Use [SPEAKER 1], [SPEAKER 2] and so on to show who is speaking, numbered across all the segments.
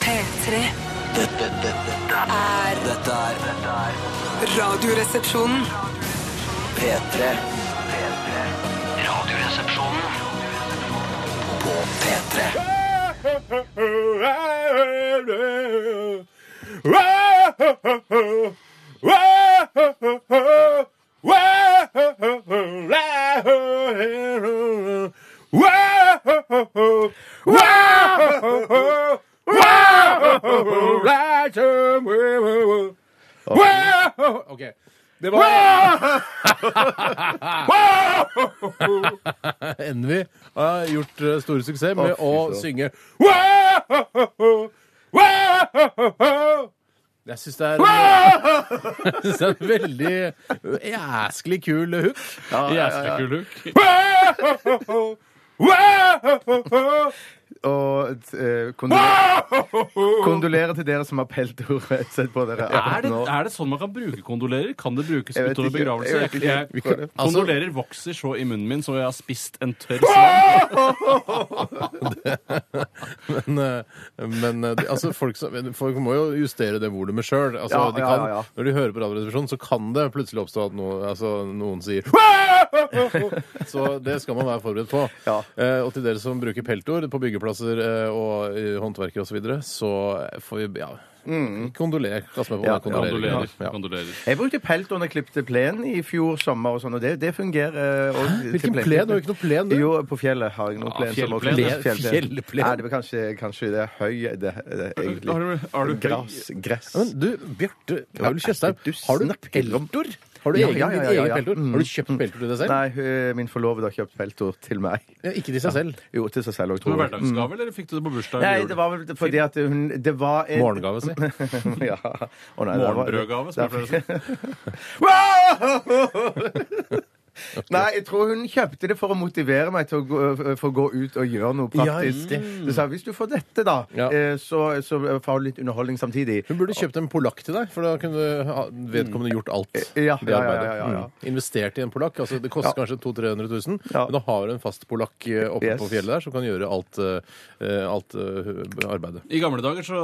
[SPEAKER 1] P3
[SPEAKER 2] Dette, dette, dette,
[SPEAKER 1] er
[SPEAKER 2] dette er dette er
[SPEAKER 1] Radioresepsjonen.
[SPEAKER 2] P3. P3. Radioresepsjonen på P3.
[SPEAKER 3] OK. Det var Envy har gjort eh, stor suksess med
[SPEAKER 4] Å, fy
[SPEAKER 3] å
[SPEAKER 4] søren.
[SPEAKER 3] synge Jeg syns det er Jeg synes det er en veldig jæsklig kul hook.
[SPEAKER 4] ja, ja.
[SPEAKER 5] Jæskla kul hook.
[SPEAKER 4] Og eh, kondolerer, kondolerer til dere som har peltord. Sett på dere.
[SPEAKER 5] Er det,
[SPEAKER 4] Nå.
[SPEAKER 5] er det sånn man kan bruke kondolerer? Kan det brukes
[SPEAKER 4] Jeg vet
[SPEAKER 5] utover
[SPEAKER 4] ikke.
[SPEAKER 5] begravelse?
[SPEAKER 4] Jeg vet ikke.
[SPEAKER 5] Jeg,
[SPEAKER 4] Altså-
[SPEAKER 5] jeg,
[SPEAKER 4] Vi kan-
[SPEAKER 5] kondolerer vokser så i munnen min som jeg har spist en tørr slang.
[SPEAKER 3] Men, eh, men eh, de- altså, folk, som, men folk må jo justere det volumet sjøl. Altså,
[SPEAKER 4] Ja,
[SPEAKER 3] de
[SPEAKER 4] ja,
[SPEAKER 3] kan-
[SPEAKER 4] ja, ja.
[SPEAKER 3] Når de hører på Radioresepsjonen, så kan det plutselig oppstå at noen, altså, noen sier Så det skal man være forberedt på.
[SPEAKER 4] Ja.
[SPEAKER 3] Eh, og til dere som bruker peltord på byggeplasser eh, og i håndverkere osv., så, videre, så får vi ja, kondoler. Kast meg på
[SPEAKER 4] Mm. Ja,
[SPEAKER 3] det. Kondolerer.
[SPEAKER 5] Kondolerer.
[SPEAKER 3] Ja.
[SPEAKER 5] kondolerer.
[SPEAKER 4] Jeg brukte pelt under klippte plen i fjor sommer, og sånn, og det, det fungerer. eh, Og,
[SPEAKER 3] Hvilken plen? Du har ikke noe plen, du?
[SPEAKER 4] Jo, på fjellet har jeg noen plen. som også-
[SPEAKER 5] fjellplen.
[SPEAKER 3] Fjellplen?
[SPEAKER 4] Nei, det var kanskje, kanskje det er høy, det, det, egentlig.
[SPEAKER 5] Har du- har du høy-
[SPEAKER 4] Gress. gress.
[SPEAKER 3] Men du, Bjarte Paul Tjøstheim,
[SPEAKER 4] du
[SPEAKER 3] har du
[SPEAKER 4] snakker om-
[SPEAKER 3] peltord? Har du
[SPEAKER 4] Ja,
[SPEAKER 3] egen,
[SPEAKER 4] ja, ja,
[SPEAKER 3] ditt
[SPEAKER 4] ja,
[SPEAKER 3] eget
[SPEAKER 4] ja.
[SPEAKER 3] peltord?
[SPEAKER 4] Mm.
[SPEAKER 3] Har du kjøpt peltord til deg selv?
[SPEAKER 4] Nei, hun- min forlovede har kjøpt peltord til meg.
[SPEAKER 3] Ja, ikke til seg selv.
[SPEAKER 4] Jo, til seg selv òg,
[SPEAKER 5] Som en
[SPEAKER 4] tror jeg. Mm.
[SPEAKER 5] hverdagsgave, eller fikk du det på bursdag? eller
[SPEAKER 4] Nei,
[SPEAKER 5] jul?
[SPEAKER 4] det var vel fordi at hun Det var en
[SPEAKER 3] Morgengave, si.
[SPEAKER 4] ja. Å, nei, det var-
[SPEAKER 5] Morgenbrødgave, som jeg pleier å si.
[SPEAKER 4] Nei, jeg tror hun kjøpte det for å motivere meg til å gå, for å gå ut og gjøre noe praktisk.
[SPEAKER 3] Ja,
[SPEAKER 4] Du sa hvis du får dette, da,
[SPEAKER 3] Ja.
[SPEAKER 4] eh, så, så får du litt underholdning samtidig.
[SPEAKER 3] Hun burde kjøpt en polakk til deg, for da kunne ha- vedkommende gjort alt.
[SPEAKER 4] Ja,
[SPEAKER 3] det
[SPEAKER 4] ja, ja,
[SPEAKER 3] arbeidet.
[SPEAKER 4] ja, ja, ja.
[SPEAKER 3] Mm. Investert i en polakk. altså Det koster kanskje 200 000-300 000,
[SPEAKER 4] Ja.
[SPEAKER 3] men da har du en fast polakk eh, oppe
[SPEAKER 4] Yes.
[SPEAKER 3] på fjellet der som kan gjøre alt, eh, alt eh, arbeidet.
[SPEAKER 5] I gamle dager så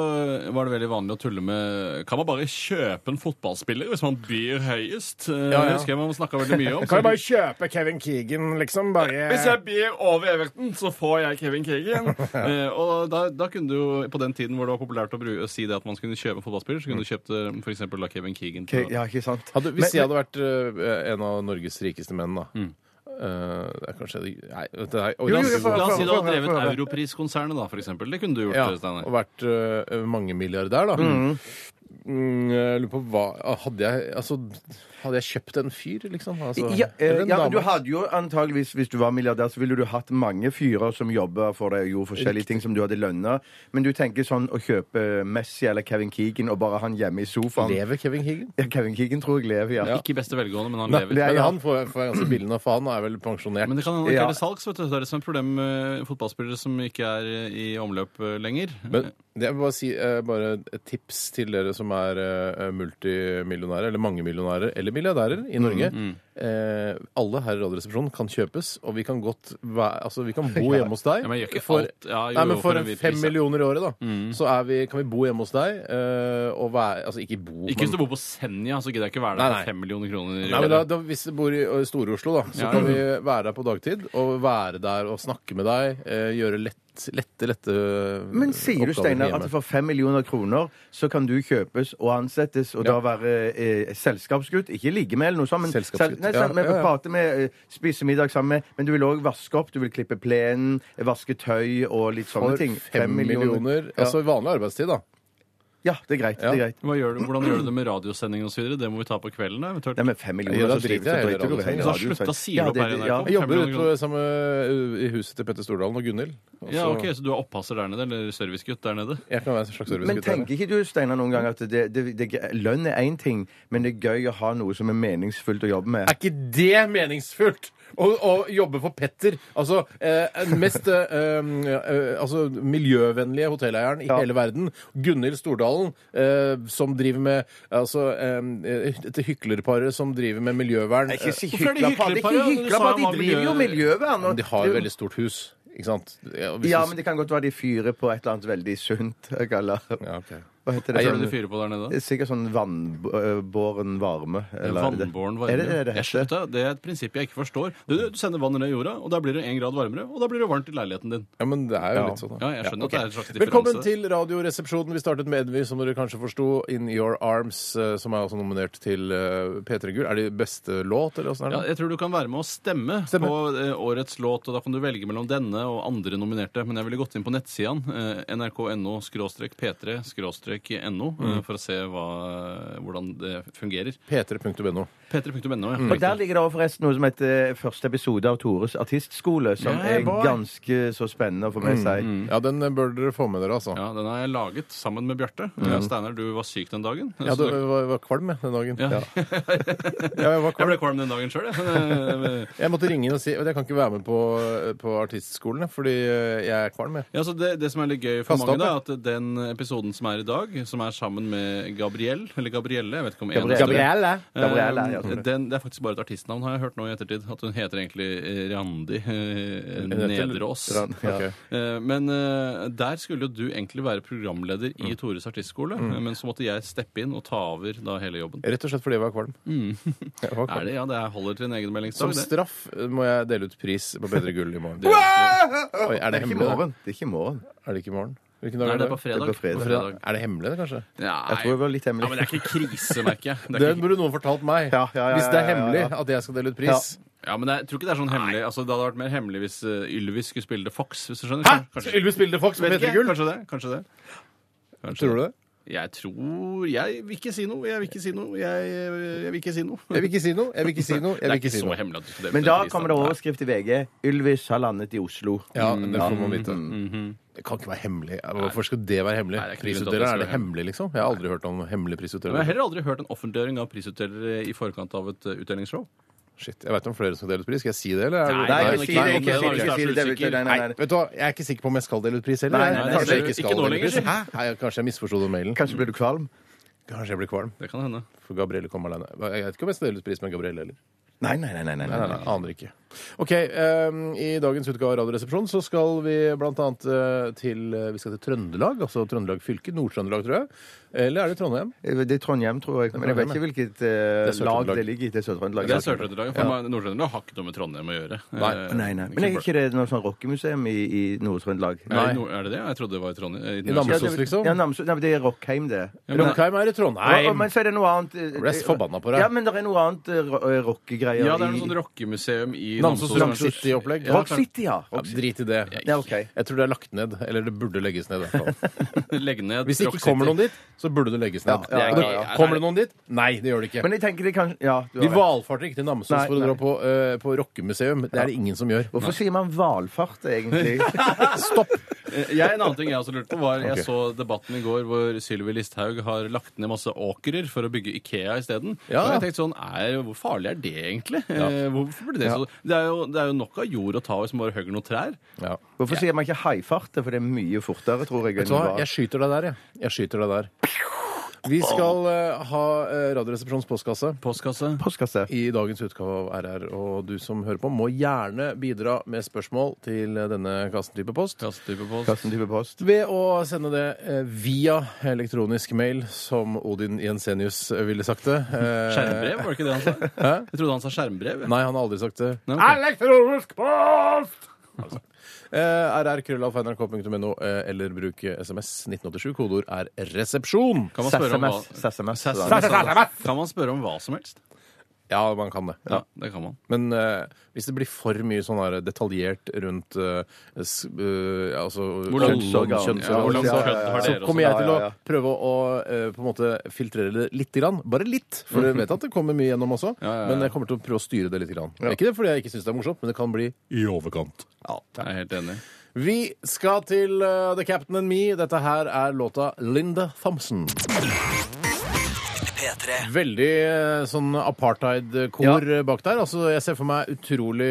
[SPEAKER 5] var det veldig vanlig å tulle med Kan man bare kjøpe en fotballspiller hvis man byr høyest? Eh,
[SPEAKER 3] Ja, ja.
[SPEAKER 5] Det husker jeg man snakka veldig mye om.
[SPEAKER 3] kjøpe Kevin Keegan, liksom?
[SPEAKER 5] Hvis jeg byr over Everton, så får jeg Kevin Keegan. Eh, og da, da kunne du jo, på den tiden hvor det var populært å, bruke, å si det at man skulle kjøpe en fotballspiller, så kunne du kjøpt eh, for eksempel da Kevin Keegan.
[SPEAKER 4] Ok,
[SPEAKER 5] til-
[SPEAKER 4] Ja, ikke sant?
[SPEAKER 3] Hadde, hvis
[SPEAKER 4] Men-
[SPEAKER 3] jeg hadde vært eh, en av Norges rikeste menn, da eh, Det er kanskje Nei, vet du, nei, oi,
[SPEAKER 4] Jo, jo,
[SPEAKER 3] ganske
[SPEAKER 4] jo, for-
[SPEAKER 3] god.
[SPEAKER 5] La oss si du
[SPEAKER 4] Få
[SPEAKER 5] hadde
[SPEAKER 4] høre, få
[SPEAKER 5] drevet
[SPEAKER 4] høre.
[SPEAKER 5] Europris-konsernet, da, for eksempel. Det kunne du gjort,
[SPEAKER 3] ja,
[SPEAKER 5] Steinar.
[SPEAKER 3] og vært uh, mangemilliardær, da. Mm, jeg lurer på hva Hadde jeg, altså, hadde jeg kjøpt en fyr, liksom? Altså,
[SPEAKER 4] ja, eh,
[SPEAKER 3] eller en
[SPEAKER 4] ja, men
[SPEAKER 3] dame?
[SPEAKER 4] du hadde jo antageligvis, Hvis du var milliardær, så ville du hatt mange fyrer som jobba for deg og gjorde forskjellige ting som du hadde lønna. Men du tenker sånn å kjøpe Messi eller Kevin Keegan og bare han hjemme i sofaen
[SPEAKER 3] Lever Kevin Keegan?
[SPEAKER 4] ja, Kevin Keegan tror jeg lever, ja.
[SPEAKER 5] Ikke i beste velgående, men han
[SPEAKER 3] Nei,
[SPEAKER 5] lever.
[SPEAKER 4] det er-
[SPEAKER 3] men
[SPEAKER 4] ja.
[SPEAKER 3] han får, får jeg ganske billig nå, for han er vel pensjonert.
[SPEAKER 5] Men det kan hende ikke
[SPEAKER 4] Ja.
[SPEAKER 5] være salgs. vet du. Det er det som er problemet med fotballspillere som ikke er eh, i omløp eh, lenger.
[SPEAKER 3] Men det jeg vil bare si eh, bare et tips til dere som er eh, multimillionærer, eller mangemillionærer, eller milliardærer
[SPEAKER 5] Mm,
[SPEAKER 3] i Norge. Eh, alle her i Radioresepsjonen kan kjøpes, og vi kan godt væ- altså, vi kan bo hjemme hos deg.
[SPEAKER 5] Ja, men jeg gjør ikke
[SPEAKER 3] for,
[SPEAKER 5] alt. Ja, jo,
[SPEAKER 3] nei, men
[SPEAKER 5] jo,
[SPEAKER 3] for,
[SPEAKER 5] for en
[SPEAKER 3] en
[SPEAKER 5] hvit Mm.
[SPEAKER 3] fem
[SPEAKER 5] pris, ja.
[SPEAKER 3] millioner i året, da, så er vi, kan vi bo hjemme hos deg. eh, og være, altså ikke bo,
[SPEAKER 5] Ikke hvis du bor på Senja, så gidder jeg ikke være
[SPEAKER 3] Nei,
[SPEAKER 5] der
[SPEAKER 3] nei.
[SPEAKER 5] for fem millioner kroner. i
[SPEAKER 3] Nei, men da,
[SPEAKER 5] året.
[SPEAKER 3] da, Hvis du bor i ø, Store-Oslo, da, så
[SPEAKER 5] Ja,
[SPEAKER 3] kan
[SPEAKER 5] ja.
[SPEAKER 3] vi være der på dagtid. Og være der og snakke med deg. eh, Gjøre lett, lette, lette ø,
[SPEAKER 4] Men sier du,
[SPEAKER 3] oppgaver
[SPEAKER 4] Steinar,
[SPEAKER 3] hjemme.
[SPEAKER 4] at for 5 millioner kroner så kan du kjøpes og ansettes og da være eh, selskapsgutt? Ikke ligge med eller noe sånt, men,
[SPEAKER 3] Selskapsgutt,
[SPEAKER 4] nei,
[SPEAKER 3] ja,
[SPEAKER 4] sånn, men
[SPEAKER 3] ja, ja.
[SPEAKER 4] prate med, eh, spise middag sammen med, men du vil òg vaske opp, du vil klippe plenen, vaske tøy og litt sånne
[SPEAKER 3] for
[SPEAKER 4] ting.
[SPEAKER 3] fem millioner
[SPEAKER 4] Ja.
[SPEAKER 3] Altså vanlig arbeidstid, da.
[SPEAKER 4] ja, det er greit.
[SPEAKER 3] Ja.
[SPEAKER 4] det er greit.
[SPEAKER 5] Hva gjør du, hvordan gjør du det med radiosending osv.? Det må vi ta på kvelden, da, eventuelt.
[SPEAKER 4] Nei, men fem
[SPEAKER 3] Ja,
[SPEAKER 4] millioner,
[SPEAKER 3] da
[SPEAKER 4] så sliter-
[SPEAKER 3] driter jeg
[SPEAKER 4] så
[SPEAKER 3] heller i
[SPEAKER 4] driter du
[SPEAKER 3] det.
[SPEAKER 4] hele
[SPEAKER 3] Så
[SPEAKER 4] radioen.
[SPEAKER 5] slutt, da sier du opp
[SPEAKER 4] det-
[SPEAKER 5] her i NRK.
[SPEAKER 4] ja.
[SPEAKER 3] Jeg jobber
[SPEAKER 5] Fem
[SPEAKER 3] ute
[SPEAKER 5] millioner
[SPEAKER 3] på samme, ø, i huset til Petter Stordalen og Gunhild. og
[SPEAKER 5] Ja,
[SPEAKER 3] så-
[SPEAKER 5] ok, Så du er oppasser der nede, eller servicegutt der nede?
[SPEAKER 3] Jeg kan være en slags
[SPEAKER 4] Men
[SPEAKER 3] servicegutt.
[SPEAKER 4] tenker
[SPEAKER 3] der.
[SPEAKER 4] ikke du, Steinar, noen gang at det, det, det, lønn er én ting, men det er gøy å ha noe som er meningsfullt å jobbe med?
[SPEAKER 3] Er ikke det meningsfullt? Å, å jobbe for Petter, altså eh, den mest eh, eh, eh, altså, miljøvennlige hotelleieren i
[SPEAKER 4] Ja.
[SPEAKER 3] hele verden, Gunhild Stordalen, eh, som driver med altså, eh, et hyklerpar som driver med miljøvern.
[SPEAKER 4] Det er ikke
[SPEAKER 3] Eh,
[SPEAKER 4] si
[SPEAKER 5] Hvorfor er det
[SPEAKER 4] hyklerpar. Det er
[SPEAKER 5] hyklerpar, ja?
[SPEAKER 4] ikke
[SPEAKER 5] Du sa
[SPEAKER 4] hyklerpar.
[SPEAKER 5] han
[SPEAKER 4] De
[SPEAKER 5] var
[SPEAKER 4] driver jo
[SPEAKER 5] miljø-
[SPEAKER 4] miljøvern. og-
[SPEAKER 3] de har jo veldig stort hus. Ikke sant? Ja, hvis
[SPEAKER 4] Ja,
[SPEAKER 3] du-
[SPEAKER 4] men det kan godt være de fyrer på et eller annet veldig sunt. Eller,
[SPEAKER 3] ja, ok.
[SPEAKER 4] hva heter
[SPEAKER 5] Hva
[SPEAKER 4] det?
[SPEAKER 5] er det du
[SPEAKER 4] Sånn,
[SPEAKER 5] fyrer på der nede?
[SPEAKER 4] det er sikkert sånn vannbåren varme. eller er det-
[SPEAKER 5] Vannbåren varme.
[SPEAKER 4] Er det det det
[SPEAKER 5] Jeg
[SPEAKER 4] heter?
[SPEAKER 5] skjønte, det er et prinsipp jeg ikke forstår. Du, du sender vann ned i jorda, og da blir det én grad varmere, og da blir det varmt i leiligheten din.
[SPEAKER 3] Ja, men det er jo
[SPEAKER 4] Ja.
[SPEAKER 3] litt sånn. da.
[SPEAKER 5] Ja, jeg skjønner at
[SPEAKER 3] ok.
[SPEAKER 5] det er en slags differanse.
[SPEAKER 3] Velkommen til Radioresepsjonen. Vi startet med Edvy, som dere kanskje forsto, In Your Arms, eh, som er også nominert til eh, P3 Gull. Er det beste låt, eller åssen er
[SPEAKER 5] Ja,
[SPEAKER 3] det?
[SPEAKER 5] jeg tror du kan være med å stemme,
[SPEAKER 3] Stemme.
[SPEAKER 5] på eh, årets låt, og da kan du velge mellom denne og andre nominerte. Men jeg ville gått inn på nettsidene eh, nrk.no-p3-no
[SPEAKER 4] Mm.
[SPEAKER 5] eh, for å se hva, eh, hvordan det fungerer.
[SPEAKER 3] P3.no.
[SPEAKER 5] p3.no, ja.
[SPEAKER 4] Mm. Og der ligger det også forresten noe som heter første episode av Tores artistskole, som
[SPEAKER 5] Yeah,
[SPEAKER 4] er
[SPEAKER 5] boy. Mm.
[SPEAKER 4] ganske så spennende å få med seg.
[SPEAKER 3] Ja, den eh, bør dere få med dere, altså.
[SPEAKER 5] Ja, Den har jeg laget sammen med Bjarte.
[SPEAKER 4] Mm.
[SPEAKER 5] Eh, Steinar, du var syk den dagen.
[SPEAKER 3] Ja,
[SPEAKER 5] så
[SPEAKER 3] du
[SPEAKER 5] du-
[SPEAKER 3] var, var kvalm jeg, den dagen.
[SPEAKER 5] Ja.
[SPEAKER 3] Ja, jeg, var
[SPEAKER 5] Jeg
[SPEAKER 3] kvalm.
[SPEAKER 5] ble kvalm den dagen sjøl, jeg.
[SPEAKER 3] jeg måtte ringe inn og si at jeg kan ikke være med på, eh, på artistskolen, jeg, fordi eh, jeg er kvalm. Jeg.
[SPEAKER 5] Ja, så det, det som er litt gøy for
[SPEAKER 3] Fast
[SPEAKER 5] mange,
[SPEAKER 3] opp,
[SPEAKER 5] da, er at den episoden som er i dag, som er sammen med Gabrielle, eller Gabrielle, jeg vet ikke om en
[SPEAKER 4] Gabrielle.
[SPEAKER 5] Eh,
[SPEAKER 4] Gabrielle, ja, jeg tror det.
[SPEAKER 5] den, det er faktisk bare et artistnavn, har jeg hørt nå i ettertid. At hun heter egentlig eh, Randi eh,
[SPEAKER 3] heter-
[SPEAKER 5] Nedreås.
[SPEAKER 4] Rand- ja.
[SPEAKER 3] Ok.
[SPEAKER 5] Eh, Men eh, der skulle jo du egentlig være programleder
[SPEAKER 4] Mm.
[SPEAKER 5] i Tores artistskole, eh, men så måtte jeg steppe inn og ta over da hele jobben.
[SPEAKER 3] Rett og slett fordi jeg var kvalm. Jeg var
[SPEAKER 5] Er
[SPEAKER 3] kvalm.
[SPEAKER 5] det, ja, det er- holder til en egen
[SPEAKER 3] Som
[SPEAKER 5] meldingsdag. det.
[SPEAKER 3] straff eh, må jeg dele ut pris på P3 Gull i morgen. Oi, er
[SPEAKER 4] Det
[SPEAKER 3] det
[SPEAKER 4] er ikke i
[SPEAKER 3] hemmelig? da?
[SPEAKER 4] morgen. Det er ikke i morgen.
[SPEAKER 3] Er det ikke i morgen? Hvilken dag
[SPEAKER 5] Nei,
[SPEAKER 3] er
[SPEAKER 5] det
[SPEAKER 3] det?
[SPEAKER 5] er på fredag.
[SPEAKER 4] Det er på fredag.
[SPEAKER 3] Er det hemmelig, det, kanskje?
[SPEAKER 4] Jeg tror det
[SPEAKER 5] Nei.
[SPEAKER 4] var litt
[SPEAKER 5] Ja, men det
[SPEAKER 4] hemmelig.
[SPEAKER 5] er ikke krise, merker jeg. Det er
[SPEAKER 3] Det
[SPEAKER 5] ikke
[SPEAKER 3] burde noen fortalt meg.
[SPEAKER 4] Ja, ja, ja,
[SPEAKER 3] Hvis det er
[SPEAKER 4] ja, ja,
[SPEAKER 3] hemmelig
[SPEAKER 4] ja.
[SPEAKER 3] at jeg skal dele ut pris.
[SPEAKER 5] Ja, men det, er- jeg tror ikke det er sånn hemmelig. Altså, det hadde vært mer hemmelig hvis eh, Ylvis skulle spille The Fox. hvis du skjønner. Kanskje,
[SPEAKER 3] Ylvis spille Fox
[SPEAKER 5] vet ikke. Kanskje det. kanskje det. Kanskje
[SPEAKER 3] Tror du det?
[SPEAKER 5] Jeg tror Jeg vil ikke si noe. Jeg vil ikke si noe. Jeg, eh, jeg vil ikke si noe.
[SPEAKER 3] Jeg vil ikke si noe. Jeg vil ikke si noe.
[SPEAKER 5] det
[SPEAKER 3] Jeg
[SPEAKER 5] er
[SPEAKER 3] vil
[SPEAKER 5] ikke
[SPEAKER 3] ikke si
[SPEAKER 5] så
[SPEAKER 3] noe.
[SPEAKER 5] hemmelig at du skal dele
[SPEAKER 4] Men
[SPEAKER 5] ut
[SPEAKER 4] da
[SPEAKER 5] den prisen,
[SPEAKER 4] kommer det
[SPEAKER 5] da.
[SPEAKER 4] overskrift i VG. Ylvis har landet i Oslo. Mm.
[SPEAKER 3] Ja, det får man vite. Mm. Det kan ikke være hemmelig. Hvorfor skal det være hemmelig?
[SPEAKER 5] Mhm. Nei, det er ikke grunn til at det
[SPEAKER 3] Prisutdeler, er
[SPEAKER 5] skal
[SPEAKER 3] det
[SPEAKER 5] være
[SPEAKER 3] hemmelig, liksom? Jeg har aldri hørt om hemmelig
[SPEAKER 5] Men jeg har
[SPEAKER 3] prisutdeler.
[SPEAKER 5] heller aldri hørt en offentliggjøring av prisutdelere i forkant av et eh, utdelingsshow.
[SPEAKER 3] Shit. Jeg veit om flere som deler ut pris. Skal jeg si det, eller? er
[SPEAKER 5] Nei,
[SPEAKER 3] det-
[SPEAKER 5] nei,
[SPEAKER 4] Nei,
[SPEAKER 5] men
[SPEAKER 4] ikke si
[SPEAKER 5] ikke
[SPEAKER 4] det.
[SPEAKER 5] om det,
[SPEAKER 4] Ikke si det. Ikke
[SPEAKER 5] hvis du er
[SPEAKER 4] si
[SPEAKER 5] så
[SPEAKER 4] det. det.
[SPEAKER 5] usikker.
[SPEAKER 4] Nei, nei, nei.
[SPEAKER 3] Vet du hva, Jeg er ikke sikker på om jeg skal dele ut pris heller.
[SPEAKER 4] Nei,
[SPEAKER 3] Jeg
[SPEAKER 4] nei, det
[SPEAKER 3] Kanskje
[SPEAKER 5] skal
[SPEAKER 3] jeg ikke
[SPEAKER 5] du
[SPEAKER 3] skal
[SPEAKER 5] ikke
[SPEAKER 3] dele
[SPEAKER 5] nå
[SPEAKER 3] ut pris.
[SPEAKER 5] lenger.
[SPEAKER 3] Hæ? Nei, jeg- Kanskje jeg misforsto den mailen.
[SPEAKER 4] Kanskje blir du kvalm?
[SPEAKER 3] Kanskje jeg blir kvalm.
[SPEAKER 5] Det kan hende.
[SPEAKER 3] For Gabrielle kom alene. Jeg vet ikke om jeg skal dele ut pris med Gabrielle heller.
[SPEAKER 4] Nei, nei, nei. nei,
[SPEAKER 3] Nei,
[SPEAKER 4] nei, nei,
[SPEAKER 3] nei, nei, aner ikke. Ok, ehm, I dagens utgave av Radioresepsjonen så skal vi bl.a. Uh, til eh, vi skal til Trøndelag, altså Trøndelag fylke. Nord-Trøndelag, tror jeg. Eller er det Trondheim?
[SPEAKER 4] Det er Trondheim, tror jeg. Men jeg vet ikke hvilket eh,
[SPEAKER 3] er Sør-Trøndelag.
[SPEAKER 4] lag det ligger i. Det er Sør-Trøndelag.
[SPEAKER 5] Det er Sør-Trøndelag. for meg- Nord-Trøndelag har ikke noe med Trøndelag å gjøre.
[SPEAKER 3] Nei,
[SPEAKER 5] Eh,
[SPEAKER 4] Nei, nei. Men er ikke det noe sånn rockemuseum i, i Nord-Trøndelag?
[SPEAKER 5] Er det, nord- Eh, er det det? Jeg trodde det var i Trondheim.
[SPEAKER 3] I
[SPEAKER 5] eh,
[SPEAKER 3] Namsos.
[SPEAKER 4] Ja, det-
[SPEAKER 3] liksom?
[SPEAKER 4] Ja, Namsos. Nei, men det er Rockheim, det.
[SPEAKER 3] Rockheim er i
[SPEAKER 4] Ja, og-
[SPEAKER 3] Trondheim!
[SPEAKER 4] men så er det noe annet eh,
[SPEAKER 3] ble så forbanna på deg.
[SPEAKER 4] Ja, men det er noe annet eh, ro- eh, rockegreier
[SPEAKER 5] Ja, det er noe
[SPEAKER 4] i-
[SPEAKER 5] sånn rockemuseum i
[SPEAKER 3] Namsos Rock
[SPEAKER 5] kanskje.
[SPEAKER 3] City-opplegg.
[SPEAKER 5] Ja,
[SPEAKER 4] Rock City, ja.
[SPEAKER 3] Ja,
[SPEAKER 4] Rock City.
[SPEAKER 3] drit i det.
[SPEAKER 4] Ja, ok.
[SPEAKER 3] Jeg tror det er lagt ned. Eller det burde legges ned. i hvert fall.
[SPEAKER 5] Legg ned
[SPEAKER 3] Hvis det
[SPEAKER 5] Rock
[SPEAKER 3] ikke kommer noen
[SPEAKER 5] City.
[SPEAKER 3] dit, så burde det legges ned.
[SPEAKER 4] Ja, ja,
[SPEAKER 3] Og det-
[SPEAKER 5] ja, ja.
[SPEAKER 3] Kommer det noen dit? Nei, det gjør det ikke.
[SPEAKER 4] Men jeg tenker det kan Ja, du
[SPEAKER 3] Vi
[SPEAKER 4] har rett.
[SPEAKER 3] valfarter ikke til Namsos
[SPEAKER 4] Nei,
[SPEAKER 3] for å
[SPEAKER 4] nei.
[SPEAKER 3] dra på, eh, på rockemuseum. Det er det ingen som gjør.
[SPEAKER 4] Hvorfor sier man hvalfart, egentlig?
[SPEAKER 3] Stopp!
[SPEAKER 5] Eh, Jeg, en annen ting jeg også lurte på var
[SPEAKER 3] Ok.
[SPEAKER 5] Jeg så debatten i går hvor Sylvi Listhaug har lagt ned masse åkrer for å bygge Ikea isteden.
[SPEAKER 3] Ja.
[SPEAKER 5] Og jeg tenkte sånn er, Hvor farlig er det egentlig? Eh, Hvorfor blir det så det er, jo, det er jo nok av jord å ta hvis man bare hogger noen trær.
[SPEAKER 3] Ja.
[SPEAKER 4] Hvorfor sier man ikke haifart? For det er mye fortere, tror jeg.
[SPEAKER 3] Vet du hva, jeg skyter deg der, jeg. Jeg skyter deg der. Vi skal eh, ha eh, Radioresepsjonens postkasse
[SPEAKER 5] Postkasse.
[SPEAKER 4] Postkasse.
[SPEAKER 3] i dagens utgave av RR, og du som hører på, må gjerne bidra med spørsmål til eh, denne kassen-type post.
[SPEAKER 5] Kassetype post.
[SPEAKER 4] Kassen type post.
[SPEAKER 3] Ved å sende det eh, via elektronisk mail, som Odin Jensenius ville sagt det. Eh,
[SPEAKER 5] Skjermbrev, var det ikke det han sa? Jeg trodde han sa skjermbrev. jeg.
[SPEAKER 3] Nei, han har aldri sagt det.
[SPEAKER 5] Nei, ok.
[SPEAKER 3] Elektronisk post! Altså. Eh, rrkrøllalfa.nrk.no, eh, eller bruk SMS 1987. Kodeord er 'resepsjon'.
[SPEAKER 5] Kan man spørre om hva,
[SPEAKER 4] SMS. SMS.
[SPEAKER 5] Sass-
[SPEAKER 4] da.
[SPEAKER 5] kan man spørre om hva som helst?
[SPEAKER 3] Ja, man kan det.
[SPEAKER 5] Ja, det kan man.
[SPEAKER 3] Men eh, hvis det blir for mye sånn her detaljert rundt eh, s, eh, altså,
[SPEAKER 5] Hvordan-
[SPEAKER 4] Kjønnsorgan.
[SPEAKER 5] Ja, hvordan
[SPEAKER 3] kjønnsorgan
[SPEAKER 5] kjønn
[SPEAKER 4] ja, ja, ja.
[SPEAKER 5] har
[SPEAKER 3] så
[SPEAKER 5] dere også?
[SPEAKER 3] kommer jeg
[SPEAKER 4] Ja,
[SPEAKER 3] til å
[SPEAKER 4] ja, ja.
[SPEAKER 3] prøve å eh, på en måte filtrere det litt. Grann. Bare litt, for jeg vet at det kommer mye gjennom også.
[SPEAKER 5] Mhm. Ja, ja, ja.
[SPEAKER 3] Men jeg kommer til å prøve å styre det litt. Grann. Ikke det fordi jeg ikke syns det er morsomt, men det kan bli i overkant.
[SPEAKER 5] Jeg er helt enig.
[SPEAKER 3] Vi skal til eh, The Captain and Me. Dette her er låta Linda Thompson.
[SPEAKER 2] P3.
[SPEAKER 3] Veldig eh, sånn apartheid-kor eh, bak der. Altså, jeg ser for meg utrolig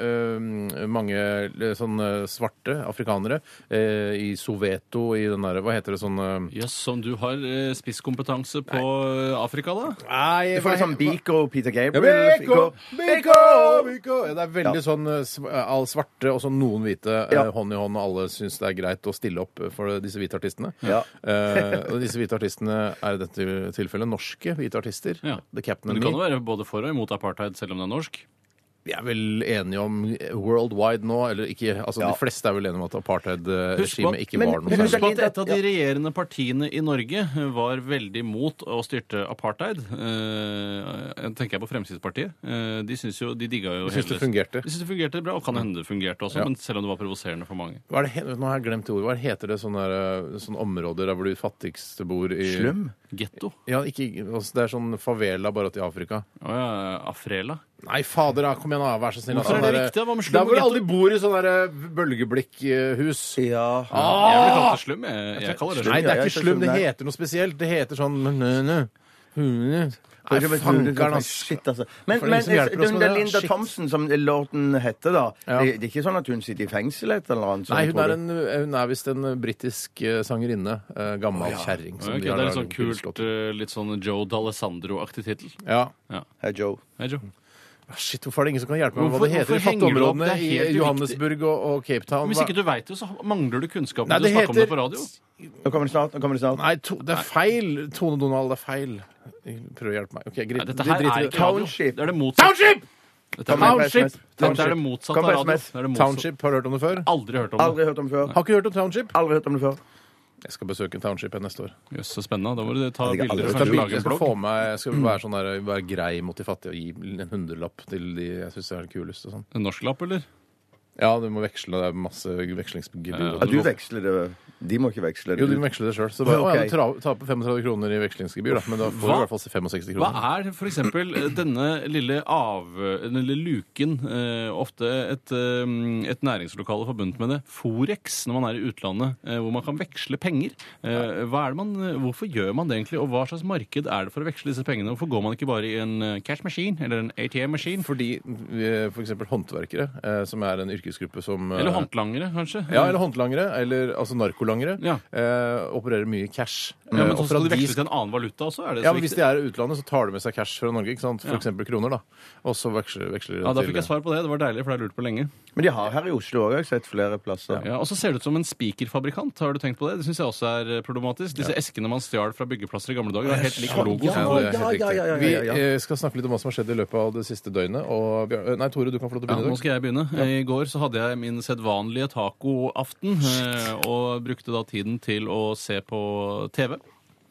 [SPEAKER 3] eh, mange eh, sånn eh, svarte afrikanere eh, i Soveto i den derre Hva heter det sånn eh,
[SPEAKER 5] Jøss, som du har eh, spisskompetanse på eh, Afrika, da?
[SPEAKER 3] Nei,
[SPEAKER 4] Du får litt sånn Biko og Peter
[SPEAKER 3] Ja,
[SPEAKER 4] Gabriel.
[SPEAKER 3] Biko, Biko,
[SPEAKER 4] Biko!
[SPEAKER 3] Biko. Ja, Det er veldig sånn eh, sv- eh, all svarte og så noen hvite eh,
[SPEAKER 4] Ja.
[SPEAKER 3] hånd i hånd, og alle syns det er greit å stille opp for disse hvite artistene.
[SPEAKER 4] Ja.
[SPEAKER 3] Eh, og disse hvite artistene er i dette tilfellet norske hvite artister.
[SPEAKER 5] Ja.
[SPEAKER 3] The Captain
[SPEAKER 5] Men
[SPEAKER 3] and
[SPEAKER 5] du kan jo
[SPEAKER 3] Me.
[SPEAKER 5] være både for og imot apartheid, selv om det er norsk.
[SPEAKER 3] Vi er vel enige om worldwide nå, eller ikke Altså
[SPEAKER 4] Ja.
[SPEAKER 3] de fleste er vel enige om at
[SPEAKER 5] Husk på-
[SPEAKER 3] apartheid-regimet ikke
[SPEAKER 4] men-
[SPEAKER 3] var noe
[SPEAKER 4] men
[SPEAKER 5] Husk
[SPEAKER 3] særlig.
[SPEAKER 5] på at et av de regjerende partiene i Norge eh, var veldig mot å styrte apartheid. Eh, Jeg tenker jeg på Fremskrittspartiet. Eh, De syns jo, de digga jo
[SPEAKER 3] Jeg syns det
[SPEAKER 5] hele-
[SPEAKER 3] fungerte.
[SPEAKER 5] De syns det fungerte bra, og kan hende det fungerte også,
[SPEAKER 3] Ja.
[SPEAKER 5] men selv om det var provoserende for mange.
[SPEAKER 3] Hva er det, he- nå har jeg glemt det ordet. Hva er det heter det sånne, der, sånne områder der hvor de fattigste bor i
[SPEAKER 4] Slum?
[SPEAKER 5] Getto.
[SPEAKER 3] Ja, ikke, altså, det er sånn favela bare at i Afrika.
[SPEAKER 5] Å ja, Afrela.
[SPEAKER 3] Nei, fader, da, kom igjen, da. Vær så snill.
[SPEAKER 5] Hvorfor er
[SPEAKER 3] Altså,
[SPEAKER 5] det
[SPEAKER 3] der-
[SPEAKER 5] riktig, da? Hva med slum
[SPEAKER 3] Der
[SPEAKER 5] og
[SPEAKER 3] hvor
[SPEAKER 5] ghetto?
[SPEAKER 3] alle de bor i sånne der, eh, bølgeblikkhus.
[SPEAKER 4] Ja.
[SPEAKER 3] Ah,
[SPEAKER 5] Jeg ville kalt det slum. Jeg, jeg kaller det slum.
[SPEAKER 3] Nei, det er
[SPEAKER 4] Ja, jeg
[SPEAKER 3] ikke
[SPEAKER 4] ser
[SPEAKER 3] slum.
[SPEAKER 4] slum
[SPEAKER 3] Det
[SPEAKER 4] der.
[SPEAKER 3] heter noe spesielt. Det heter sånn nø, nø, hune. Nei,
[SPEAKER 4] Det er
[SPEAKER 3] fankeren, ass.
[SPEAKER 4] Shit, altså. Men,
[SPEAKER 3] For ingen
[SPEAKER 4] men
[SPEAKER 3] som hjelper oss med
[SPEAKER 4] hun der
[SPEAKER 3] det,
[SPEAKER 4] Linda
[SPEAKER 3] shit.
[SPEAKER 4] Thompson, som låten heter, da
[SPEAKER 3] Ja.
[SPEAKER 4] det, det er ikke sånn at hun sitter i fengsel et eller annet?
[SPEAKER 3] Nei,
[SPEAKER 4] sånt,
[SPEAKER 3] hun er,
[SPEAKER 4] tror du?
[SPEAKER 3] en, hun er visst en britisk eh, sangerinne. eh, Gammel kjerring. som
[SPEAKER 5] Ok,
[SPEAKER 3] de
[SPEAKER 5] det
[SPEAKER 3] har
[SPEAKER 5] er litt
[SPEAKER 3] laget
[SPEAKER 5] sånn kult,
[SPEAKER 3] kunstslått.
[SPEAKER 5] eh, litt sånn Joe D'Alessandro-aktig tittel.
[SPEAKER 3] Ja.
[SPEAKER 5] Ja.
[SPEAKER 4] Hei, Joe.
[SPEAKER 5] Hei, Joe.
[SPEAKER 3] Ah, Shit, hvorfor er det ingen som kan hjelpe meg med hva
[SPEAKER 5] Hvorfor-
[SPEAKER 3] det heter i
[SPEAKER 5] hvorfor henger du opp? Det
[SPEAKER 3] fatteområdene
[SPEAKER 5] er helt
[SPEAKER 3] i
[SPEAKER 5] uriktig.
[SPEAKER 3] Johannesburg og, og Cape Town?
[SPEAKER 5] Hvis ikke du veit det, så mangler du kunnskapen
[SPEAKER 3] Nei,
[SPEAKER 5] til å
[SPEAKER 3] det
[SPEAKER 5] snakke om det
[SPEAKER 3] heter-
[SPEAKER 5] på radio.
[SPEAKER 4] Nå kommer det snart. nå kommer det snart.
[SPEAKER 3] Nei, to, det er feil! Tone Donald, det er feil. Prøv å hjelpe meg. Ok, greit.
[SPEAKER 5] Nei, dette
[SPEAKER 3] Vi
[SPEAKER 5] her
[SPEAKER 3] driter i
[SPEAKER 5] er
[SPEAKER 3] det.
[SPEAKER 5] ikke radio.
[SPEAKER 4] Township.
[SPEAKER 5] Det er det motsatte.
[SPEAKER 3] Township!
[SPEAKER 5] Dette er-
[SPEAKER 4] Kom med
[SPEAKER 3] Township!
[SPEAKER 4] SMS.
[SPEAKER 5] Dette er det motsatte
[SPEAKER 4] Kom
[SPEAKER 5] av
[SPEAKER 4] på
[SPEAKER 5] radio.
[SPEAKER 4] SMS.
[SPEAKER 5] Det er det motsatte.
[SPEAKER 3] Township, har du hørt om det før?
[SPEAKER 5] Aldri hørt om det.
[SPEAKER 4] Aldri hørt om før.
[SPEAKER 3] Har ikke hørt om Township?
[SPEAKER 4] Aldri hørt om det før.
[SPEAKER 3] Jeg skal besøke en Township her neste år.
[SPEAKER 5] Jøss, så spennende. Da må du ta
[SPEAKER 4] Jeg tenker aldri
[SPEAKER 5] bilder og
[SPEAKER 4] skal
[SPEAKER 3] Jeg,
[SPEAKER 5] kanskje lage
[SPEAKER 3] jeg
[SPEAKER 5] en
[SPEAKER 3] skal
[SPEAKER 5] blogg.
[SPEAKER 3] få med, jeg skal være, sånn der, være grei mot de fattige og gi en hundrelapp til de jeg syns er kulest. og sånn.
[SPEAKER 5] En norsk lapp, eller?
[SPEAKER 3] Ja, du må veksle. Det er masse vekslingsgebyr.
[SPEAKER 5] Ja,
[SPEAKER 3] og
[SPEAKER 4] Ja,
[SPEAKER 3] sånn.
[SPEAKER 4] du veksler det. De må ikke veksle det.
[SPEAKER 3] Jo, du kan veksle det sjøl. Så bare, å,
[SPEAKER 4] Ok.
[SPEAKER 3] ja, tra, taper 35 kroner i vekslingsgebyr, da. Men da får du
[SPEAKER 5] Hva?
[SPEAKER 3] i hvert fall 65
[SPEAKER 5] Hva
[SPEAKER 3] kroner.
[SPEAKER 5] er f.eks. denne lille av... Den lille luken, eh, ofte et, eh, et næringslokale forbundet med det, Forex, når man er i utlandet, eh, hvor man kan veksle penger. Eh, hva er det man, hvorfor gjør man det egentlig, og hva slags marked er det for å veksle disse pengene? Hvorfor går man ikke bare i en eh, cash machine eller en ATM-maskin?
[SPEAKER 3] Fordi f.eks. håndverkere, eh, som er en yrkesgruppe som eh,
[SPEAKER 5] Eller håndlangere, kanskje?
[SPEAKER 3] Ja, eller håndlangere, eller altså narkolangere,
[SPEAKER 5] Ja.
[SPEAKER 3] eh, opererer mye i cash.
[SPEAKER 5] Ja, men
[SPEAKER 3] Eh, og
[SPEAKER 5] så
[SPEAKER 3] for at
[SPEAKER 5] skal de
[SPEAKER 3] de
[SPEAKER 5] veksle til en annen valuta også? Er det så
[SPEAKER 3] Ja, men Hvis de
[SPEAKER 5] viktig?
[SPEAKER 3] er i utlandet, så tar de med seg cash fra Norge. ikke sant? For
[SPEAKER 5] Ja.
[SPEAKER 3] eksempel kroner, da. Og så veksler, veksler de
[SPEAKER 5] Ja, Da
[SPEAKER 3] til-
[SPEAKER 5] fikk jeg svar på det. Det var deilig, for det har jeg lurt på lenge.
[SPEAKER 4] Men de har her i Oslo òg, har jeg sett flere plasser.
[SPEAKER 5] Ja, og så ser det ut som en spikerfabrikant. Har du tenkt på det? Det syns jeg også er eh, problematisk. Disse eskene man stjal fra byggeplasser i gamle dager, er helt lik logo.
[SPEAKER 3] Ja,
[SPEAKER 5] som
[SPEAKER 3] det
[SPEAKER 5] går-
[SPEAKER 3] er helt
[SPEAKER 4] ja, ja, ja, ja,
[SPEAKER 3] riktig.
[SPEAKER 4] ja, ja.
[SPEAKER 3] Vi eh, skal snakke litt om hva som har skjedd i løpet av det siste døgnet. Og vi har, eh, nei, Tore, du kan få lov til å
[SPEAKER 5] Ja,
[SPEAKER 3] begynne. i
[SPEAKER 5] nå
[SPEAKER 3] dag.
[SPEAKER 5] skal jeg begynne. I går så hadde jeg min sedvanlige tacoaften, eh, og brukte da tiden til å se på TV.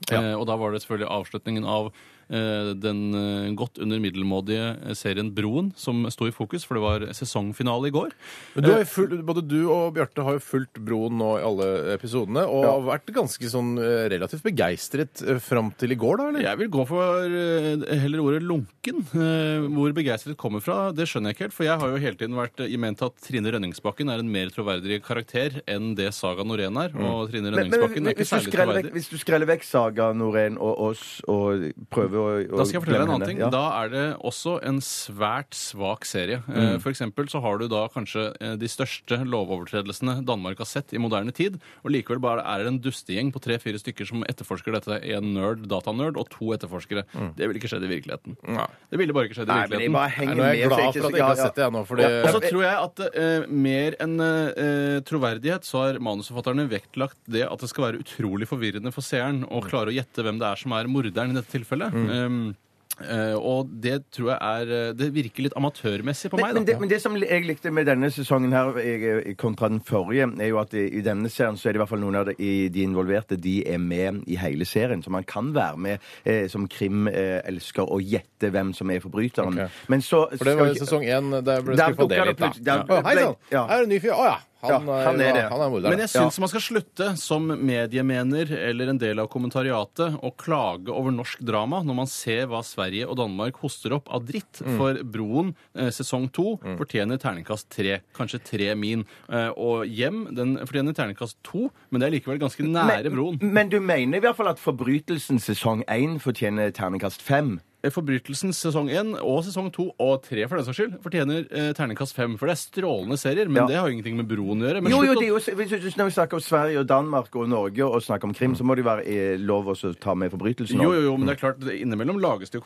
[SPEAKER 3] Ja.
[SPEAKER 5] Eh, Og da var det selvfølgelig avslutningen av eh, den eh, godt under middelmådige serien Broen som sto i fokus, for det var sesongfinale i går.
[SPEAKER 3] Men du
[SPEAKER 4] Eh,
[SPEAKER 3] har jo full, både du og Bjarte har jo fulgt Broen nå i alle episodene, og har vært ganske sånn eh, relativt begeistret eh, fram til i går, da, eller?
[SPEAKER 5] Jeg vil gå for eh, heller ordet lunken. Eh, Hvor begeistret kommer fra, det skjønner jeg ikke helt. For jeg har jo hele tiden vært eh, i ment at Trine Rønningsbakken er en mer troverdig karakter enn det Saga Norén er. Og Trine
[SPEAKER 4] Mm. Men, men,
[SPEAKER 5] Rønningsbakken er
[SPEAKER 4] hvis,
[SPEAKER 5] ikke
[SPEAKER 4] du
[SPEAKER 5] særlig
[SPEAKER 4] skreller vekk,
[SPEAKER 5] troverdig.
[SPEAKER 4] hvis du skreller vekk Saga Norén og oss og prøver å å
[SPEAKER 5] Da skal jeg fortelle deg en
[SPEAKER 4] glemme
[SPEAKER 5] annen ting.
[SPEAKER 4] henne.
[SPEAKER 5] Da er det også en svært svak serie.
[SPEAKER 4] Mm.
[SPEAKER 5] Eh, For eksempel så har du da kanskje eh, de største lovovertredelsene Danmark har sett i moderne tid, og likevel bare er det en dustegjeng på tre-fire stykker som etterforsker dette. En nerd, datanerd, og to etterforskere. Det ville ikke skjedd i virkeligheten. Det ville bare ikke skjedd i
[SPEAKER 4] Mm. Nei, men jeg
[SPEAKER 5] virkeligheten.
[SPEAKER 4] bare
[SPEAKER 3] Nei,
[SPEAKER 4] henger
[SPEAKER 3] nå er jeg
[SPEAKER 4] med. så
[SPEAKER 3] glad for at jeg ikke har
[SPEAKER 4] ja, ja.
[SPEAKER 3] sett det, jeg nå. Fordi,
[SPEAKER 5] Og så tror jeg at eh, mer enn eh, troverdighet, så har manusforfatterne vektlagt det at det skal være utrolig forvirrende for seeren å
[SPEAKER 4] Mm.
[SPEAKER 5] klare å gjette hvem det er som er morderen i dette tilfellet. Um, eh, og det tror jeg er eh, Det virker litt amatørmessig på
[SPEAKER 4] Men,
[SPEAKER 5] meg.
[SPEAKER 4] men,
[SPEAKER 5] da.
[SPEAKER 4] det, men det som jeg likte med denne sesongen her eh, kontra den forrige, er jo at eh, i, i denne serien så er det i hvert fall noen av de, i de involverte de er med i hele serien. Så man kan være med eh, som krimelsker og gjette hvem som er forbryteren.
[SPEAKER 3] Ok.
[SPEAKER 4] Men så
[SPEAKER 3] for det var jo
[SPEAKER 4] skal-
[SPEAKER 3] sesong én. Der ble
[SPEAKER 4] Der
[SPEAKER 3] skuffa
[SPEAKER 4] dukker
[SPEAKER 3] det
[SPEAKER 4] det
[SPEAKER 3] litt, da.
[SPEAKER 4] plutselig- der-
[SPEAKER 3] Å, hei sann!
[SPEAKER 4] Ja.
[SPEAKER 3] Her er en ny fyr. Å ja. Han
[SPEAKER 4] Ja,
[SPEAKER 3] er,
[SPEAKER 4] han er det.
[SPEAKER 3] han er morderen.
[SPEAKER 5] Men jeg syns man skal slutte, som mediemener eller en del av kommentariatet, å klage over norsk drama når man ser hva Sverige og Danmark hoster opp av dritt.
[SPEAKER 4] Mm.
[SPEAKER 5] For Broen eh, sesong to fortjener terningkast tre, kanskje tre min. Eh, og Hjem den fortjener terningkast to, men det er likevel ganske nære Broen.
[SPEAKER 4] Men du mener i hvert fall at forbrytelsen sesong 1 fortjener terningkast 5?
[SPEAKER 5] Eh, Forbrytelsen sesong 1 og sesong 2 og 3 for den saks skyld fortjener eh, terningkast 5, for det er strålende serier, men
[SPEAKER 4] Ja.
[SPEAKER 5] det har jo ingenting med Broen å gjøre. Men
[SPEAKER 4] Jo, jo,
[SPEAKER 5] slutt å-
[SPEAKER 4] det er jo, hvis du- Når vi snakker om Sverige og Danmark og Norge og snakker om krim, så må det jo være eh, lov også å ta med forbrytelsen.
[SPEAKER 5] Mm. Jo, jo, jo, men det er klart, det- innimellom lages det jo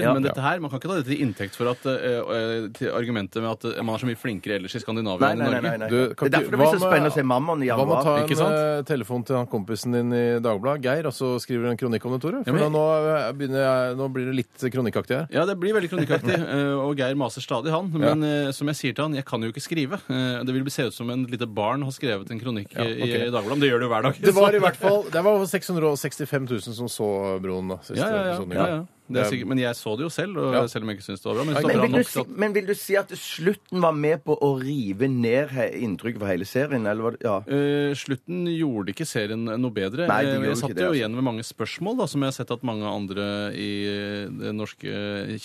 [SPEAKER 4] Mm. Ja.
[SPEAKER 5] men dette her, man kan ikke ta dette til inntekt for at eh, eh, til argumentet med at eh, man er så mye flinkere ellers i Skandinavia
[SPEAKER 4] Nei,
[SPEAKER 5] enn i
[SPEAKER 4] nei, nei,
[SPEAKER 5] Norge.
[SPEAKER 4] nei, nei.
[SPEAKER 3] Du,
[SPEAKER 4] det
[SPEAKER 3] kan
[SPEAKER 4] er
[SPEAKER 3] ikke-
[SPEAKER 4] derfor det blir så
[SPEAKER 3] hva med-
[SPEAKER 4] spennende å se Mammon i
[SPEAKER 3] Hva med å ta
[SPEAKER 4] januar.
[SPEAKER 3] en
[SPEAKER 5] ikke sant?
[SPEAKER 3] eh, telefon til han kompisen din i Dagbladet, Geir, og så skriver du en kronikk om det, Tore? For
[SPEAKER 5] men-
[SPEAKER 3] da nå, eh, begynner jeg, nå blir det litt kronikkaktig her.
[SPEAKER 5] Ja, det blir veldig kronikkaktig, eh, og Geir maser stadig, han. Men eh, som jeg sier til han, jeg kan jo ikke skrive. Eh, Det vil se ut som en lite barn har skrevet en kronikk eh,
[SPEAKER 3] ok.
[SPEAKER 5] i Dagbladet. Men det gjør det jo hver dag.
[SPEAKER 3] Det var
[SPEAKER 5] så-
[SPEAKER 3] i hvert fall det var over 665 000 som så Broen da, siste
[SPEAKER 5] ja, ja, ja,
[SPEAKER 3] episoden
[SPEAKER 4] sånn,
[SPEAKER 3] i
[SPEAKER 5] ja,
[SPEAKER 3] går.
[SPEAKER 5] ja. Det er sikkert, men jeg så det jo selv, og
[SPEAKER 3] Ja.
[SPEAKER 5] selv om jeg ikke syns det var bra. Men, det
[SPEAKER 3] Men
[SPEAKER 5] var
[SPEAKER 4] Men
[SPEAKER 5] bra
[SPEAKER 4] vil, du
[SPEAKER 5] nok
[SPEAKER 4] si,
[SPEAKER 5] til at
[SPEAKER 4] men vil du si at slutten var med på å rive ned he inntrykket for hele serien? Eller var det, ja.
[SPEAKER 5] Eh, slutten gjorde ikke serien noe bedre.
[SPEAKER 4] Nei, det
[SPEAKER 5] Eh,
[SPEAKER 4] gjorde ikke
[SPEAKER 5] jeg satt
[SPEAKER 4] det,
[SPEAKER 5] jo
[SPEAKER 4] altså.
[SPEAKER 5] igjen med mange spørsmål, da, som jeg har sett at mange andre i eh, den norske eh,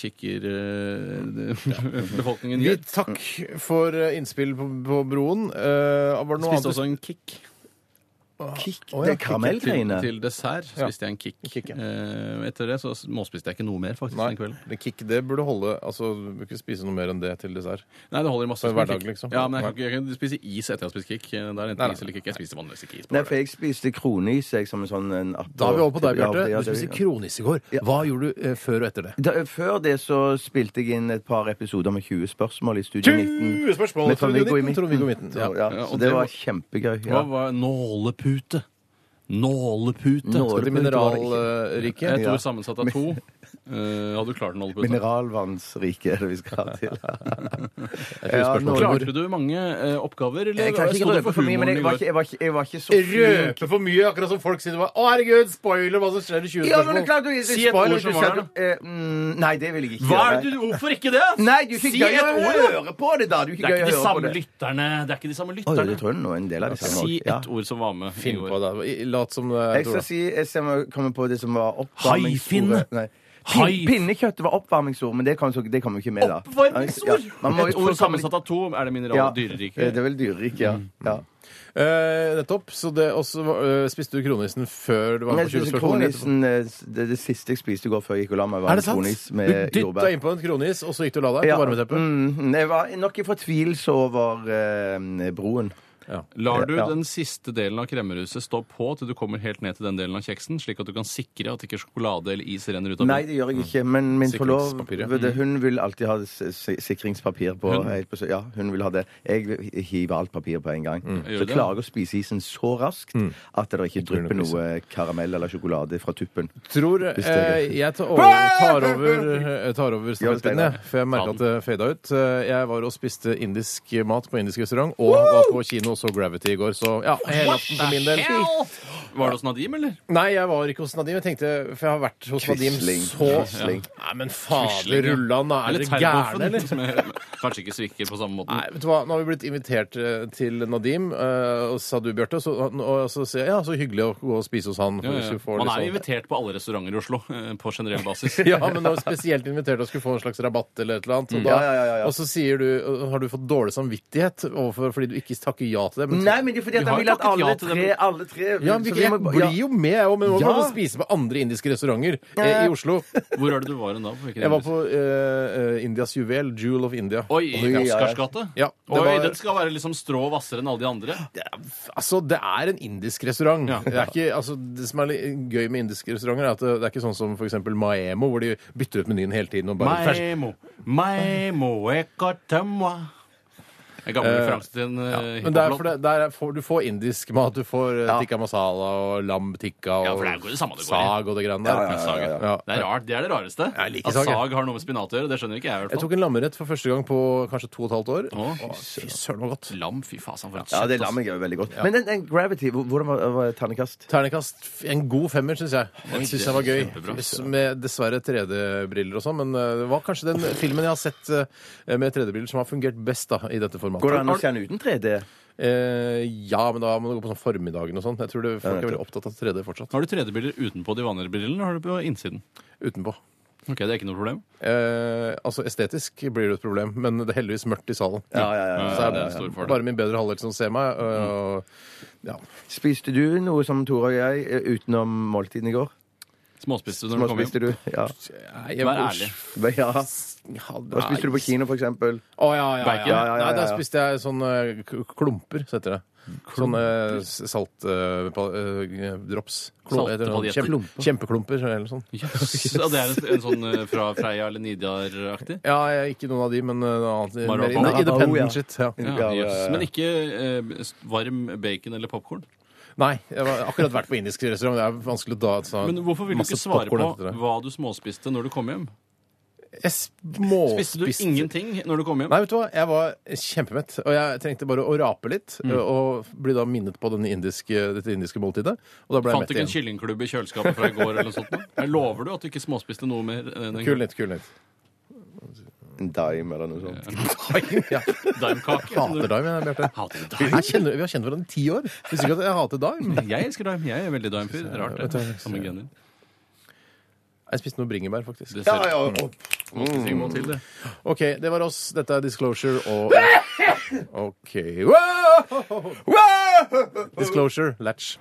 [SPEAKER 5] kikkerbefolkningen
[SPEAKER 3] Vi,
[SPEAKER 5] gjør.
[SPEAKER 3] takk for eh, innspill på, på Broen. Eh, var det noe
[SPEAKER 5] Spiste også
[SPEAKER 3] annet?
[SPEAKER 5] en kick.
[SPEAKER 4] Kick,
[SPEAKER 3] Å, ja, kick,
[SPEAKER 4] det er
[SPEAKER 5] Til,
[SPEAKER 4] karamellgreiene.
[SPEAKER 5] til dessert spiste jeg en kick.
[SPEAKER 3] Kick, ja.
[SPEAKER 5] Eh, etter det så småspiste jeg ikke noe mer faktisk
[SPEAKER 3] Nei,
[SPEAKER 5] den kvelden.
[SPEAKER 3] det kick, det burde holde. Altså, du bør ikke spise noe mer enn det til dessert.
[SPEAKER 5] Nei, det holder i masse.
[SPEAKER 3] For
[SPEAKER 5] som en
[SPEAKER 3] hverdag,
[SPEAKER 5] kick.
[SPEAKER 3] liksom.
[SPEAKER 5] Ja, men jeg
[SPEAKER 3] Nei.
[SPEAKER 5] kan, ikke, jeg kan spise is etter jeg har spist kick. Eh, Da er det
[SPEAKER 3] Nei, nei.
[SPEAKER 5] enten is eller kick. Jeg spiser vanligvis ikke is. på
[SPEAKER 4] Nei, for
[SPEAKER 5] hverdag.
[SPEAKER 4] jeg spiste kronis jeg, som en sånn en app-
[SPEAKER 3] Da er vi over på deg,
[SPEAKER 4] Ja,
[SPEAKER 3] Bjarte. Du
[SPEAKER 4] ja, det-
[SPEAKER 3] spiste kronis i går. Hva gjorde du eh, før og etter det?
[SPEAKER 4] Da, før det så spilte jeg inn et par episoder med 20 spørsmål i Studio 19.
[SPEAKER 3] spørsmål!
[SPEAKER 4] Med Trond-Viggo i midten.
[SPEAKER 3] Trond-Viggo i midten.
[SPEAKER 4] Så,
[SPEAKER 3] Ja.
[SPEAKER 4] ja,
[SPEAKER 5] Ja,
[SPEAKER 4] så
[SPEAKER 5] og
[SPEAKER 4] det
[SPEAKER 5] det
[SPEAKER 4] var
[SPEAKER 5] må-
[SPEAKER 4] kjempegøy.
[SPEAKER 5] Hva
[SPEAKER 4] Ja.
[SPEAKER 5] var nålepute? Nålepute.
[SPEAKER 3] Skal til
[SPEAKER 5] Et
[SPEAKER 3] mineralriket.
[SPEAKER 5] ord sammensatt av to. Eh, hadde du klart nålepute?
[SPEAKER 4] Mineralvannsrike er det vi skal til.
[SPEAKER 3] Ja,
[SPEAKER 4] spørsmål.
[SPEAKER 3] Norge-
[SPEAKER 5] Klarte du mange eh, oppgaver? Eller
[SPEAKER 4] Jeg kan ikke
[SPEAKER 5] sto du
[SPEAKER 4] røpe for mye, men jeg var ikke,
[SPEAKER 5] humoren i
[SPEAKER 4] jeg
[SPEAKER 5] går?
[SPEAKER 4] var ikke, jeg var ikke så flink.
[SPEAKER 3] Røpe for mye, akkurat som folk sier det var Å, herregud, spoiler hva som skjer i 20
[SPEAKER 4] Ja, men det er
[SPEAKER 3] spørsmål.
[SPEAKER 4] klart du
[SPEAKER 5] Si et ord som var der,
[SPEAKER 4] Eh, mm, Nei, det vil jeg ikke
[SPEAKER 5] Hva er
[SPEAKER 4] gjøre.
[SPEAKER 5] det du, hvorfor ikke det?
[SPEAKER 4] Nei, det er jo ikke
[SPEAKER 5] si
[SPEAKER 4] gøy å
[SPEAKER 5] et ord! da.
[SPEAKER 4] høre på det, da. Det er jo
[SPEAKER 5] Det
[SPEAKER 4] ikke gøy
[SPEAKER 5] er ikke
[SPEAKER 4] å
[SPEAKER 5] de
[SPEAKER 4] høre på
[SPEAKER 5] samme
[SPEAKER 4] det.
[SPEAKER 5] lytterne. Det er ikke de samme
[SPEAKER 4] Oi, det
[SPEAKER 5] lytterne.
[SPEAKER 4] tror jeg nå er en del av de samme.
[SPEAKER 5] Si
[SPEAKER 4] også. Ja.
[SPEAKER 5] ett ord som var med. i
[SPEAKER 3] Finn
[SPEAKER 5] går.
[SPEAKER 3] på det. I- Lat som det er
[SPEAKER 4] Jeg skal
[SPEAKER 3] Tore.
[SPEAKER 4] si Jeg skal komme på det som var oppvarmingsordet.
[SPEAKER 5] Haifinne.
[SPEAKER 4] Nei.
[SPEAKER 5] Hai-
[SPEAKER 4] Pin, pinnekjøtt var oppvarmingsord, men det kom, så, det kom jo ikke med, da.
[SPEAKER 5] Oppvarmingsord!
[SPEAKER 4] Ja, man må jo-
[SPEAKER 5] Et ord sammensatt av Mm. to. Er det mineral?
[SPEAKER 4] ja, eh,
[SPEAKER 5] Dyrerike?
[SPEAKER 4] Det er vel dyreriket, ja. ja.
[SPEAKER 3] Eh, nettopp. Så det også var- eh, spiste du kronisen før du var
[SPEAKER 4] Men
[SPEAKER 3] på
[SPEAKER 4] jeg
[SPEAKER 3] 20
[SPEAKER 4] spiste
[SPEAKER 3] spørsmål? eller etterpå?
[SPEAKER 4] kronisen eh, det, det siste jeg spiste i går før jeg gikk og la meg, var
[SPEAKER 3] Er det
[SPEAKER 4] en
[SPEAKER 3] sant?
[SPEAKER 4] kronis
[SPEAKER 3] Du
[SPEAKER 4] med
[SPEAKER 3] dytta
[SPEAKER 4] jordbær.
[SPEAKER 3] innpå en kronis, og så gikk du og la deg på varmeteppet?
[SPEAKER 4] mm, jeg var nok i fortvilelse over eh, broen.
[SPEAKER 5] Lar du
[SPEAKER 4] Ja.
[SPEAKER 5] den siste delen av kremmerhuset stå på til du kommer helt ned til den delen av kjeksen, slik at du kan sikre at ikke sjokolade eller is renner ut av
[SPEAKER 4] Nei, det gjør jeg ikke, men min
[SPEAKER 3] Sikringspapir, ja.
[SPEAKER 4] forlovede hun vil alltid ha s- s- sikringspapir på. helt på s- Ja, hun vil ha det. Jeg hiver alt papiret på en gang.
[SPEAKER 5] Gjør
[SPEAKER 4] Så
[SPEAKER 5] det?
[SPEAKER 4] klarer jeg å spise isen så raskt at det ikke
[SPEAKER 3] tror nok
[SPEAKER 4] drypper noe karamell eller sjokolade fra tuppen.
[SPEAKER 3] Tror
[SPEAKER 4] Hvis det er
[SPEAKER 3] eh,
[SPEAKER 4] greit.
[SPEAKER 3] Jeg tar over, tar over, eh, tar over
[SPEAKER 4] Ja,
[SPEAKER 3] stafettpinnen, jeg, for jeg merka at det fada ut. Eh, Jeg var og spiste indisk mat på indisk restaurant, og var på kino og så Gravity i går, så ja, helaften for min del.
[SPEAKER 5] det. Var det hos Nadim, eller?
[SPEAKER 3] Nei, jeg var ikke hos Nadim. Jeg tenkte, For jeg har vært hos Nadim
[SPEAKER 4] Quisling.
[SPEAKER 3] så
[SPEAKER 4] Quisling.
[SPEAKER 3] Nei, men fader rullan, da. Er dere
[SPEAKER 5] Terboven,
[SPEAKER 3] gærne, eller?
[SPEAKER 5] som jeg- Kanskje ikke svikker på samme måten.
[SPEAKER 3] Nei, vet du hva, Nå har vi blitt invitert eh, til Nadim, eh, og så sa du, Bjarte. Og så, og så sier jeg ja, så hyggelig å gå og spise hos han.
[SPEAKER 5] Ja, ja.
[SPEAKER 3] hvis vi får
[SPEAKER 5] Man
[SPEAKER 3] litt
[SPEAKER 5] er jo
[SPEAKER 3] sånn-
[SPEAKER 5] invitert på alle restauranter i Oslo eh, på generell basis.
[SPEAKER 3] Ja, men nå er vi spesielt invitert og skulle få en slags rabatt eller et eller annet. Og, da,
[SPEAKER 4] Mm. Ja, ja, ja, ja.
[SPEAKER 3] og så sier du, har du fått dårlig samvittighet overfor, fordi du ikke takker ja til det. men-
[SPEAKER 4] Nei, men det er fordi at
[SPEAKER 5] Vi
[SPEAKER 4] han
[SPEAKER 5] har
[SPEAKER 4] vil
[SPEAKER 5] jo
[SPEAKER 4] at
[SPEAKER 5] takket ja
[SPEAKER 4] alle
[SPEAKER 5] til
[SPEAKER 4] tre,
[SPEAKER 5] dem.
[SPEAKER 4] alle tre
[SPEAKER 3] Ja,
[SPEAKER 4] så
[SPEAKER 3] men
[SPEAKER 4] vi
[SPEAKER 3] jeg
[SPEAKER 4] må-
[SPEAKER 3] blir jo med, jeg òg, men man
[SPEAKER 4] Ja.
[SPEAKER 3] må få spise på andre indiske restauranter eh, i Oslo.
[SPEAKER 5] Hvor er det du var nå? På hvilken
[SPEAKER 3] Jeg var
[SPEAKER 5] adresse?
[SPEAKER 3] på eh, eh, Indias juvel, Jewel of India.
[SPEAKER 5] Oi, i
[SPEAKER 4] Oi,
[SPEAKER 5] Oscars gate?
[SPEAKER 3] ja. Ja, det
[SPEAKER 5] Oi,
[SPEAKER 3] var-
[SPEAKER 5] den skal være liksom strå hvassere enn alle de andre.
[SPEAKER 3] Altså, det er en indisk restaurant.
[SPEAKER 5] Ja.
[SPEAKER 3] Det, er ikke, altså, det som er litt gøy med indiske restauranter, er at det, det er ikke sånn som for eksempel Maemo, hvor de bytter ut menyen hele tiden og bare fersk-
[SPEAKER 5] Maimo, maimo, ekotemwa. En gammel
[SPEAKER 3] Eh,
[SPEAKER 5] referanse til en uh,
[SPEAKER 3] Men der, for det, der er- får, du får indisk mat. Du får eh, tikka masala og lam tikka og
[SPEAKER 5] Ja, for det er jo det samme det går i.
[SPEAKER 3] sag og det greiene der. Ja.
[SPEAKER 5] Det er rart. Det er det rareste.
[SPEAKER 3] Jeg liker
[SPEAKER 5] At
[SPEAKER 3] sag, jeg.
[SPEAKER 5] sag har noe med spinat å gjøre, det skjønner ikke jeg i
[SPEAKER 3] Jeg
[SPEAKER 5] hvert fall.
[SPEAKER 3] tok en lammerett for første gang på kanskje to og et halvt år.
[SPEAKER 5] Å,
[SPEAKER 3] Å, Fy søren, det var godt.
[SPEAKER 5] Lam, fy fasen, for et
[SPEAKER 4] Ja, det
[SPEAKER 5] kjøtt, ass.
[SPEAKER 4] lammet er jo veldig godt. Men den, den Gravity, hvor- hvordan var, var ternekast?
[SPEAKER 3] Ternekast en god femmer, syns jeg. Jeg synes jeg var gøy.
[SPEAKER 5] Kjempebra.
[SPEAKER 3] Hvis- Med dessverre 3D-briller og sånn, men eh, det var kanskje den filmen jeg har sett eh, med 3D-briller som har fungert best da, i dette
[SPEAKER 4] Går det an å se den uten 3D?
[SPEAKER 3] Eh, ja, men da må du gå på sånn formiddagen og sånn. Jeg tror det, folk er veldig opptatt av 3D fortsatt.
[SPEAKER 5] Har du 3D-briller utenpå de vanlige brillene, eller har du på innsiden?
[SPEAKER 3] Utenpå.
[SPEAKER 5] Ok, Det er ikke noe problem.
[SPEAKER 3] Eh, altså Estetisk blir det et problem, men det er heldigvis mørkt i salen.
[SPEAKER 4] Ja, ja, ja,
[SPEAKER 3] Så
[SPEAKER 5] ja, Eh, det er en stor fordel.
[SPEAKER 3] bare min bedre halvdel som ser meg. eh, Og, ja.
[SPEAKER 4] Spiste du noe som Tore og jeg eh, utenom måltiden i går?
[SPEAKER 5] Småspiste du når
[SPEAKER 4] Hva
[SPEAKER 5] du kom
[SPEAKER 4] spiste
[SPEAKER 5] hjem?
[SPEAKER 4] du? Ja.
[SPEAKER 3] Jeg-
[SPEAKER 5] Vær ærlig.
[SPEAKER 4] ja.
[SPEAKER 3] Ja,
[SPEAKER 4] Hva spiste du på kino, for eksempel?
[SPEAKER 3] Å ja, ja, ja.
[SPEAKER 5] Bacon?
[SPEAKER 3] ja,
[SPEAKER 5] Ja,
[SPEAKER 4] ja, ja,
[SPEAKER 3] Nei, da
[SPEAKER 4] ja.
[SPEAKER 3] spiste jeg sånne k- klumper, så heter det. Sånne eh, saltdrops.
[SPEAKER 5] Salte paljetter.
[SPEAKER 3] Kjempeklumper eller noe sånt.
[SPEAKER 5] Yes. Ja, det er en, en sånn eh, fra Freia eller Nidar-aktig?
[SPEAKER 3] Ja, jeg, ikke noen av de, men eh, noe annet.
[SPEAKER 5] Marabou.
[SPEAKER 3] Mer in-
[SPEAKER 4] Marabou, ja.
[SPEAKER 3] independent shit. Ja.
[SPEAKER 5] Ja,
[SPEAKER 4] Ja, ja,
[SPEAKER 5] yes.
[SPEAKER 4] ja.
[SPEAKER 5] Men ikke eh, s- varm bacon eller popkorn?
[SPEAKER 3] Nei, jeg har akkurat vært på indisk restaurant. Det er vanskelig å da ta
[SPEAKER 5] Men hvorfor vil du ikke
[SPEAKER 3] masse
[SPEAKER 5] svare
[SPEAKER 3] popcorn
[SPEAKER 5] på
[SPEAKER 3] etter det.
[SPEAKER 5] hva du småspiste når du kom hjem?
[SPEAKER 3] Jeg
[SPEAKER 5] Spiste du
[SPEAKER 3] småspiste
[SPEAKER 5] ingenting når du kom hjem?
[SPEAKER 3] Nei, vet du hva? Jeg var kjempemett, og jeg trengte bare å rape litt.
[SPEAKER 5] Mm.
[SPEAKER 3] eh, Og bli da minnet på den indiske, dette indiske måltidet. Og da ble jeg
[SPEAKER 5] Fant du ikke en
[SPEAKER 3] mett igjen.
[SPEAKER 5] kyllingklubb i kjøleskapet fra i går? eller noe sånt? nå? Jeg lover du at du ikke småspiste noe mer? eh, enn en
[SPEAKER 3] Kul nytt, kul nytt.
[SPEAKER 4] En dime eller noe sånt.
[SPEAKER 3] Ja.
[SPEAKER 5] Daimkake. som du-
[SPEAKER 3] Hater dime, jeg, Bjarte.
[SPEAKER 5] Hater du
[SPEAKER 3] Jeg kjenner, vi har kjent hverandre i ti år. Visste ikke at jeg hater dime.
[SPEAKER 5] daim? Jeg elsker daim. Jeg er veldig daim-fyr. Rart,
[SPEAKER 3] Vet du
[SPEAKER 5] det.
[SPEAKER 3] hva?
[SPEAKER 5] Samme gener.
[SPEAKER 3] Jeg spiste noe bringebær, faktisk.
[SPEAKER 5] Det ser
[SPEAKER 4] ja. og-
[SPEAKER 3] Mm.
[SPEAKER 5] vi må til, det.
[SPEAKER 3] OK, det var oss. Dette er Disclosure og OK. Wow! Wow! Disclosure. Latch.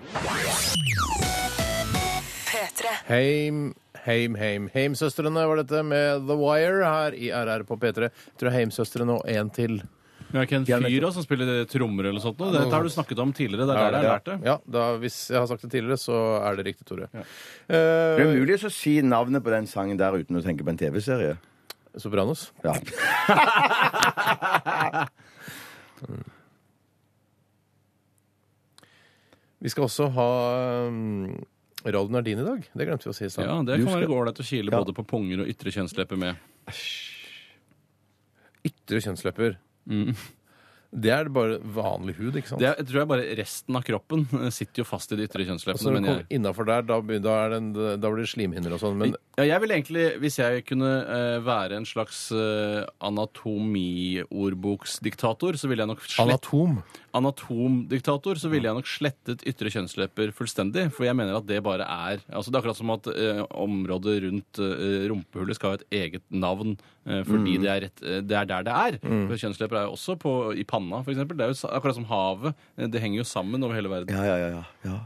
[SPEAKER 1] P3.
[SPEAKER 3] Heim, heim, heim. Heimsøstrene var dette med The Wire her i RR på P3. Jeg tror Heimsøstrene og en til.
[SPEAKER 5] Men er ikke en fyr da, som spiller trommer eller noe sånt? nå? Dette har du snakket om tidligere. Det er der jeg har lært det.
[SPEAKER 3] Ja, da, hvis jeg har sagt det tidligere, så er det riktig, Tore.
[SPEAKER 4] Det er
[SPEAKER 3] Eh,
[SPEAKER 4] mulig å si navnet på den sangen der uten å tenke på en TV-serie.
[SPEAKER 3] Sopranos.
[SPEAKER 4] Ja.
[SPEAKER 3] Vi skal også ha um, Radio Nardin i dag. Det glemte vi å si i stad.
[SPEAKER 5] Ja, Det
[SPEAKER 3] Du
[SPEAKER 5] kan være
[SPEAKER 3] skal-
[SPEAKER 5] ålreit å kile både på punger og ytre kjønnslepper med.
[SPEAKER 3] Ytre kjønnslepper. Det er bare vanlig hud, ikke sant?
[SPEAKER 5] Mm. Det er, jeg tror jeg bare Resten av kroppen eh, sitter jo fast i de ytre
[SPEAKER 3] Og så når du
[SPEAKER 5] kjønnsleppene. Men jeg,
[SPEAKER 3] kommer innafor der, da, be- da, er det en, da blir det slimhinner og sånn. Men
[SPEAKER 5] ja, jeg vil egentlig, hvis jeg kunne eh, være en slags eh, anatomiordboksdiktator, så ville jeg nok slett
[SPEAKER 3] anatom
[SPEAKER 5] anatomdiktator, så ville jeg nok slettet ytre kjønnslepper fullstendig. For jeg mener at det bare er altså Det er akkurat som at eh, området rundt eh, rumpehullet skal ha et eget navn eh, fordi
[SPEAKER 4] Mm.
[SPEAKER 5] det, er rett, eh, det er der det er. For kjønnslepper er jo også på, i panna, f.eks. Det er jo sa- akkurat som havet. eh, Det henger jo sammen over hele verden.
[SPEAKER 4] Ja, ja, ja. ja. ja.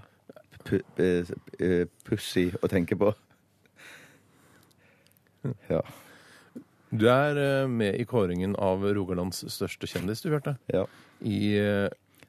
[SPEAKER 4] Pu- eh, eh, Pussy å tenke på. Ja.
[SPEAKER 3] Du er eh, med i kåringen av Rogalands største kjendis, du, Bjarte.
[SPEAKER 4] ja.
[SPEAKER 3] I eh,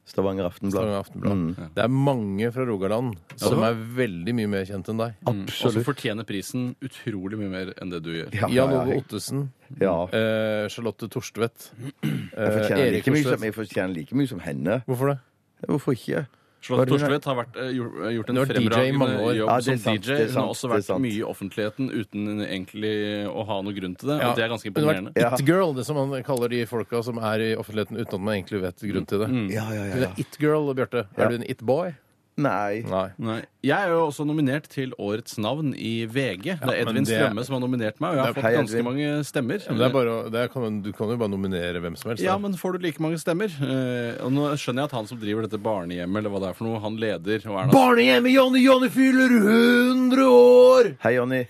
[SPEAKER 4] Stavanger Aftenblad.
[SPEAKER 3] Stavanger Aftenblad. Det er mange fra Rogaland som
[SPEAKER 5] Mm. det
[SPEAKER 3] er veldig mye mer kjent enn deg.
[SPEAKER 5] Og så
[SPEAKER 4] Mm. Absolutt.
[SPEAKER 5] fortjener prisen utrolig mye mer enn det du gjør.
[SPEAKER 4] Ja, ja,
[SPEAKER 3] Jan Ove
[SPEAKER 4] ja.
[SPEAKER 3] Ottesen.
[SPEAKER 4] ja.
[SPEAKER 3] Eh, Charlotte Torstvedt. Eh,
[SPEAKER 4] Jeg fortjener,
[SPEAKER 3] Erik
[SPEAKER 4] like mye som,
[SPEAKER 3] Torstvedt.
[SPEAKER 4] jeg fortjener like mye som henne.
[SPEAKER 3] Hvorfor det?
[SPEAKER 4] Hvorfor ikke? Hva er
[SPEAKER 5] Charlotte
[SPEAKER 4] det hun er?
[SPEAKER 5] Thorstvedt har vært, eh, gjort, eh, gjort en
[SPEAKER 3] Hun har vært DJ i mange
[SPEAKER 5] fremragende
[SPEAKER 3] år.
[SPEAKER 4] Ja, det
[SPEAKER 5] jobb
[SPEAKER 4] er
[SPEAKER 5] som
[SPEAKER 4] sant,
[SPEAKER 5] DJ.
[SPEAKER 4] det er
[SPEAKER 5] Hun har
[SPEAKER 4] sant,
[SPEAKER 5] også
[SPEAKER 4] det er
[SPEAKER 5] vært
[SPEAKER 4] sant.
[SPEAKER 5] mye i offentligheten uten egentlig å ha noe grunn til det. Og det er ganske
[SPEAKER 3] Hun har
[SPEAKER 5] imponerende.
[SPEAKER 3] vært It-girl, det som man kaller de folka som er i offentligheten uten at man egentlig vet grunn til det.
[SPEAKER 5] Mm.
[SPEAKER 4] Ja, ja, ja,
[SPEAKER 3] Hun
[SPEAKER 4] ja.
[SPEAKER 3] er it-girl, Bjarte.
[SPEAKER 4] Ja.
[SPEAKER 3] Er du en it-boy?
[SPEAKER 4] Nei.
[SPEAKER 3] Nei.
[SPEAKER 5] Nei. Jeg er jo også nominert til årets navn i VG. det er
[SPEAKER 3] men
[SPEAKER 5] Edvin
[SPEAKER 3] det-
[SPEAKER 5] Strømme som har nominert meg, og jeg har
[SPEAKER 4] Det er-
[SPEAKER 5] fått
[SPEAKER 4] Hei,
[SPEAKER 5] ganske
[SPEAKER 4] Edvin.
[SPEAKER 5] mange stemmer.
[SPEAKER 3] Men det er bare, å- det er, kan, du kan jo bare nominere hvem som helst.
[SPEAKER 5] Ja,
[SPEAKER 3] da.
[SPEAKER 5] men får du like mange stemmer? Eh, og nå skjønner jeg at han som driver dette barnehjemmet, eller hva det er for noe, han leder og Erna
[SPEAKER 3] Barnehjemmet Jonny Jonny fyller 100 år!
[SPEAKER 4] Hei, Jonny.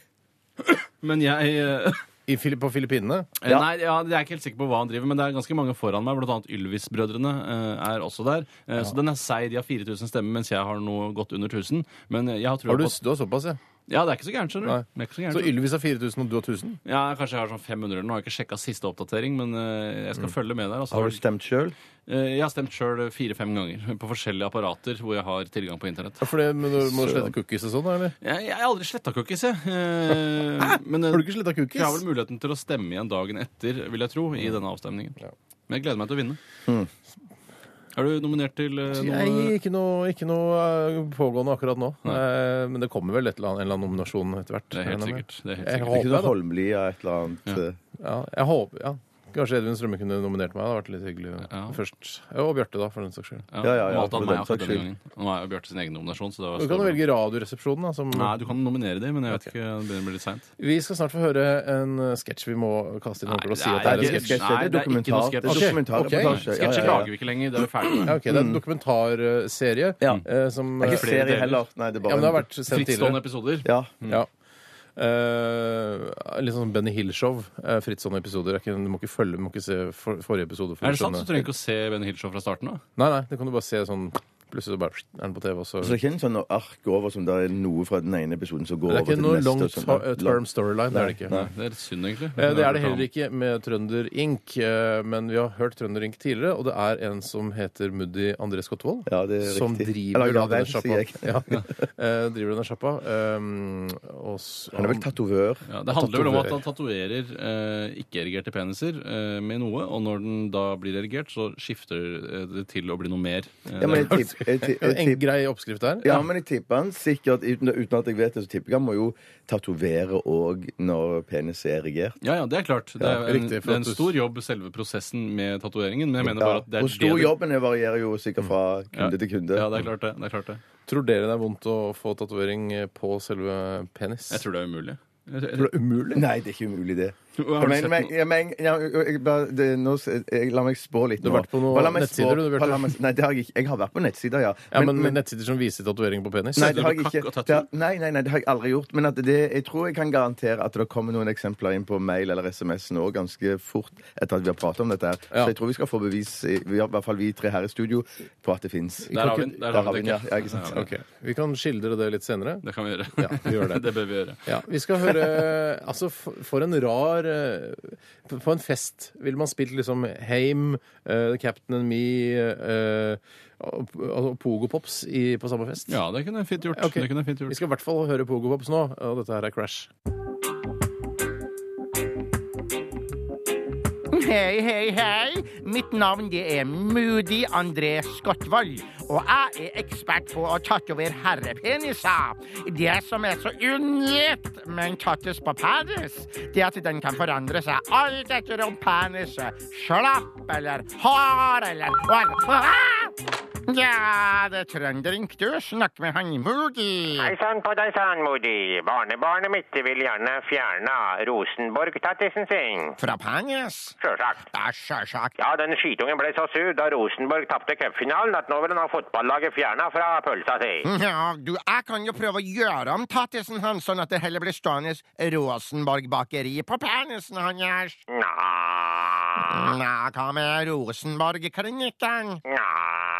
[SPEAKER 5] Men jeg eh,
[SPEAKER 3] I, Fili- på Filippinene?
[SPEAKER 4] Ja.
[SPEAKER 5] Nei, ja, jeg er ikke helt sikker på hva han driver med. Det er ganske mange foran meg, bl.a. Ylvis-brødrene eh, er også der. Eh, Så den er seig. De har 4000 stemmer, mens jeg har noe godt under 1000. Men eh, jeg har trua
[SPEAKER 3] Har du,
[SPEAKER 5] på at
[SPEAKER 3] du har såpass, ja?
[SPEAKER 5] Ja, det er ikke så gærent, skjønner du.
[SPEAKER 3] Nei.
[SPEAKER 5] Det er ikke så gærent.
[SPEAKER 3] Så Ylvis har 4000, og du har 1000?
[SPEAKER 5] Ja, Kanskje jeg har sånn 500 eller noe. Jeg har ikke sjekka siste oppdatering, men eh, jeg skal følge med der. og så
[SPEAKER 4] Har
[SPEAKER 5] har
[SPEAKER 4] du stemt sjøl?
[SPEAKER 5] Eh, Jeg har stemt sjøl fire-fem ganger på forskjellige apparater hvor jeg har tilgang på internett.
[SPEAKER 3] Ja, For det, men du må slette cookies og sånn, da, eller?
[SPEAKER 5] Jeg, jeg har aldri sletta cookies, jeg. Eh, Men, eh,
[SPEAKER 3] Har du ikke sletta
[SPEAKER 5] jeg har vel
[SPEAKER 3] cookies?
[SPEAKER 5] muligheten til å stemme igjen dagen etter, vil jeg tro, i denne avstemningen. Men jeg gleder meg til å vinne. Er du nominert til eh,
[SPEAKER 3] Nei,
[SPEAKER 5] noe
[SPEAKER 3] ikke noe, ikke noe eh, pågående akkurat nå. Eh, men det kommer vel et eller annet, en eller annen nominasjon etter hvert.
[SPEAKER 5] Det er helt
[SPEAKER 3] regner jeg med.
[SPEAKER 5] sikkert. Det er helt
[SPEAKER 3] Jeg
[SPEAKER 5] sikkert.
[SPEAKER 4] Ikke
[SPEAKER 3] håper
[SPEAKER 4] noe
[SPEAKER 3] det.
[SPEAKER 4] Holmlia et eller annet? eh,
[SPEAKER 3] Ja, jeg håper, ja. Kanskje Edvin Strømme kunne nominert meg. Det hadde vært litt hyggelig
[SPEAKER 5] Ja.
[SPEAKER 3] først. Ja, Og Bjarte, da, for den saks skyld.
[SPEAKER 4] Ja, ja, ja,
[SPEAKER 5] Malt av
[SPEAKER 4] for
[SPEAKER 5] meg
[SPEAKER 4] den
[SPEAKER 5] akkurat
[SPEAKER 4] saks
[SPEAKER 5] denne gangen. Nå er jo Bjarte sin egen nominasjon, så det var
[SPEAKER 3] Du kan jo velge Radioresepsjonen, da. Som
[SPEAKER 5] Nei, du kan nominere dem, men jeg vet ikke, det begynner å bli litt seint.
[SPEAKER 3] Vi skal snart få høre en eh, sketsj vi må kaste inn håndkleet og si at det er
[SPEAKER 4] ikke
[SPEAKER 3] en
[SPEAKER 4] sketsj.
[SPEAKER 3] sketsj.
[SPEAKER 4] det er dokumentar.
[SPEAKER 5] sketsj.
[SPEAKER 4] Det er
[SPEAKER 5] Ok,
[SPEAKER 4] dokumentar-
[SPEAKER 3] ok.
[SPEAKER 4] reportasje. Ja,
[SPEAKER 5] Sketsjer
[SPEAKER 4] ja, ja.
[SPEAKER 5] lager vi ikke lenger. Det er vi ferdig med.
[SPEAKER 3] Ja, ok, det er en dokumentarserie
[SPEAKER 4] Ja.
[SPEAKER 3] eh, som
[SPEAKER 4] Det er
[SPEAKER 3] eh,
[SPEAKER 4] ikke
[SPEAKER 5] flere
[SPEAKER 4] serie
[SPEAKER 5] deler.
[SPEAKER 4] heller. Nei, det
[SPEAKER 3] Ja,
[SPEAKER 4] er bare
[SPEAKER 3] men det har vært sendt
[SPEAKER 5] Frittstående
[SPEAKER 3] tidligere.
[SPEAKER 5] episoder.
[SPEAKER 4] Ja.
[SPEAKER 3] Ja. Eh, litt sånn Benny Hill-show. eh, frittstående episoder. Det er ikke- Du må ikke følge, du må ikke se for, forrige episode. For
[SPEAKER 5] Er
[SPEAKER 3] å
[SPEAKER 5] det sant?
[SPEAKER 3] skjønne.
[SPEAKER 5] Så trenger jeg ikke å se Ben Hill-show fra starten av.
[SPEAKER 3] Nei, nei, det kan du bare se sånn Plutselig så bare er den på TV, og så
[SPEAKER 4] Så det er ikke en sånn ark over som det er noe fra den ene episoden som går
[SPEAKER 3] Det er
[SPEAKER 4] over
[SPEAKER 3] ikke
[SPEAKER 4] til
[SPEAKER 3] noe
[SPEAKER 4] den
[SPEAKER 3] long
[SPEAKER 4] neste. og sånn.
[SPEAKER 3] to- term storyline. Det er det ikke.
[SPEAKER 4] Nei.
[SPEAKER 5] Det er litt synd, egentlig.
[SPEAKER 3] Eh, Det er det heller ikke med Trønder Ink, eh, men vi har hørt Trønder Ink tidligere, og det er en som heter Muddi André Skottvold,
[SPEAKER 4] Ja, det er
[SPEAKER 3] som
[SPEAKER 4] riktig.
[SPEAKER 3] driver
[SPEAKER 4] Eller
[SPEAKER 3] da
[SPEAKER 4] Gavel,
[SPEAKER 3] denne sjappa.
[SPEAKER 4] sier jeg.
[SPEAKER 3] Ja, eh, driver denne sjappa. Um, og s-
[SPEAKER 4] Han er vel tatovør.
[SPEAKER 5] Ja, det handler vel om at
[SPEAKER 3] Tatoverer.
[SPEAKER 5] han tatoverer eh, ikke-erigerte peniser eh, med noe, og når den da blir erigert, så skifter eh, det til å bli noe mer. Eh,
[SPEAKER 4] Ja, men
[SPEAKER 5] det
[SPEAKER 4] jeg
[SPEAKER 5] er-
[SPEAKER 4] tipp- jeg tipp- jeg
[SPEAKER 3] En
[SPEAKER 4] tipp-
[SPEAKER 3] grei oppskrift der.
[SPEAKER 4] ja, men jeg tipper han sikkert, uten, uten at jeg vet det, så tipper jeg han må jo tatovere òg når penis er erigert.
[SPEAKER 5] ja, ja, det er klart. Det
[SPEAKER 3] Ja,
[SPEAKER 5] er en,
[SPEAKER 3] riktig, for
[SPEAKER 5] det er en
[SPEAKER 3] at du-
[SPEAKER 5] stor jobb, selve prosessen med tatoveringen, men jeg mener
[SPEAKER 4] Ja.
[SPEAKER 5] bare at det er
[SPEAKER 4] Hvor stor
[SPEAKER 5] det du-
[SPEAKER 4] jobben er, varierer jo sikkert fra kunde til kunde.
[SPEAKER 5] Ja, det er klart det. det, er klart det.
[SPEAKER 3] Tror dere det er vondt å få tatovering eh, på selve penis?
[SPEAKER 5] Jeg tror det er umulig. Jeg- jeg-
[SPEAKER 3] det er umulig.
[SPEAKER 4] Nei, det er ikke umulig, det.
[SPEAKER 5] Har du
[SPEAKER 4] Men-
[SPEAKER 5] sett
[SPEAKER 4] men-
[SPEAKER 5] noe?
[SPEAKER 4] ja, men- ja, jeg- bare- det- nå s- jeg- La meg spå litt
[SPEAKER 3] Du
[SPEAKER 4] nå.
[SPEAKER 3] har vært på noen
[SPEAKER 4] Bare la meg
[SPEAKER 3] nettsider,
[SPEAKER 4] spå-
[SPEAKER 3] du, Bjarte.
[SPEAKER 4] bare la meg- Nei, det har jeg ikke. Jeg har vært på nettsider, ja.
[SPEAKER 3] Ja, men, nettsider som viser tatovering på penis?
[SPEAKER 4] Nei,
[SPEAKER 5] du
[SPEAKER 4] det har
[SPEAKER 5] på
[SPEAKER 4] jeg
[SPEAKER 5] kakk
[SPEAKER 4] ikke.
[SPEAKER 5] og tattoo?
[SPEAKER 4] Det har, nei, nei, nei, det har jeg aldri gjort. Men at det, jeg tror jeg kan garantere at det kommer noen eksempler inn på mail eller SMS nå ganske fort etter at vi har pratet om dette. her.
[SPEAKER 3] Ja.
[SPEAKER 4] Så jeg tror vi skal få bevis, i, vi har i hvert fall vi tre her i studio, på at det fins.
[SPEAKER 5] Der har vi den. Der har vi den,
[SPEAKER 4] ja.
[SPEAKER 5] ikke?
[SPEAKER 4] ja, ikke sant?
[SPEAKER 5] Ja,
[SPEAKER 3] Ok, Vi kan skildre det litt senere.
[SPEAKER 5] Det kan vi gjøre.
[SPEAKER 3] Ja, vi gjør det.
[SPEAKER 5] det bør vi gjøre.
[SPEAKER 3] Ja, Vi skal høre Altså, for, for en rar eh, På på en fest ville man spilt liksom Heim, eh, The Captain and Me eh, og, og Pogo Pops i, på samme fest.
[SPEAKER 5] Ja, det kunne jeg fint gjort.
[SPEAKER 3] Ok.
[SPEAKER 5] Det kunne jeg fint gjort.
[SPEAKER 3] Vi skal i hvert fall høre Pogo Pops nå, og dette her er Crash.
[SPEAKER 1] Hei, hei, hei. Mitt navn det er Moody André Skottvold. Og jeg er ekspert på å tatovere herrepeniser. Det som er så unikt med en tattis på penis, det er at den kan forandre seg alt etter om penis er slapp eller hard eller Ja, det er trønderink du snakker med han Moody.
[SPEAKER 6] Hei sann på deg sann, Modi. Barnebarnet mitt vil gjerne fjerne Rosenborg-tattisen sin.
[SPEAKER 1] Fra penis?
[SPEAKER 6] Sjølsagt.
[SPEAKER 1] Ja, sjølsagt.
[SPEAKER 6] Ja, den skitungen ble så sur da Rosenborg tapte cupfinalen at nå vil han ha fotballaget fjerna fra pølsa si.
[SPEAKER 1] Ja, du, jeg kan jo prøve å gjøre om tattisen hans, sånn at det heller blir stående Rosenborg-bakeri på penisen hans.
[SPEAKER 6] Nja
[SPEAKER 1] Nja, hva med Rosenborg-klinikken?
[SPEAKER 6] Nja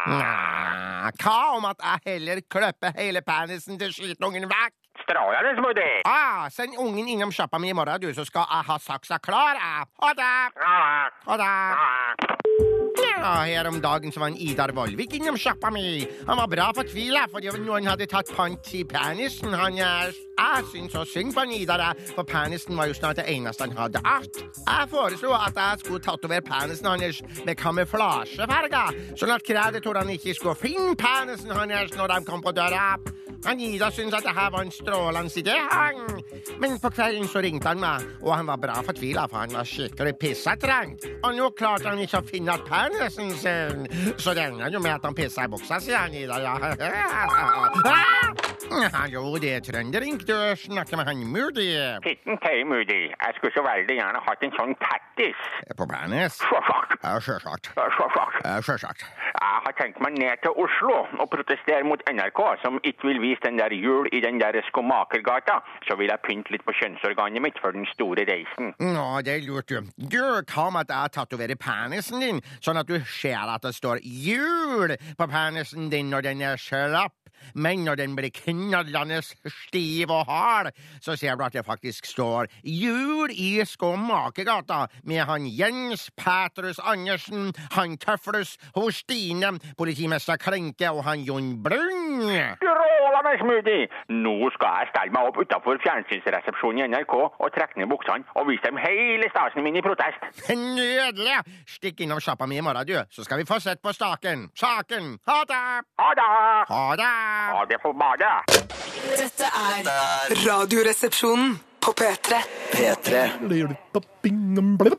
[SPEAKER 1] Nja, hva om at jeg heller klipper hele penisen til skitungen vekk?
[SPEAKER 6] Strålende, Modi.
[SPEAKER 1] Ah, send ungen innom sjappa mi i morgen, du, så skal jeg ha saksa klar, jeg. Ha det!
[SPEAKER 6] Ah,
[SPEAKER 1] Ha det!
[SPEAKER 6] ah.
[SPEAKER 1] Ja, her om dagen så var en Idar Vollvik innom sjappa mi. Han var bra fortvila fordi noen hadde tatt pant i penisen hans. Jeg syns så synd på en Idar, jeg, for penisen var jo snart det eneste han hadde att. Jeg foreslo at jeg skulle tatovere penisen hans med kamuflasjefarger, sånn at kreditorene ikke skulle finne penisen hans når de kom på døra. Han Ida syntes at det her var en strålende idé, han. Men på kvelden så ringte han meg, og han var bra fortvila, for han var skikkelig pissetrengt. Og nå klarte han ikke å finne penisen sin, så det ender jo med at han pissa i buksa, sier han Ida, ja. Ah! Hallo, det er Trønderink, du snakker med han Moody
[SPEAKER 6] Titten til, Modi. Jeg skulle så veldig gjerne hatt en sånn tattis.
[SPEAKER 1] på penis.
[SPEAKER 6] Sjølsagt.
[SPEAKER 1] Ja, sjølsagt.
[SPEAKER 6] Ja, Sjølsagt.
[SPEAKER 1] Ja, sjølsagt.
[SPEAKER 6] Jeg har tenkt meg ned til Oslo og protestere mot NRK, som ikke vil vise den der jul i den der skomakergata. Så vil jeg pynte litt på kjønnsorganet mitt for den store reisen.
[SPEAKER 1] Nå, det er lurt, du. Du, hva med at jeg tatoverer penisen din, sånn at du ser at det står jul på penisen din når den er slapp? Men når den blir knallende stiv og hard, så ser du at det faktisk står jul i Skomakergata med han Jens Petrus Andersen, han Tøflus, hun Stine, politimester Klinke og han Jon Brun.
[SPEAKER 6] Strålende smoothie! Nå skal jeg stelle meg opp utenfor fjernsynsresepsjonen i NRK og trekke ned buksene og vise dem hele stasen min i protest.
[SPEAKER 1] Nydelig! Stikk innom sjappa mi i morgen, du, så skal vi få sett på staken. Saken! Ha det!
[SPEAKER 6] Ha det!
[SPEAKER 1] Ha det!
[SPEAKER 6] Ha det på badet!
[SPEAKER 7] Dette er Radioresepsjonen på P3.
[SPEAKER 2] P3.
[SPEAKER 3] Hva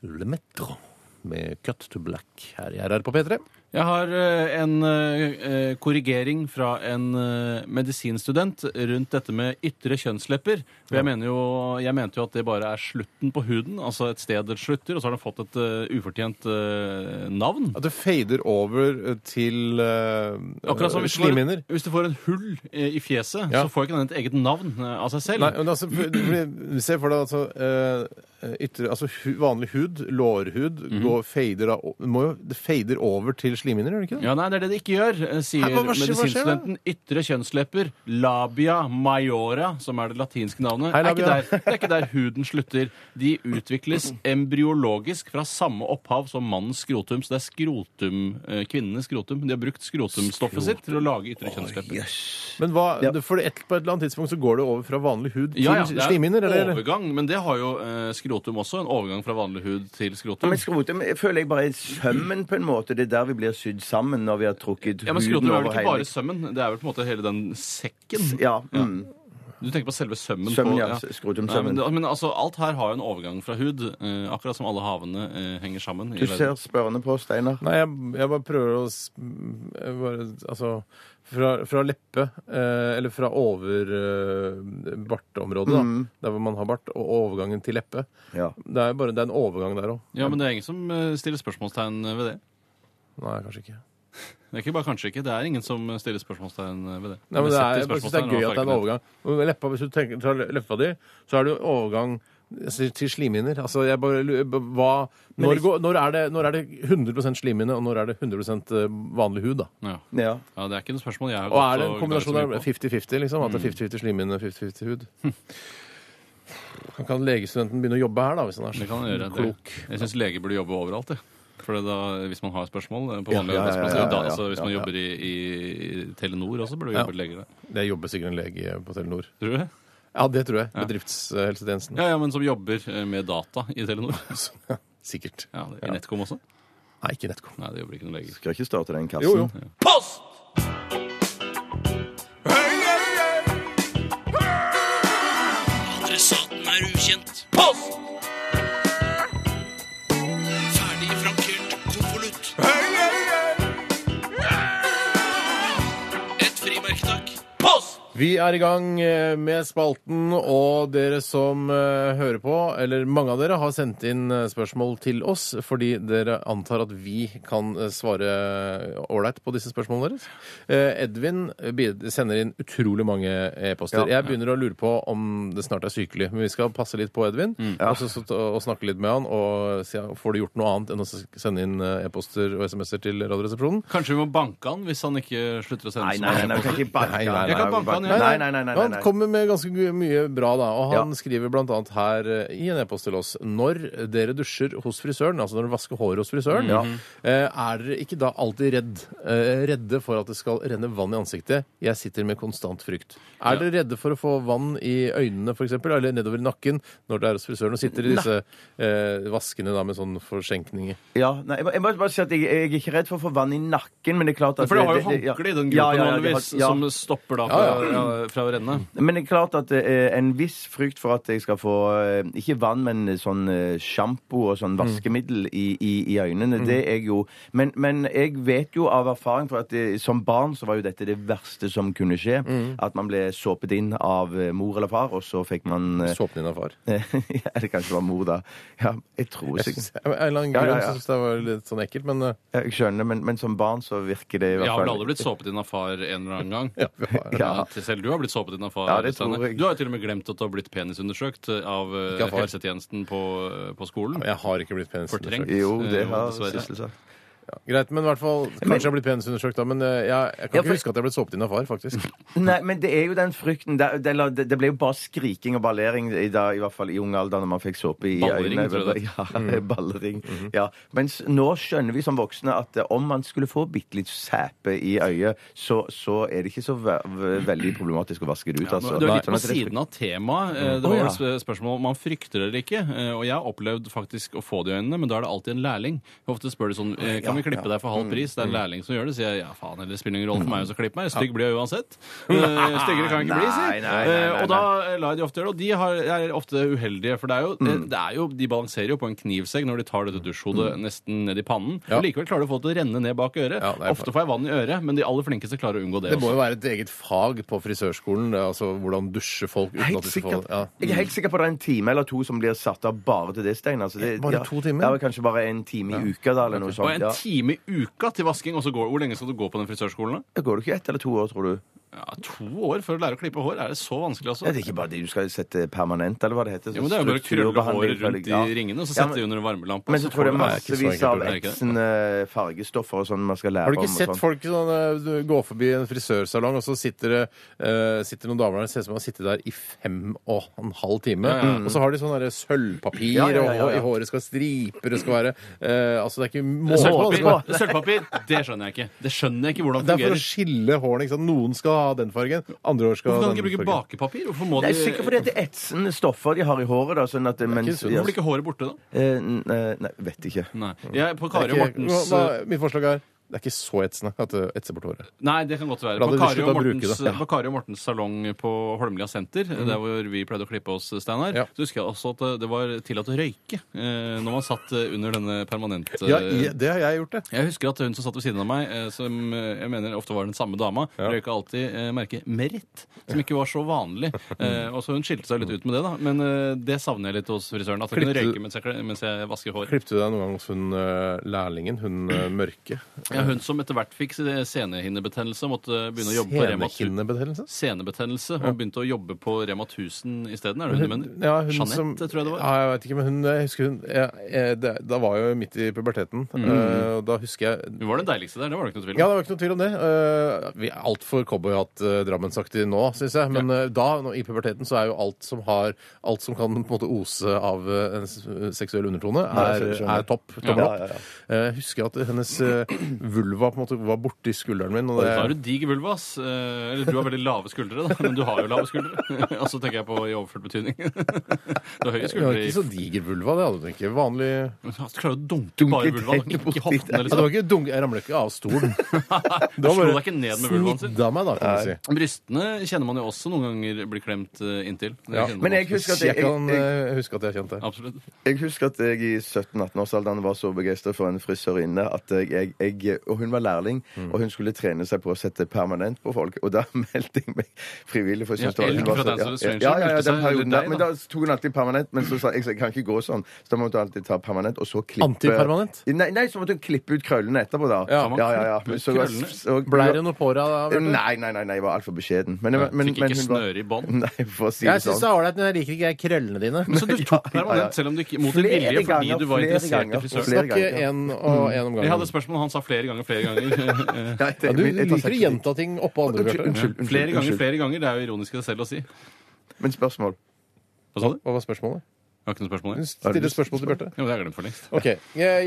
[SPEAKER 3] Le Metro med Cut to Black her i RR på P3.
[SPEAKER 5] Jeg har eh, en eh, korrigering fra en eh, medisinstudent rundt dette med ytre kjønnslepper. For jeg, mener jo, jeg mente jo at det bare er slutten på huden, altså et sted det slutter, og så har den fått et eh, ufortjent eh, navn.
[SPEAKER 3] At det fader over eh, til uh,
[SPEAKER 5] Akkurat som hvis du, får,
[SPEAKER 3] slimhinner.
[SPEAKER 5] hvis du får en hull eh, i fjeset,
[SPEAKER 3] Ja.
[SPEAKER 5] så får ikke den et eget navn eh, av seg selv.
[SPEAKER 3] Nei, men altså, for- for- se for deg altså, eh, ytre, altså hu, vanlig hud, lårhud,
[SPEAKER 5] Mhm.
[SPEAKER 3] går, fader, da o- må jo, det fader over til slimhinner, gjør det ikke det?
[SPEAKER 5] Ja, nei, det er det det ikke gjør, eh, sier
[SPEAKER 3] Hæ, hva- hva skjer- hva skjer da?
[SPEAKER 5] medisinstudenten. Ytre kjønnslepper, labia majora, som er det latinske navnet,
[SPEAKER 3] Hei,
[SPEAKER 5] er ikke,
[SPEAKER 3] labia.
[SPEAKER 5] der, det er ikke der huden slutter. De utvikles embryologisk fra samme opphav som mannens skrotum, så det er skrotum, eh, kvinnenes skrotum. De har brukt skrotumstoffet sitt til å lage ytre kjønnslepper.
[SPEAKER 3] Men hva, det- for et, på et eller annet tidspunkt så går det over fra vanlig hud til
[SPEAKER 5] Ja, ja, det er en
[SPEAKER 3] slimhinner, eller?
[SPEAKER 5] overgang, men det har jo eh, skrotum også. En overgang fra vanlig hud til skrotum.
[SPEAKER 4] Men skrotum jeg føler jeg bare er sømmen på en måte. Det er der vi blir sydd sammen når vi har trukket
[SPEAKER 5] Ja, men
[SPEAKER 4] huden
[SPEAKER 5] Skrotum er vel
[SPEAKER 4] over
[SPEAKER 5] ikke bare
[SPEAKER 4] hele.
[SPEAKER 5] sømmen? Det er vel på en måte hele den sekken?
[SPEAKER 4] Ja, mm.
[SPEAKER 5] Du tenker på selve sømmen?
[SPEAKER 4] Sømmen,
[SPEAKER 5] på,
[SPEAKER 4] ja. Skrotumsømmen.
[SPEAKER 5] Nei, Men, det- men altså, alt her har jo en overgang fra hud, eh, akkurat som alle havene eh, henger sammen. i
[SPEAKER 4] Du ser
[SPEAKER 5] verden.
[SPEAKER 4] spørrende på, Steinar.
[SPEAKER 3] Nei, jeg, jeg bare prøver å s- jeg bare, Altså fra, fra leppe, eh, eller fra over eh, bartområdet, da, der hvor man har bart, og overgangen til leppe.
[SPEAKER 4] Ja.
[SPEAKER 3] Det er, bare, det er en overgang der òg.
[SPEAKER 5] Ja, men det er ingen som eh, stiller spørsmålstegn ved det.
[SPEAKER 3] Nei, kanskje ikke.
[SPEAKER 5] Det er ikke bare kanskje ikke, det er ingen som eh, stiller spørsmålstegn ved det.
[SPEAKER 3] Nei, men
[SPEAKER 5] Vi
[SPEAKER 3] det
[SPEAKER 5] setter
[SPEAKER 3] er, jeg bare synes det er
[SPEAKER 5] spørsmålstegn
[SPEAKER 3] gøy at det er en
[SPEAKER 5] overfor
[SPEAKER 3] overgang. Og med Leppa, hvis du tenker, tar le- leppa di, så er det jo overgang altså, til slimhinner. Altså, jeg bare, lurer på hva, når, går- når, er det, når er det 100 slimhinne, og når er det 100 vanlig hud? da?
[SPEAKER 5] Ja.
[SPEAKER 4] Ja.
[SPEAKER 5] ja, det er ikke noe spørsmål. Jeg har
[SPEAKER 3] Og
[SPEAKER 5] gått
[SPEAKER 3] er det en kombinasjon
[SPEAKER 5] gnagd så
[SPEAKER 3] av
[SPEAKER 5] mye på. Mm.
[SPEAKER 3] 50-50, liksom? At det er 50-50 slimhinne, 50-50 hud? Kan ikke han legestudenten begynne å jobbe her, da? hvis han er så
[SPEAKER 5] Det kan jeg gjøre. Det-
[SPEAKER 3] klok?
[SPEAKER 5] Jeg syns leger burde jobbe overalt, jeg. For det da, hvis man har spørsmål eh, på
[SPEAKER 3] Ja,
[SPEAKER 5] vanlige
[SPEAKER 3] ja, ja,
[SPEAKER 5] arbeidsplasser
[SPEAKER 4] ja, ja,
[SPEAKER 5] da,
[SPEAKER 4] ja,
[SPEAKER 5] altså, Hvis man
[SPEAKER 4] ja, ja.
[SPEAKER 5] jobber i, i Telenor også, burde det jobbe
[SPEAKER 3] Ja.
[SPEAKER 5] leger der.
[SPEAKER 3] Det jobber sikkert en lege på Telenor.
[SPEAKER 5] Tror du det?
[SPEAKER 3] Ja, det tror jeg. Bedriftshelsetjenesten.
[SPEAKER 5] Ja, ja, men som jobber eh, med data i Telenor.
[SPEAKER 3] Sikkert.
[SPEAKER 5] Ja, det- I Netcom også?
[SPEAKER 3] Nei, ikke Netcom.
[SPEAKER 5] Nei, det jobber ikke noen leger.
[SPEAKER 4] Skal ikke starte den kassen.
[SPEAKER 3] Jo, jo.
[SPEAKER 7] Adressaten er ukjent. Post! Ferdig frankert konvolutt. Et frimerke, takk. Post!
[SPEAKER 3] Vi er i gang eh, med spalten, og dere som eh, hører på, eller mange av dere, har sendt inn eh, spørsmål til oss fordi dere antar at vi kan eh, svare ålreit på disse spørsmålene deres. Eh, Edvin bid- sender inn utrolig mange e-poster. Jeg begynner å lure på om det snart er sykelig, men vi skal passe litt på Edvin og, så, så, og snakke litt med han og si, får du gjort noe annet enn å s- sende inn eh, e-poster og SMS-er til Radioresepsjonen.
[SPEAKER 5] Kanskje vi må banke han hvis han ikke slutter å sende
[SPEAKER 4] Nei, nei, nei, nei, vi kan ikke banke
[SPEAKER 3] Nei, nei, nei.
[SPEAKER 4] han.
[SPEAKER 5] Jeg kan banke han,
[SPEAKER 4] Nei, nei,
[SPEAKER 5] jeg.
[SPEAKER 4] nei, nei, nei,
[SPEAKER 3] Han
[SPEAKER 4] nei.
[SPEAKER 3] kommer med ganske gu- mye bra, da. Og han
[SPEAKER 4] Ja.
[SPEAKER 3] skriver blant annet her eh, i en e-post til oss Når dere dusjer hos frisøren, altså når dere vasker håret hos frisøren, eh, er dere ikke da alltid redd? eh, Redde for at det skal renne vann i ansiktet? Jeg sitter med konstant frykt. Er dere redde for å få vann i øynene, f.eks., eller nedover i nakken når dere er hos frisøren og sitter i disse eh, vaskene da med sånn forsenkninger?
[SPEAKER 4] Ja, nei, jeg må- jeg må bare si at jeg, jeg er ikke redd for å få vann i nakken, men det er klart at
[SPEAKER 5] For det har jo
[SPEAKER 4] ja.
[SPEAKER 5] håndkle i
[SPEAKER 4] Ja,
[SPEAKER 5] den gruppen
[SPEAKER 4] ja, ja, de har-
[SPEAKER 5] vanligvis,
[SPEAKER 4] ja.
[SPEAKER 5] som stopper da fra, ja, fra å renne.
[SPEAKER 4] Men det er klart at det er en viss frykt for at jeg skal få eh, ikke vann, men sånn eh, sjampo og
[SPEAKER 5] Mm.
[SPEAKER 4] sånn vaskemiddel i, i, i øynene. Det er jeg jo. Men, men jeg vet jo av erfaring for at eh, som barn så var jo dette det verste som kunne skje.
[SPEAKER 5] Mm.
[SPEAKER 4] At man ble såpet inn av eh, mor eller far, og så fikk man eh,
[SPEAKER 3] Såpen din av far.
[SPEAKER 4] ja, Eller kanskje det var mor, da. Ja, jeg tror
[SPEAKER 3] Jeg
[SPEAKER 4] sikkert
[SPEAKER 3] synes, av en eller annen
[SPEAKER 4] Ja,
[SPEAKER 3] grunn
[SPEAKER 4] ja,
[SPEAKER 3] ja,
[SPEAKER 4] ja.
[SPEAKER 3] syns jeg det var litt sånn ekkelt, men eh,
[SPEAKER 4] Ja, Jeg skjønner, men, men som barn så virker det i
[SPEAKER 5] Jeg
[SPEAKER 4] hvert
[SPEAKER 5] har
[SPEAKER 4] fall
[SPEAKER 5] vel alle blitt såpet inn av far en eller annen gang.
[SPEAKER 3] vi har-
[SPEAKER 5] Ja, til selv du har blitt såpet inn av far.
[SPEAKER 4] Ja, det
[SPEAKER 5] Steine.
[SPEAKER 4] tror jeg.
[SPEAKER 5] Du har jo til og med glemt at du har blitt penisundersøkt av eh,
[SPEAKER 3] Ikke av far.
[SPEAKER 5] helsetjenesten på, på skolen.
[SPEAKER 3] jeg har ikke blitt
[SPEAKER 5] Fortrengt.
[SPEAKER 3] penisundersøkt.
[SPEAKER 4] Jo, det
[SPEAKER 5] Eh, jo,
[SPEAKER 4] har
[SPEAKER 5] dessverre.
[SPEAKER 4] Sissel sagt.
[SPEAKER 3] Greit, men i hvert fall Kanskje jeg har blitt penisundersøkt da, men eh, jeg, jeg kan
[SPEAKER 4] Ja, for-
[SPEAKER 3] ikke huske at jeg ble såpet inn av far, faktisk.
[SPEAKER 4] Nei, men det er jo den frykten Det, det, eller det ble jo bare skriking og ballering i, dag, i hvert fall i ung alder når man fikk såpe i
[SPEAKER 5] Ballering,
[SPEAKER 4] øynene.
[SPEAKER 5] tror jeg det Mm. Mm-hmm.
[SPEAKER 4] Ja, ballering. ja. Mens nå skjønner vi som voksne at eh, om man skulle få bitte litt sæpe i øyet, så, så er det ikke så ve ve- veldig problematisk å vaske det ut. Altså.
[SPEAKER 5] Du er
[SPEAKER 4] Nei,
[SPEAKER 5] litt på
[SPEAKER 4] sånn at det er
[SPEAKER 5] siden av temaet. Eh,
[SPEAKER 4] Å,
[SPEAKER 5] Det var
[SPEAKER 4] ja.
[SPEAKER 5] vel sp- spørsmål om man frykter det eller ikke. Eh, Og jeg har opplevd faktisk å få det i øynene, men da er det alltid en lærling. Ofte spør de sånn eh, Kan vi klippe deg for halv
[SPEAKER 4] Mm,
[SPEAKER 5] pris? Det er en lærling som gjør det. Sier jeg ja, faen, eller det spiller ingen rolle for meg å klippe meg. Stygg blir jeg uansett. Eh, Styggere kan jeg ikke bli,
[SPEAKER 4] Nei, nei,
[SPEAKER 5] sier
[SPEAKER 4] nei,
[SPEAKER 5] Eh,
[SPEAKER 4] nei,
[SPEAKER 5] Og da eh, lar jeg de ofte gjøre det. Og de har, er ofte uheldige, for det er, jo, det,
[SPEAKER 4] Mm.
[SPEAKER 5] det er jo De balanserer jo på en knivsegg når de tar dette dusjhodet nesten ned i pannen. Og likevel klarer du å få det til å renne ned bak øret.
[SPEAKER 3] Ja, det er
[SPEAKER 5] ofte får jeg vann i øret, men de aller flinkeste klarer å unngå det.
[SPEAKER 3] Det må
[SPEAKER 5] også.
[SPEAKER 3] jo være et eget fag på frisørskolen, det er altså hvordan dusje folk uten at
[SPEAKER 4] Helt
[SPEAKER 3] du skal få
[SPEAKER 4] sikkert.
[SPEAKER 3] ja.
[SPEAKER 4] Jeg er helt sikker på at det er en time eller to som blir satt av bare til det, Stein. Altså, det,
[SPEAKER 3] Bare
[SPEAKER 4] ja,
[SPEAKER 3] to timer?
[SPEAKER 4] Ja, kanskje bare en time i uka, da, eller noe
[SPEAKER 5] Og
[SPEAKER 4] sånt.
[SPEAKER 5] en
[SPEAKER 4] Ja.
[SPEAKER 5] time i uka til vasking, og så går Hvor lenge skal du gå på den frisørskolen, da?
[SPEAKER 4] Går det ikke ett eller to år, tror du?
[SPEAKER 5] Ja, to år for å lære å klippe hår? Er det så vanskelig, altså?
[SPEAKER 4] Ja, det er ikke bare det du skal sette permanent, eller hva det heter.
[SPEAKER 5] Jo, men det er jo bare å krølle
[SPEAKER 4] strukturbehandling,
[SPEAKER 5] håret rundt
[SPEAKER 4] ja.
[SPEAKER 5] i ringene og så
[SPEAKER 4] Ja,
[SPEAKER 5] sette det under en varmelampe.
[SPEAKER 4] Men så tror jeg
[SPEAKER 5] får du-
[SPEAKER 3] det er ikke så
[SPEAKER 4] massevis
[SPEAKER 3] enkelt,
[SPEAKER 4] av
[SPEAKER 5] er det ikke det?
[SPEAKER 4] eksende fargestoffer og sånn man skal lære
[SPEAKER 3] Har
[SPEAKER 4] om.
[SPEAKER 3] du ikke
[SPEAKER 4] og
[SPEAKER 3] sett
[SPEAKER 4] sånn.
[SPEAKER 3] folk sånn, eh, du går forbi en frisørsalong, og så sitter det eh, sitter noen damer der og ser ut som de har sittet der i fem og en halv time. Og så har de sånn derre sølvpapir,
[SPEAKER 4] Ja, ja, ja, ja,
[SPEAKER 3] og
[SPEAKER 4] ja.
[SPEAKER 3] i håret skal striper, det skal være eh, Altså, det er ikke måte på. det skal være-
[SPEAKER 5] Sølvpapir, sølvpapir, det skjønner jeg ikke. Det skjønner jeg ikke hvordan
[SPEAKER 3] Det er for
[SPEAKER 5] fungerer.
[SPEAKER 3] å skille hårene. ikke sant? Noen skal ha den fargen, andre år skal
[SPEAKER 5] Hvorfor
[SPEAKER 3] ha
[SPEAKER 5] kan de
[SPEAKER 3] den
[SPEAKER 5] ikke bruke
[SPEAKER 3] fargen.
[SPEAKER 5] bakepapir? Hvorfor må de
[SPEAKER 4] Det er sikkert fordi at det er etsende stoffer de har i håret. da, sånn at det,
[SPEAKER 3] ikke
[SPEAKER 4] mens,
[SPEAKER 3] sunt.
[SPEAKER 4] ja,
[SPEAKER 5] Hvorfor blir ikke håret borte, da?
[SPEAKER 4] eh, n- eh, Nei, vet ikke.
[SPEAKER 5] Nei. Jeg, på
[SPEAKER 3] Det
[SPEAKER 5] Kari
[SPEAKER 3] er
[SPEAKER 5] og
[SPEAKER 3] ikke-
[SPEAKER 5] Mortens
[SPEAKER 3] hva- hva- Mitt forslag er det er ikke så etsende at det etser bort håret.
[SPEAKER 5] Nei, det kan godt være.
[SPEAKER 3] Da
[SPEAKER 5] På
[SPEAKER 3] hadde de
[SPEAKER 5] Kari, og
[SPEAKER 3] sluttet å bruke
[SPEAKER 5] Mortens,
[SPEAKER 3] det. Ja. Mm.
[SPEAKER 5] på Kari og Mortens salong på Holmlia senter, der hvor vi pleide å klippe oss, Steinar,
[SPEAKER 3] Ja.
[SPEAKER 5] så husker jeg også at det var tillatt å røyke eh, når man satt eh, under denne permanente
[SPEAKER 3] Ja, i- det har jeg gjort, det.
[SPEAKER 5] Jeg husker at hun som satt ved siden av meg, eh, som eh, jeg mener ofte var den samme dama, røyka alltid eh, merket Merit, som ikke var så vanlig. Eh, og så hun skilte seg litt ut med det, da. Men eh, det savner jeg litt hos frisøren. At jeg kunne
[SPEAKER 3] Klippte-
[SPEAKER 5] røyke mens jeg, kle- mens jeg vasker hår.
[SPEAKER 3] Klippte du deg noen gang hos hun eh, lærlingen, hun eh, mørke?
[SPEAKER 5] Ja, hun som etter hvert fikk eh, senehinnebetennelse, måtte begynne å jobbe på Rema 1000.
[SPEAKER 3] Senekinnebetennelse?
[SPEAKER 5] Senebetennelse og begynte å jobbe på Rema 1000 isteden. Er det hun du mener?
[SPEAKER 3] Ja, hun
[SPEAKER 5] Jeanette,
[SPEAKER 3] som,
[SPEAKER 5] tror jeg det var.
[SPEAKER 3] Ja, jeg vet ikke, men hun, jeg husker hun ja, eh, det, Da var jeg jo midt i puberteten.
[SPEAKER 5] Mm.
[SPEAKER 3] eh, og da husker jeg
[SPEAKER 5] Hun var den deiligste der, det var det ikke noe tvil
[SPEAKER 3] Ja,
[SPEAKER 5] om.
[SPEAKER 3] det var ikke noe tvil om det. Eh, vi er altfor cowboyhatt-drammensaktig eh, nå, syns jeg. Men eh, da, nå, i puberteten, så er jo alt som har Alt som kan på en måte ose av eh, en s- seksuell undertone, er,
[SPEAKER 4] jeg skjønner.
[SPEAKER 3] er topp. topp
[SPEAKER 4] Ja, ja, ja.
[SPEAKER 3] Eh, Jeg husker at hennes eh, vulva på en måte var borti skulderen min. Og
[SPEAKER 5] Da har
[SPEAKER 3] det,
[SPEAKER 5] du dig vulva, ass. Eh, Eller du har veldig lave skuldre, da. Men du har jo lave skuldre. Og så tenker jeg på i overført betydning. Du har høye
[SPEAKER 3] jeg har
[SPEAKER 5] skuldre i
[SPEAKER 3] ikke så diger vulva, det hadde hun ikke. Vanlig
[SPEAKER 5] Men Du klarer å dunke bare vulva, da.
[SPEAKER 4] helt
[SPEAKER 5] ikke
[SPEAKER 4] borti
[SPEAKER 5] hoftene.
[SPEAKER 4] der.
[SPEAKER 3] ja, det
[SPEAKER 5] Liksom.
[SPEAKER 3] var ikke dunk, Jeg ramla ikke av stolen.
[SPEAKER 5] Du slo deg ikke ned med vulvaen sin.
[SPEAKER 3] Snidda meg, da, kan du si.
[SPEAKER 5] Brystene kjenner man jo også noen ganger blir klemt eh, inntil. Det
[SPEAKER 3] Ja.
[SPEAKER 5] kjenner man
[SPEAKER 4] Men jeg
[SPEAKER 5] også.
[SPEAKER 4] husker at
[SPEAKER 3] jeg,
[SPEAKER 4] jeg,
[SPEAKER 3] kan
[SPEAKER 4] jeg,
[SPEAKER 3] eh, huske at jeg kjente det.
[SPEAKER 5] Absolutt.
[SPEAKER 4] Jeg husker at jeg i 17-18-årsalderen var så begeistra for en frisørinne at jeg, jeg Og hun var lærling, og hun skulle trene seg på å sette permanent på folk. Og da meldte jeg meg frivillig. For jeg synes
[SPEAKER 5] Ja,
[SPEAKER 4] det
[SPEAKER 5] Ellen
[SPEAKER 4] var, hun var
[SPEAKER 5] fra
[SPEAKER 4] så-
[SPEAKER 5] Dance with Stranger
[SPEAKER 4] ja, ja, ja,
[SPEAKER 5] meldte
[SPEAKER 4] den
[SPEAKER 5] seg, eller
[SPEAKER 4] perioden, da,
[SPEAKER 5] deg,
[SPEAKER 4] men
[SPEAKER 5] da.
[SPEAKER 4] da tok hun alltid permanent. Men så sa jeg, jeg kan ikke gå sånn, så da måtte hun alltid ta permanent, og så klippe
[SPEAKER 3] Antipermanent?
[SPEAKER 4] Nei, nei, så måtte hun klippe ut krøllene etterpå, da.
[SPEAKER 3] Ja.
[SPEAKER 4] ja, ja, ja.
[SPEAKER 5] Klippe ut
[SPEAKER 4] Så-
[SPEAKER 5] krøllene?
[SPEAKER 4] så-
[SPEAKER 3] Blei det noe på deg da? Bjarte?
[SPEAKER 4] Nei, nei, nei, nei, jeg var altfor beskjeden. Men, men, men,
[SPEAKER 5] Fikk ikke
[SPEAKER 4] hun var-
[SPEAKER 5] snøre i bånd.
[SPEAKER 4] Nei, for å si
[SPEAKER 3] Jeg
[SPEAKER 4] det
[SPEAKER 3] syns
[SPEAKER 4] sånn.
[SPEAKER 3] det er ålreit, men jeg liker ikke krøllene dine.
[SPEAKER 5] Så du tok
[SPEAKER 4] ja, ja.
[SPEAKER 5] permanent, selv om du ikke mot din
[SPEAKER 4] Flere
[SPEAKER 5] vilje, fordi
[SPEAKER 4] ganger,
[SPEAKER 5] du var
[SPEAKER 4] flere
[SPEAKER 5] interessert i
[SPEAKER 4] ganger,
[SPEAKER 5] frisøren?
[SPEAKER 4] flere
[SPEAKER 3] Snakk én og én om
[SPEAKER 5] Jeg hadde
[SPEAKER 3] gangen.
[SPEAKER 5] et spørsmål, han sa flere ganger, flere ganger. Eh,
[SPEAKER 4] Nei, det-
[SPEAKER 3] Ja, du
[SPEAKER 4] men jeg
[SPEAKER 3] liker å
[SPEAKER 4] tar selvkritikk.
[SPEAKER 3] gjenta ting oppå andre, Bjarte.
[SPEAKER 4] Unnskyld, unnskyld,
[SPEAKER 5] Flere ganger,
[SPEAKER 4] unnskyld.
[SPEAKER 5] flere ganger. Det er jo ironisk i det selv å si.
[SPEAKER 4] Men spørsmål.
[SPEAKER 5] Hva sa du?
[SPEAKER 3] Hva var spørsmålet?
[SPEAKER 5] Jeg har ikke noe spørsmål.
[SPEAKER 3] Du
[SPEAKER 5] jeg.
[SPEAKER 3] stiller spørsmål til Bjarte.
[SPEAKER 5] Jo, det har jeg glemt for lengst.
[SPEAKER 3] Ok, Jeg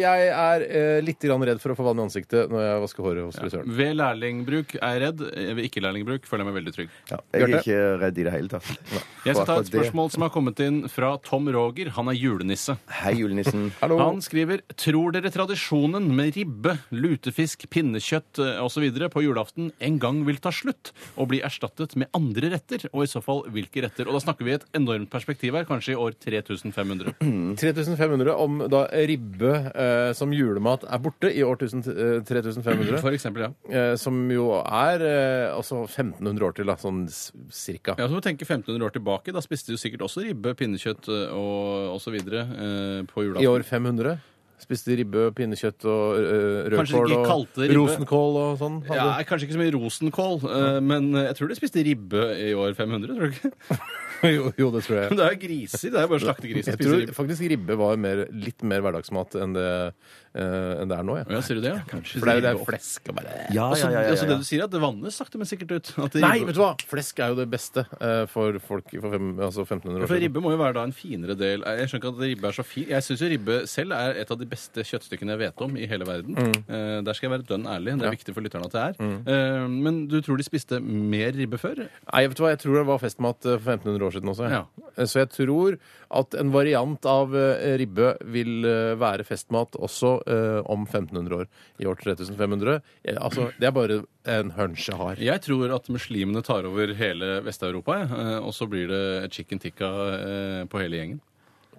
[SPEAKER 3] jeg er eh, litt grann redd for å få vann i ansiktet når jeg vasker håret hos frisøren.
[SPEAKER 5] Ved lærlingbruk er jeg redd. Eh, Ved ikke-lærlingbruk føler jeg meg veldig trygg.
[SPEAKER 4] Jeg er
[SPEAKER 3] Bjarte?
[SPEAKER 4] ikke redd i det hele tatt.
[SPEAKER 5] Jeg skal ta
[SPEAKER 4] For
[SPEAKER 5] et
[SPEAKER 4] akkurat det-
[SPEAKER 5] spørsmål som har kommet inn fra Tom Roger. Han er julenisse.
[SPEAKER 4] Hei, julenissen.
[SPEAKER 3] Hallo.
[SPEAKER 5] Han skriver Tror dere tradisjonen med ribbe, lutefisk, pinnekjøtt eh, osv. på julaften en gang vil ta slutt og bli erstattet med andre retter? Og i så fall hvilke retter? Og da snakker vi i et enormt perspektiv her, kanskje i år 3500.
[SPEAKER 3] 3500 om da ribbe eh, som julemat er borte i år 1000, eh, 3500.
[SPEAKER 5] Mm, For eksempel, ja.
[SPEAKER 3] Eh, som jo er eh, altså 1500 år til, da, sånn s- cirka.
[SPEAKER 5] Ja, så må du tenke 1500 år tilbake. Da spiste de jo sikkert også ribbe, pinnekjøtt eh, og osv. Eh, på
[SPEAKER 3] I
[SPEAKER 5] julaften.
[SPEAKER 3] år 500. Spiste ribbe, pinnekjøtt og øh,
[SPEAKER 5] Kanskje de
[SPEAKER 3] rødkål
[SPEAKER 5] ikke
[SPEAKER 3] og
[SPEAKER 5] kalte det ribbe?
[SPEAKER 3] rosenkål og sånn.
[SPEAKER 5] Ja,
[SPEAKER 3] hadde.
[SPEAKER 5] kanskje ikke så mye rosenkål, eh, men jeg tror de spiste ribbe i år 500. tror du ikke?
[SPEAKER 3] jo, jo, det tror jeg.
[SPEAKER 5] Men det er jo griser. Det er jo bare slaktegris som
[SPEAKER 3] Jeg
[SPEAKER 5] spiser
[SPEAKER 3] tror
[SPEAKER 5] ribbe.
[SPEAKER 3] faktisk ribbe var mer, litt mer hverdagsmat enn det, eh, enn det er nå. Ja.
[SPEAKER 5] Ja, sier du det? Ja?
[SPEAKER 3] For det er jo det er flesk og bare
[SPEAKER 4] Ja,
[SPEAKER 5] Altså, altså det du sier er at det vannes sakte, men sikkert ut. At det
[SPEAKER 3] Nei, vet du hva! Flesk er jo det beste eh, for folk for fem, altså 1500 år
[SPEAKER 5] For
[SPEAKER 3] siden.
[SPEAKER 5] ribbe må jo være da en finere del. Jeg skjønner ikke at ribbe er så fin. Jeg syns jo ribbe selv er et av de beste kjøttstykkene jeg vet om i hele verden. Eh, der skal jeg være dønn ærlig. Det er viktig for lytterne at det er. Eh, men du tror de spiste mer ribbe før?
[SPEAKER 3] Nei, vet du hva, jeg tror det var festmat eh, for 1500 år år siden også.
[SPEAKER 5] Ja.
[SPEAKER 3] Eh, Så jeg tror at en variant av eh, ribbe vil eh, være festmat også eh, om 1500 år. I år 3500. Eh, Altså, det er bare en hunch jeg har.
[SPEAKER 5] Jeg tror at muslimene tar over hele Vest-Europa, jeg, eh, og så blir det chicken tikka eh, på hele gjengen.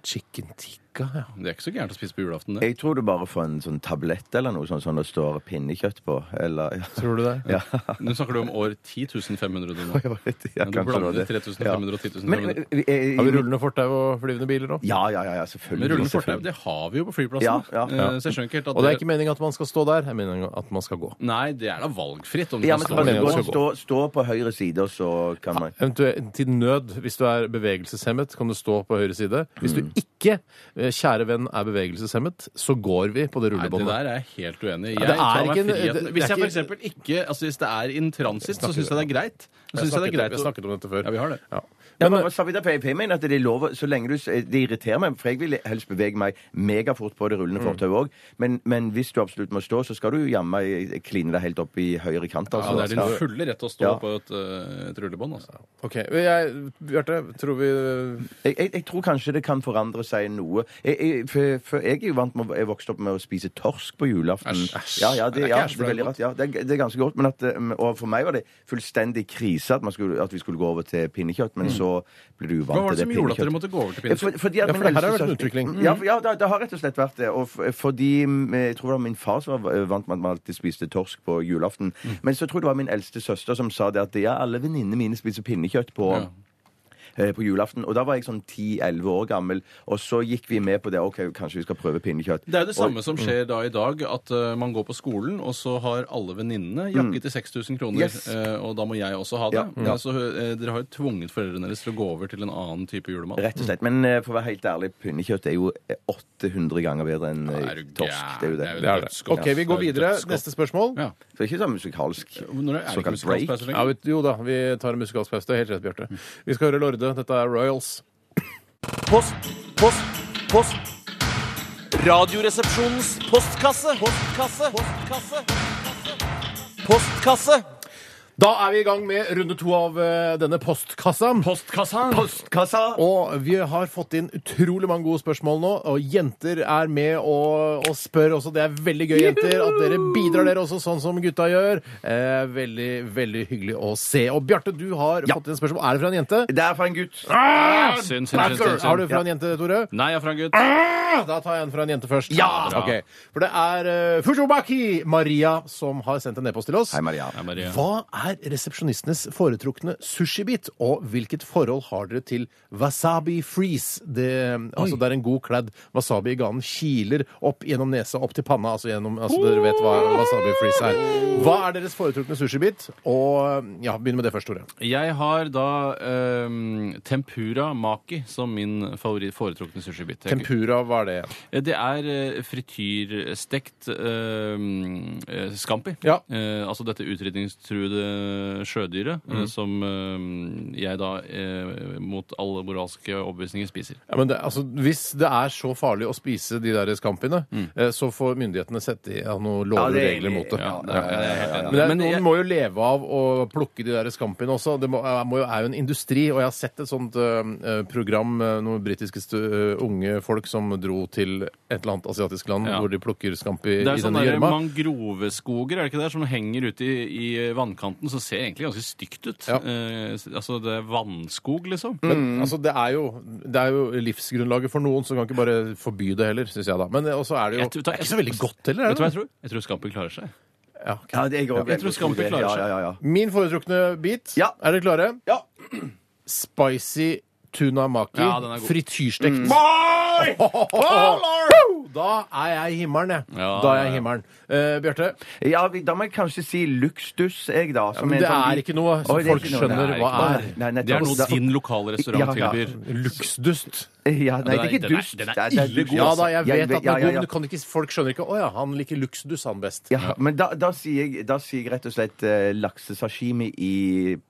[SPEAKER 3] Chicken tikka, ja.
[SPEAKER 5] Det er ikke så gærent å spise på julaften, det.
[SPEAKER 4] Jeg tror du bare får en sånn tablett eller noe sånt som det står pinnekjøtt på. Eller ja.
[SPEAKER 3] Tror du det?
[SPEAKER 4] Ja.
[SPEAKER 5] Nå snakker du om år 10.500 nå.
[SPEAKER 4] Jeg var litt- ja,
[SPEAKER 5] Men du
[SPEAKER 4] kanskje det var
[SPEAKER 5] blander
[SPEAKER 4] det.
[SPEAKER 5] 3500 og
[SPEAKER 4] Men, men,
[SPEAKER 5] 10.500.
[SPEAKER 4] eh,
[SPEAKER 3] Har vi rullende fortau og flyvende biler òg?
[SPEAKER 4] Ja, ja, ja, ja selvfølgelig.
[SPEAKER 5] Men rullende fortau,
[SPEAKER 4] selvfølgelig.
[SPEAKER 5] det har vi jo på flyplassen.
[SPEAKER 4] Ja, ja.
[SPEAKER 5] eh, Så jeg skjønner ikke helt at
[SPEAKER 3] Og det er ikke meningen at man skal stå der, det er meningen at man skal gå.
[SPEAKER 5] Nei, det er da valgfritt. Om
[SPEAKER 4] Ja, men
[SPEAKER 5] du
[SPEAKER 4] kan
[SPEAKER 5] skal stå
[SPEAKER 4] man
[SPEAKER 5] med
[SPEAKER 3] meningen
[SPEAKER 4] gå,
[SPEAKER 3] skal
[SPEAKER 5] oss.
[SPEAKER 3] gå.
[SPEAKER 4] stå, stå på høyre side, og så kan man
[SPEAKER 3] Eventuelt til nød, hvis du er bevegelseshemmet, kan du stå på høyre side. Hvis du
[SPEAKER 5] Mm.
[SPEAKER 3] ikke, eh, kjære venn, er bevegelseshemmet, så går vi på det
[SPEAKER 5] Nei, det
[SPEAKER 3] rullebåndet.
[SPEAKER 5] der er jeg helt uenig i.
[SPEAKER 3] Ja,
[SPEAKER 5] Jeg
[SPEAKER 3] det er
[SPEAKER 5] tar meg
[SPEAKER 3] ikke en-
[SPEAKER 5] friheten.
[SPEAKER 3] det- det
[SPEAKER 5] Hvis
[SPEAKER 3] er
[SPEAKER 5] jeg for eksempel ikke altså Hvis det er in transit, så syns jeg det er greit. Så
[SPEAKER 3] Jeg
[SPEAKER 5] synes jeg det er
[SPEAKER 3] snakket-
[SPEAKER 5] greit
[SPEAKER 3] Vi
[SPEAKER 5] å-
[SPEAKER 3] har snakket om dette før.
[SPEAKER 5] Ja, vi har det.
[SPEAKER 3] Ja.
[SPEAKER 4] Ja,
[SPEAKER 3] Men,
[SPEAKER 4] men, så vidt jeg peier- peier, mener at det, er lov, å- så lenge du, s- eh, det irriterer meg, for jeg vil helst bevege meg megafort på det rullende fortauet òg. Men, men hvis du absolutt må stå, så skal du jammen meg kline deg helt opp i høyre kant.
[SPEAKER 5] Ja,
[SPEAKER 4] Altså.
[SPEAKER 5] det er din
[SPEAKER 4] Ja.
[SPEAKER 5] fulle rett å stå
[SPEAKER 4] Ja.
[SPEAKER 5] på et, eh, et rullebånd. Altså.
[SPEAKER 3] ok, jeg, Bjarte, tror vi
[SPEAKER 4] jeg, jeg, jeg tror kanskje det kan forandre seg noe. Jeg, jeg, for, for jeg er jo vant med å- Jeg vokste opp med å spise torsk på julaften.
[SPEAKER 5] Æsj, æsj.
[SPEAKER 4] Ja, ja, det,
[SPEAKER 5] Det er
[SPEAKER 4] ja,
[SPEAKER 5] ikke æsj,
[SPEAKER 4] det er
[SPEAKER 5] for det er
[SPEAKER 4] veldig rart. Ja, det, er, det er ganske godt. Men at, um, og for meg var det fullstendig krise at, man skulle, at vi skulle gå over til pinnekjøtt, men så ble du
[SPEAKER 5] Mm. Hva
[SPEAKER 4] uvant
[SPEAKER 5] var
[SPEAKER 4] til
[SPEAKER 5] det
[SPEAKER 4] det
[SPEAKER 5] som gjorde at dere
[SPEAKER 4] pinnekjøttet.
[SPEAKER 5] måtte gå over til
[SPEAKER 4] Ja,
[SPEAKER 5] pinnekjøtt?
[SPEAKER 4] for, fordi at
[SPEAKER 3] Ja, for
[SPEAKER 4] min
[SPEAKER 3] det her har vært
[SPEAKER 4] eldste
[SPEAKER 3] en
[SPEAKER 4] søster-
[SPEAKER 3] utvikling.
[SPEAKER 5] Mm.
[SPEAKER 4] Ja, for- ja det, det har rett og slett vært det. Og f- fordi mm, Jeg tror det var min far som var vant med at man alltid spiste torsk på julaften.
[SPEAKER 5] Mm.
[SPEAKER 4] Men så tror jeg det var min eldste søster som sa det at ja, alle venninnene mine spiser pinnekjøtt på
[SPEAKER 5] Ja.
[SPEAKER 4] eh, på julaften, og Da var jeg sånn 10-11 år gammel, og så gikk vi med på det. ok, Kanskje vi skal prøve pinnekjøtt.
[SPEAKER 5] Det er jo det
[SPEAKER 4] Og-
[SPEAKER 5] samme som skjer da i dag, at eh, man går på skolen, og så har alle venninnene jakke til 6000 kroner,
[SPEAKER 4] Mm. Yes.
[SPEAKER 5] eh, og da må jeg også ha det.
[SPEAKER 4] Ja, ja.
[SPEAKER 5] Altså, eh, dere har jo tvunget foreldrene deres til å gå over til en annen type julemat.
[SPEAKER 4] Rett og slett. Men eh, for å være helt ærlig, pinnekjøtt er jo 800 ganger bedre enn eh,
[SPEAKER 5] Ja, er du
[SPEAKER 4] torsk.
[SPEAKER 5] gæren?
[SPEAKER 4] Det er jo det.
[SPEAKER 5] Det er jo
[SPEAKER 3] Det er det.
[SPEAKER 5] Dødsgodt.
[SPEAKER 3] OK, vi går videre.
[SPEAKER 5] Dødsgodt.
[SPEAKER 3] Neste spørsmål.
[SPEAKER 5] Ja.
[SPEAKER 4] Så det er ikke sånn musikalsk.
[SPEAKER 5] Når er det ikke
[SPEAKER 4] Såkalt
[SPEAKER 5] musikalsk altså? pause
[SPEAKER 3] Ja,
[SPEAKER 5] lenger?
[SPEAKER 3] vet, jo da, vi tar en musikalsk pause. Det er Helt rett, Bjarte. Vi skal høre Lorde. Dette er Royals.
[SPEAKER 8] Post, post, post. Radioresepsjonens postkasse. Postkasse. Postkasse. Postkasse.
[SPEAKER 3] Da er vi i gang med runde to av eh, denne postkassa. Postkassa. Og vi har fått inn utrolig mange gode spørsmål nå, og jenter er med og, og spør også. Det er veldig gøy, jenter, at dere bidrar dere også, sånn som gutta gjør. Eh, veldig, veldig hyggelig å se. Og Bjarte, du har fått inn spørsmål. Er det fra en jente?
[SPEAKER 4] Det er fra en gutt.
[SPEAKER 5] Synd, synd, synd, synd,
[SPEAKER 3] Har du
[SPEAKER 5] synd.
[SPEAKER 3] fra en jente, Tore?
[SPEAKER 5] Nei, jeg er fra en gutt.
[SPEAKER 3] Da tar jeg en fra en jente først.
[SPEAKER 5] Ja! Bra.
[SPEAKER 3] Ok. For det er uh, Fujobaki Maria som har sendt en e-post til oss.
[SPEAKER 4] Hei, Maria.
[SPEAKER 5] Nei, Maria.
[SPEAKER 3] Hva er resepsjonistenes foretrukne sushibit, og hvilket forhold har dere til wasabi freeze? Det, altså der en god kledd wasabi i ganen kiler opp gjennom nesa, opp til panna. Altså gjennom, altså dere vet hva wasabi freeze er. Hva er deres foretrukne sushibit? Og ja, begynn med det først, Tore.
[SPEAKER 5] Jeg har da ehm, tempura maki som min favoritt, foretrukne sushibit. Jeg-
[SPEAKER 3] Tempura, hva er det igjen?
[SPEAKER 5] Det er eh, frityrstekt ehm, eh, scampi.
[SPEAKER 3] Ja.
[SPEAKER 5] Eh, altså dette utrydningstruede sjødyret eh,
[SPEAKER 3] Mhm.
[SPEAKER 5] som ehm, jeg da eh, mot alle moralske overbevisninger spiser.
[SPEAKER 3] Ja, men det, altså, hvis det er så farlig å spise de der skampiene, eh, så får myndighetene sette i ja, noen
[SPEAKER 4] Ja,
[SPEAKER 3] lover og
[SPEAKER 4] det er
[SPEAKER 3] regler
[SPEAKER 4] enig.
[SPEAKER 3] mot det.
[SPEAKER 5] Ja, det er- jeg er helt enig.
[SPEAKER 3] Men, det er,
[SPEAKER 5] Men
[SPEAKER 3] noen
[SPEAKER 5] jeg-
[SPEAKER 3] må jo leve av å plukke de der skampiene også. Det må, er- må jo, er jo en industri, og jeg har sett et sånt eh, program, eh, noen britiske stu, eh, unge folk som dro til et eller annet asiatisk land
[SPEAKER 5] Ja.
[SPEAKER 3] hvor de plukker skampi i
[SPEAKER 5] Det er
[SPEAKER 3] denne
[SPEAKER 5] sånne der
[SPEAKER 3] gjørma.
[SPEAKER 5] mangroveskoger er det ikke der, som henger ute i, i vannkanten, som ser egentlig ganske stygt ut.
[SPEAKER 3] Ja.
[SPEAKER 5] Eh, altså det er vannskog, liksom.
[SPEAKER 3] Men altså, det er, jo, det er jo livsgrunnlaget for noen, så kan ikke bare forby det heller, syns jeg da. Men eh, også er det jo
[SPEAKER 5] Jeg tror-
[SPEAKER 3] det er ikke så veldig godt heller.
[SPEAKER 5] Vet du hva
[SPEAKER 3] Er
[SPEAKER 5] jeg
[SPEAKER 3] det?
[SPEAKER 5] tror? Jeg tror Scampi klarer seg.
[SPEAKER 3] Ja, ok.
[SPEAKER 4] Ja, det er jeg, også
[SPEAKER 5] Jeg tror
[SPEAKER 4] veldig god
[SPEAKER 5] Scampi
[SPEAKER 4] idé.
[SPEAKER 5] klarer seg.
[SPEAKER 4] Ja, ja, ja, ja.
[SPEAKER 3] Min foretrukne bit.
[SPEAKER 4] Ja.
[SPEAKER 3] Er dere klare?
[SPEAKER 4] Ja.
[SPEAKER 3] Spicy tuna maki.
[SPEAKER 5] Ja, den er god.
[SPEAKER 3] frityrstekt.
[SPEAKER 4] Mm.
[SPEAKER 3] Woo! Da er jeg i himmelen, jeg.
[SPEAKER 5] Ja,
[SPEAKER 3] da er jeg
[SPEAKER 5] ja,
[SPEAKER 3] i
[SPEAKER 5] ja.
[SPEAKER 3] himmelen. Eh, Bjarte,
[SPEAKER 4] Ja, vi, da må jeg kanskje si luksduss, jeg, da. som
[SPEAKER 3] men det
[SPEAKER 4] sånn-
[SPEAKER 3] er ikke noe som
[SPEAKER 4] Oi, det er
[SPEAKER 3] folk
[SPEAKER 4] ikke noe.
[SPEAKER 3] skjønner
[SPEAKER 5] Det er
[SPEAKER 3] hva
[SPEAKER 5] ikke
[SPEAKER 3] er.
[SPEAKER 4] Nei, nettopp.
[SPEAKER 5] Det er noe
[SPEAKER 4] Da-
[SPEAKER 5] din lokale restaurant
[SPEAKER 4] Ja, ja.
[SPEAKER 5] tilbyr.
[SPEAKER 3] Luksdust.
[SPEAKER 4] Ja, nei,
[SPEAKER 5] Den
[SPEAKER 4] det
[SPEAKER 5] er-
[SPEAKER 4] er ikke
[SPEAKER 5] den er-
[SPEAKER 4] dust.
[SPEAKER 5] den er
[SPEAKER 4] Det det
[SPEAKER 5] ille god,
[SPEAKER 3] Ja da, jeg vet at den
[SPEAKER 4] ja,
[SPEAKER 3] er
[SPEAKER 4] ja,
[SPEAKER 3] god,
[SPEAKER 4] ja.
[SPEAKER 3] men du kan ikke, folk skjønner ikke Å ja, han liker luksdus han best.
[SPEAKER 4] Ja, men da, da, sier jeg, da sier jeg rett og slett eh, laksesashimi i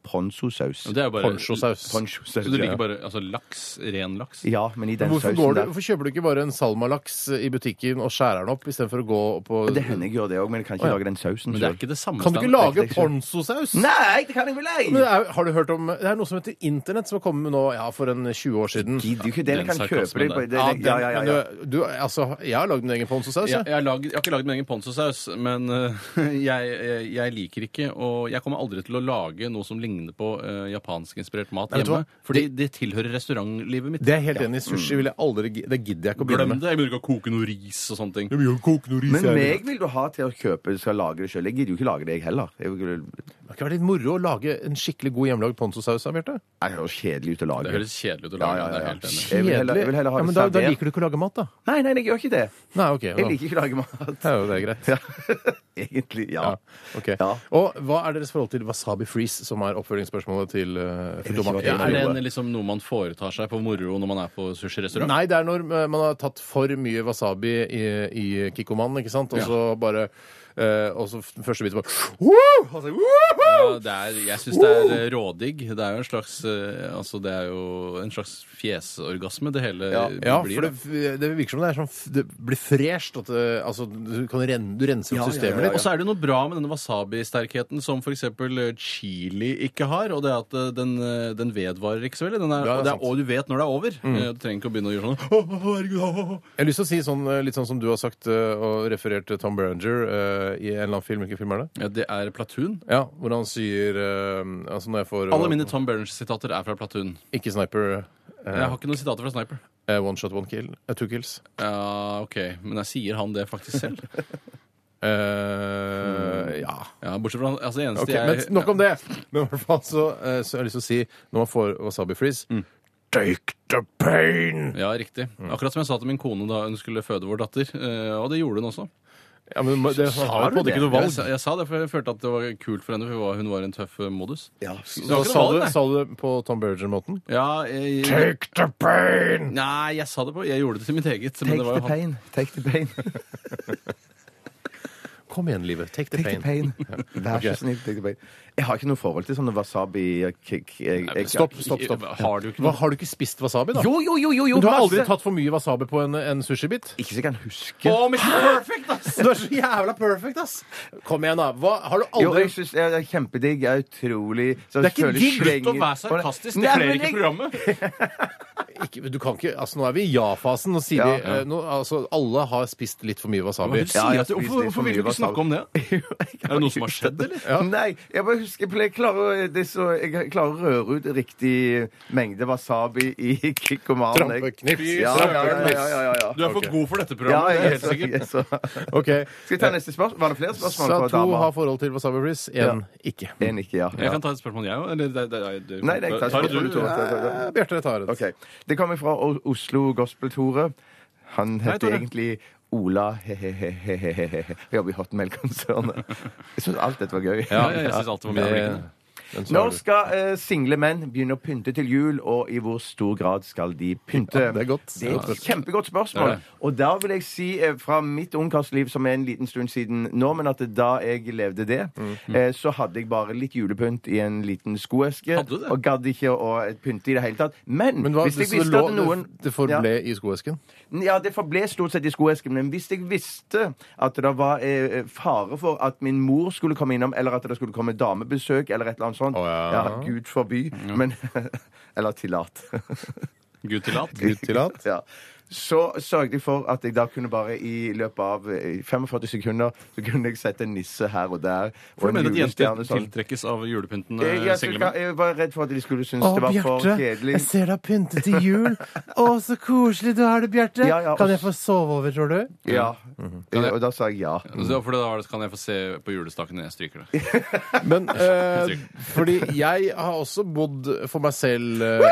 [SPEAKER 4] ponzosaus.
[SPEAKER 5] Det er jo bare
[SPEAKER 3] Ponchosaus.
[SPEAKER 5] Så
[SPEAKER 4] Ponchosaus,
[SPEAKER 5] du liker
[SPEAKER 4] ja.
[SPEAKER 5] bare altså, laks? Ren laks?
[SPEAKER 4] Ja, men i den
[SPEAKER 3] Hvorfor,
[SPEAKER 4] sausen
[SPEAKER 3] går du,
[SPEAKER 4] der.
[SPEAKER 3] hvorfor kjøper du ikke bare en salmalaks eh, i butikken og skjærer den opp istedenfor å gå på
[SPEAKER 4] Det hender jeg gjør det òg, men jeg kan ikke
[SPEAKER 3] Å, ja.
[SPEAKER 4] lage den sausen
[SPEAKER 5] Men det er
[SPEAKER 4] selv.
[SPEAKER 5] ikke det samme.
[SPEAKER 3] Kan du ikke
[SPEAKER 5] Stein.
[SPEAKER 3] lage
[SPEAKER 4] Det er ikke-
[SPEAKER 3] ponzosaus?
[SPEAKER 4] Nei, det kan jeg vel
[SPEAKER 3] Men det
[SPEAKER 4] ei!
[SPEAKER 3] er, har du hørt om Det er noe som heter internett, som har kommet nå ja, for en 20 år siden.
[SPEAKER 4] Gidder jo ikke det. Jeg kan
[SPEAKER 5] Den
[SPEAKER 4] kjøpe det på
[SPEAKER 5] sarkasmen
[SPEAKER 4] det,
[SPEAKER 3] Ja,
[SPEAKER 4] det,
[SPEAKER 3] den-
[SPEAKER 4] ja, ja, ja, ja.
[SPEAKER 3] men Du, du, altså, jeg har lagd min egen ponzosaus.
[SPEAKER 5] Jeg,
[SPEAKER 3] jeg.
[SPEAKER 5] jeg, har lag- jeg har ikke lagd min egen ponzosaus, men eh, jeg, jeg, jeg liker ikke Og jeg kommer aldri til å lage noe som ligner på uh, japanskinspirert mat
[SPEAKER 3] Nei, vet du
[SPEAKER 5] hjemme.
[SPEAKER 3] hva?
[SPEAKER 5] Fordi det tilhører restaurantlivet mitt.
[SPEAKER 3] Det er jeg helt enig i. Sushi vil jeg aldri gi- Det gidder jeg ikke å begynne
[SPEAKER 5] Glem
[SPEAKER 3] med.
[SPEAKER 5] det. Jeg begynner ikke å koke noe ris og sånne ting.
[SPEAKER 4] Men meg vil du ha til å kjøpe skal lage det sjøl. Jeg gidder jo ikke lage det, jeg heller. Jeg vil-
[SPEAKER 3] Det har ikke vært litt moro å lage en skikkelig god hjemmelagd ponzosaus? da, Bjarte?
[SPEAKER 4] Nei, det høres kjedelig ut å
[SPEAKER 5] Det
[SPEAKER 4] lage.
[SPEAKER 5] høres kjedelig ut å
[SPEAKER 4] Ja,
[SPEAKER 5] lage.
[SPEAKER 4] ja,
[SPEAKER 5] det er
[SPEAKER 4] ja.
[SPEAKER 5] jeg helt enig.
[SPEAKER 4] Jeg vil
[SPEAKER 5] i.
[SPEAKER 4] heller- jeg vil heller ha
[SPEAKER 3] ja,
[SPEAKER 4] det
[SPEAKER 3] men da, da
[SPEAKER 4] servert.
[SPEAKER 3] liker du ikke å lage mat, da?
[SPEAKER 4] Nei, nei, jeg gjør ikke det.
[SPEAKER 3] Nei, OK. Da.
[SPEAKER 4] Jeg liker ikke å lage mat.
[SPEAKER 3] Ja, jo, det er greit.
[SPEAKER 4] Ja. Egentlig, ja.
[SPEAKER 3] Ja, ok.
[SPEAKER 4] Ja.
[SPEAKER 3] Og hva er deres forhold til wasabi freeze, som er oppfølgingsspørsmålet til uh,
[SPEAKER 4] vet ikke hva det
[SPEAKER 5] Ja, er det
[SPEAKER 4] noe.
[SPEAKER 5] en, liksom noe man foretar seg på moro når man er på sushirestaurant?
[SPEAKER 3] Nei, det er når eh, man har tatt for mye wasabi i, i Kikkoman, ikke sant? Og så bare eh, Og så f- første biten bare «Woo!» Og så, «Woo!»
[SPEAKER 5] Ja, det er, jeg syns det er eh, rådigg. Det er jo en slags eh, altså det er jo en slags fjesorgasme, det hele
[SPEAKER 4] Ja.
[SPEAKER 5] blir.
[SPEAKER 3] Ja, for
[SPEAKER 5] da.
[SPEAKER 3] det, f- det virker som det er sånn f- Det blir fresht. At det, altså, du, kan ren, du renser opp systemet
[SPEAKER 5] Og
[SPEAKER 3] litt.
[SPEAKER 5] så er det noe bra med denne wasabi-sterkheten som f.eks. chili ikke har. Og det er at eh, den, eh, den vedvarer ikke så veldig. Den er,
[SPEAKER 3] Ja, det er
[SPEAKER 5] og, det
[SPEAKER 3] sant. Mm.
[SPEAKER 5] er, og du vet når det er over. Eh, Du trenger ikke å begynne å gjøre sånn «Å, å, herregud, å, å, å».
[SPEAKER 3] Jeg har lyst til å si sånn, eh, litt sånn som du har sagt eh, og referert til Tom Berenger eh, i en eller annen film. Hvilken film er det?
[SPEAKER 5] Ja, det er Platoon.
[SPEAKER 3] Ja, Hvor han sier eh, altså når jeg får
[SPEAKER 5] Alle mine Tom Berners-sitater er fra Platoon.
[SPEAKER 3] Ikke sniper. eh,
[SPEAKER 5] Jeg har ikke noen sitater fra Sniper.
[SPEAKER 3] eh, one shot, one kill. eh, two kills.
[SPEAKER 5] Ja, OK. Men jeg sier han det faktisk selv.
[SPEAKER 3] Eh, Ja.
[SPEAKER 5] Ja, Bortsett fra han- altså, det eneste
[SPEAKER 3] Mm. Ok,
[SPEAKER 5] jeg
[SPEAKER 3] men Nok om det. Men i hvert fall så, eh, så har jeg lyst til å si, når man får wasabi freeze Take the pain!
[SPEAKER 5] Ja, riktig.
[SPEAKER 3] Mm.
[SPEAKER 5] Akkurat som jeg sa til min kone da hun skulle føde vår datter. eh, Og det gjorde hun også.
[SPEAKER 3] Ja, men man- det man har jo på en måte ikke noe
[SPEAKER 5] Jeg,
[SPEAKER 3] valg.
[SPEAKER 5] sa- jeg sa det, for jeg følte at det var kult for henne, for hun var- hun var en tøff eh, modus.
[SPEAKER 4] ja.
[SPEAKER 5] har
[SPEAKER 3] Så,
[SPEAKER 5] ikke noe
[SPEAKER 3] sa,
[SPEAKER 5] valg,
[SPEAKER 3] du,
[SPEAKER 5] nei.
[SPEAKER 3] sa du det på Tom Berger-måten?
[SPEAKER 5] Ja, jeg,
[SPEAKER 3] Take the pain!
[SPEAKER 5] Nei, jeg sa det på Jeg gjorde det til mitt eget. Men
[SPEAKER 4] Take
[SPEAKER 5] det var
[SPEAKER 4] the
[SPEAKER 5] jo han.
[SPEAKER 4] pain. Take the pain.
[SPEAKER 3] Kom igjen, livet. Take the
[SPEAKER 4] Take the
[SPEAKER 3] pain.
[SPEAKER 4] pain. Vær så
[SPEAKER 3] Ok.
[SPEAKER 4] snill, take the pain. Jeg har ikke noe forhold til sånne wasabi kick jeg, jeg,
[SPEAKER 3] Stopp, stopp, stopp.
[SPEAKER 5] Har du ikke
[SPEAKER 3] Hva, har du ikke spist wasabi, da?
[SPEAKER 4] Jo, jo, jo, jo, jo
[SPEAKER 3] Men du har aldri
[SPEAKER 4] masse.
[SPEAKER 3] tatt for mye wasabi på en, en sushibit?
[SPEAKER 4] Ikke så jeg kan huske.
[SPEAKER 5] Perfect, ass!
[SPEAKER 3] Du er så jævla perfect, ass! Kom igjen, da. Hva, har du
[SPEAKER 4] Jo,
[SPEAKER 3] aldri
[SPEAKER 4] jeg synes det er kjempedigg. Jeg er utrolig så
[SPEAKER 3] Det er ikke
[SPEAKER 4] føler
[SPEAKER 3] digg.
[SPEAKER 4] slengen-
[SPEAKER 5] Slutt å være sarkastisk. Det
[SPEAKER 4] Nei,
[SPEAKER 5] kler
[SPEAKER 4] men
[SPEAKER 5] ikke
[SPEAKER 4] jeg-
[SPEAKER 5] programmet.
[SPEAKER 3] ikke, Du kan ikke Altså, nå er vi i ja-fasen. Nå sier
[SPEAKER 4] Ja.
[SPEAKER 3] de eh, nå, Altså, alle har spist litt for mye wasabi.
[SPEAKER 5] Hva vil du si
[SPEAKER 4] Ja, jeg
[SPEAKER 5] at du-
[SPEAKER 4] spiser
[SPEAKER 5] Hvorfor,
[SPEAKER 4] litt for
[SPEAKER 5] hvorfor vil du
[SPEAKER 4] mye
[SPEAKER 5] ikke snakke om det?
[SPEAKER 4] Jo, jeg kan
[SPEAKER 5] Er det noe
[SPEAKER 4] ikke
[SPEAKER 5] som har
[SPEAKER 4] huske
[SPEAKER 5] skjedd, eller?
[SPEAKER 4] Nei. Jeg bare husker jeg pleier- klarer, å- det er så, jeg klarer å røre ut riktig mengde wasabi i kikkomanen.
[SPEAKER 3] Trampeknips.
[SPEAKER 4] Ja, ja, ja, ja, ja, ja, ja.
[SPEAKER 5] Du er for
[SPEAKER 3] Ok.
[SPEAKER 5] god for dette
[SPEAKER 4] Ja,
[SPEAKER 5] programmet.
[SPEAKER 4] jeg,
[SPEAKER 5] det er
[SPEAKER 4] er
[SPEAKER 5] helt
[SPEAKER 4] så, jeg,
[SPEAKER 5] sikkert.
[SPEAKER 4] er så.
[SPEAKER 3] OK.
[SPEAKER 4] Skal vi ta neste spørsmål? Var det flere spørsmål
[SPEAKER 3] Sa
[SPEAKER 4] fra
[SPEAKER 3] to
[SPEAKER 4] dama?
[SPEAKER 3] har forhold til wasabi freeze, én ikke.
[SPEAKER 4] En ikke, ja.
[SPEAKER 5] Jeg kan ta et spørsmål, jeg òg. Eller det- det- det- det-
[SPEAKER 4] Nei, nei, ta et
[SPEAKER 5] Tar
[SPEAKER 4] spørsmål,
[SPEAKER 5] du-
[SPEAKER 4] Tore.
[SPEAKER 3] Eh, Bjarte tar det.
[SPEAKER 4] Ok. Det kommer fra O- Oslo Gospel-Tore. Han heter
[SPEAKER 5] Tore.
[SPEAKER 4] egentlig Ola he-he-he-he-he. Jobber i Hotmail-konsernet. Jeg syns alt dette var gøy.
[SPEAKER 5] Ja, jeg syns alltid var
[SPEAKER 3] Det-
[SPEAKER 5] mye
[SPEAKER 3] den svarer
[SPEAKER 4] Når
[SPEAKER 3] du.
[SPEAKER 4] skal eh, single menn begynne å pynte til jul, og i hvor stor grad skal de pynte?
[SPEAKER 3] Ja, det er godt.
[SPEAKER 4] Det er
[SPEAKER 3] Ja.
[SPEAKER 4] et kjempegodt spørsmål.
[SPEAKER 5] Det er det.
[SPEAKER 4] Og da vil jeg si, eh, fra mitt ungkarsliv, som er en liten stund siden nå, men at da jeg levde det,
[SPEAKER 3] Mm.
[SPEAKER 4] eh, så hadde jeg bare litt julepynt i en liten skoeske.
[SPEAKER 5] Hadde du det?
[SPEAKER 4] Og gadd ikke å pynte i det hele tatt. Men,
[SPEAKER 3] Men hva,
[SPEAKER 4] hvis jeg
[SPEAKER 3] så det,
[SPEAKER 4] visste
[SPEAKER 3] lå,
[SPEAKER 4] at noen
[SPEAKER 3] det, det forble i skoesken?
[SPEAKER 4] ja, det forble stort sett i skoesken, men hvis jeg visste at det var eh, fare for at min mor skulle komme innom, eller at det skulle komme damebesøk, eller et eller annet sånt
[SPEAKER 3] Å, ja.
[SPEAKER 4] Gud forby, men Eller tillat.
[SPEAKER 5] Gud tillat.
[SPEAKER 3] Gud tillat?
[SPEAKER 4] ja. Så sørget jeg for at jeg da kunne bare i løpet av eh, 45 sekunder så kunne jeg sette en nisse her og der.
[SPEAKER 5] For du mener at jenter
[SPEAKER 4] julestjerne sånn.
[SPEAKER 5] tiltrekkes av julepynten?
[SPEAKER 4] Jeg,
[SPEAKER 5] eh,
[SPEAKER 4] jeg,
[SPEAKER 5] singlemenn?
[SPEAKER 4] jeg var redd for at de skulle synes det var for kjedelig.
[SPEAKER 3] ser du har pyntet til jul. Å, så koselig du har det, Bjarte.
[SPEAKER 4] Ja, ja, Kan og- jeg få
[SPEAKER 3] sove over, tror du?
[SPEAKER 4] Ja.
[SPEAKER 5] Mhm.
[SPEAKER 4] Ja, Og da sa jeg ja.
[SPEAKER 5] Så for da kan jeg få se på julestaken når jeg stryker det.
[SPEAKER 3] Men eh, fordi jeg har også bodd for meg selv eh,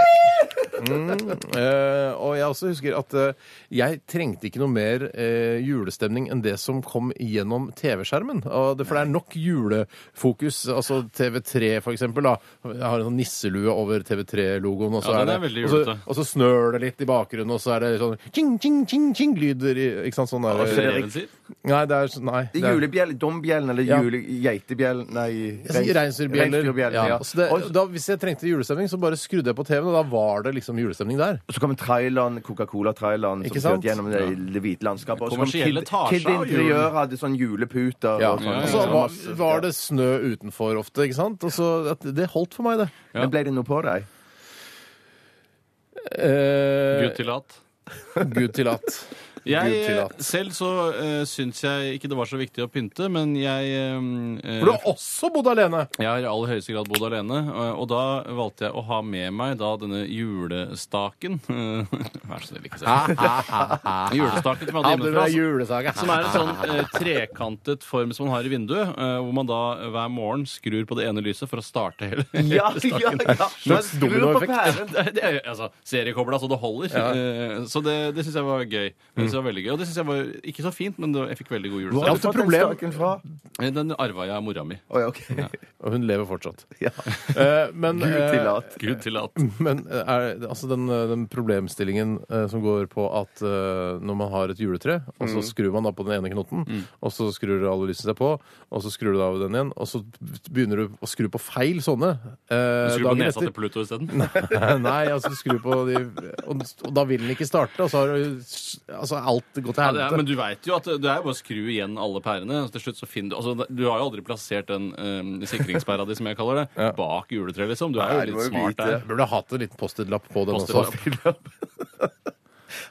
[SPEAKER 3] Eh, og jeg også husker at eh, jeg trengte ikke noe mer eh, julestemning enn det som kom gjennom TV-skjermen. Og det- For det er nok julefokus. Altså TV3, for eksempel. Da. Jeg har en sånn nisselue over TV3-logoen, og, så
[SPEAKER 5] Ja,
[SPEAKER 3] er
[SPEAKER 5] den er
[SPEAKER 3] det-
[SPEAKER 5] veldig
[SPEAKER 3] og, så-
[SPEAKER 5] julete.
[SPEAKER 3] og så snør det litt i bakgrunnen, og så er det sånn ching, ching, ching, ching, lyder i Ikke sant? Sånn
[SPEAKER 5] Hva er det
[SPEAKER 3] der.
[SPEAKER 5] reven sier?
[SPEAKER 3] Nei, det er sånn- Nei. det er-
[SPEAKER 4] Julebjell, dombjellen eller
[SPEAKER 3] Ja.
[SPEAKER 4] jule, geitebjell Nei,
[SPEAKER 3] Jeg sier Reinsdyrbjeller.
[SPEAKER 4] reinsdyrbjellen,
[SPEAKER 3] Ja.
[SPEAKER 4] ja.
[SPEAKER 3] Så det-
[SPEAKER 4] Og så-
[SPEAKER 3] da- Hvis jeg trengte julestemning, så bare skrudde jeg på TV-en, og da var det liksom julestemning der.
[SPEAKER 4] og så kommer traileren, Coca-Cola-traileren, som
[SPEAKER 3] Ikke sant?
[SPEAKER 4] kjørte gjennom det, det hvite landskapet. Og så kom
[SPEAKER 5] Kommersielle
[SPEAKER 4] Kid,
[SPEAKER 5] tasjer
[SPEAKER 4] Kid
[SPEAKER 5] av
[SPEAKER 4] Interiør
[SPEAKER 5] julen.
[SPEAKER 4] hadde sånn juleputer
[SPEAKER 3] Ja.
[SPEAKER 4] og sånn.
[SPEAKER 3] Og så var, var det snø utenfor ofte, ikke sant? Og så, at det holdt for meg, det.
[SPEAKER 4] Ja. Men ble det noe på deg?
[SPEAKER 5] Gud
[SPEAKER 3] Eh,
[SPEAKER 5] til at.
[SPEAKER 3] Gud til at.
[SPEAKER 5] Jeg,
[SPEAKER 3] Gud til at.
[SPEAKER 5] selv så uh, syns jeg ikke det var så viktig å pynte, men jeg eh,
[SPEAKER 3] For du har også bodd alene!
[SPEAKER 5] Jeg har i aller høyeste grad bodd alene, eh, og og da valgte jeg å ha med meg da denne julestaken. Vær så snill, ikke se. Julestaken som jeg hadde hjemmefra.
[SPEAKER 3] altså-
[SPEAKER 5] som- Som er en sånn eh, trekantet form som man har i vinduet, eh, hvor man da hver morgen skrur på det ene lyset for å starte hele, hele staken.
[SPEAKER 3] Slags dominoeffekt.
[SPEAKER 5] Det er, altså, Seriekobla så det holder. Eh, Så det, det syns jeg var gøy. Det synes jeg var veldig gøy. Og det syns jeg var ikke så fint, men det, jeg fikk veldig god
[SPEAKER 4] Hvor har
[SPEAKER 5] julestemning. Eh,
[SPEAKER 4] du fått den
[SPEAKER 3] problem.
[SPEAKER 4] staken fra?
[SPEAKER 5] Den arva jeg av mora mi.
[SPEAKER 4] Å, ja, ok.
[SPEAKER 3] Og hun lever fortsatt.
[SPEAKER 4] Ja.
[SPEAKER 3] Eh, men
[SPEAKER 4] Gud til
[SPEAKER 3] eh,
[SPEAKER 4] at.
[SPEAKER 5] Gud til at.
[SPEAKER 3] men eh, er, altså den, eh, den problemstillingen eh, som går på at eh, når man har et juletre, og
[SPEAKER 5] Mm.
[SPEAKER 3] så skrur man da på den ene knotten, og så skrur alle lysene seg på, og så skrur du av den igjen, og så begynner du å skru på feil sånne. eh,
[SPEAKER 5] Skrur på
[SPEAKER 3] dagen
[SPEAKER 5] nesa
[SPEAKER 3] etter.
[SPEAKER 5] til Pluto isteden.
[SPEAKER 3] Nei, altså du skrur på de og, og da vil den ikke starte, og så har du altså, alt gått til
[SPEAKER 5] Ja, det er, men
[SPEAKER 3] helvete.
[SPEAKER 5] du veit jo at det er jo bare å skru igjen alle pærene. og Til slutt så finner Du altså, du har jo aldri plassert den eh, sikringspæra di, som jeg kaller det, bak juletreet, liksom. Du er jo
[SPEAKER 4] Nei, du
[SPEAKER 5] litt
[SPEAKER 4] må jo
[SPEAKER 5] smart
[SPEAKER 4] vite.
[SPEAKER 5] der.
[SPEAKER 3] Jeg Burde ha hatt en liten Post-It-lapp på den
[SPEAKER 5] Post-it-lapp.
[SPEAKER 3] også.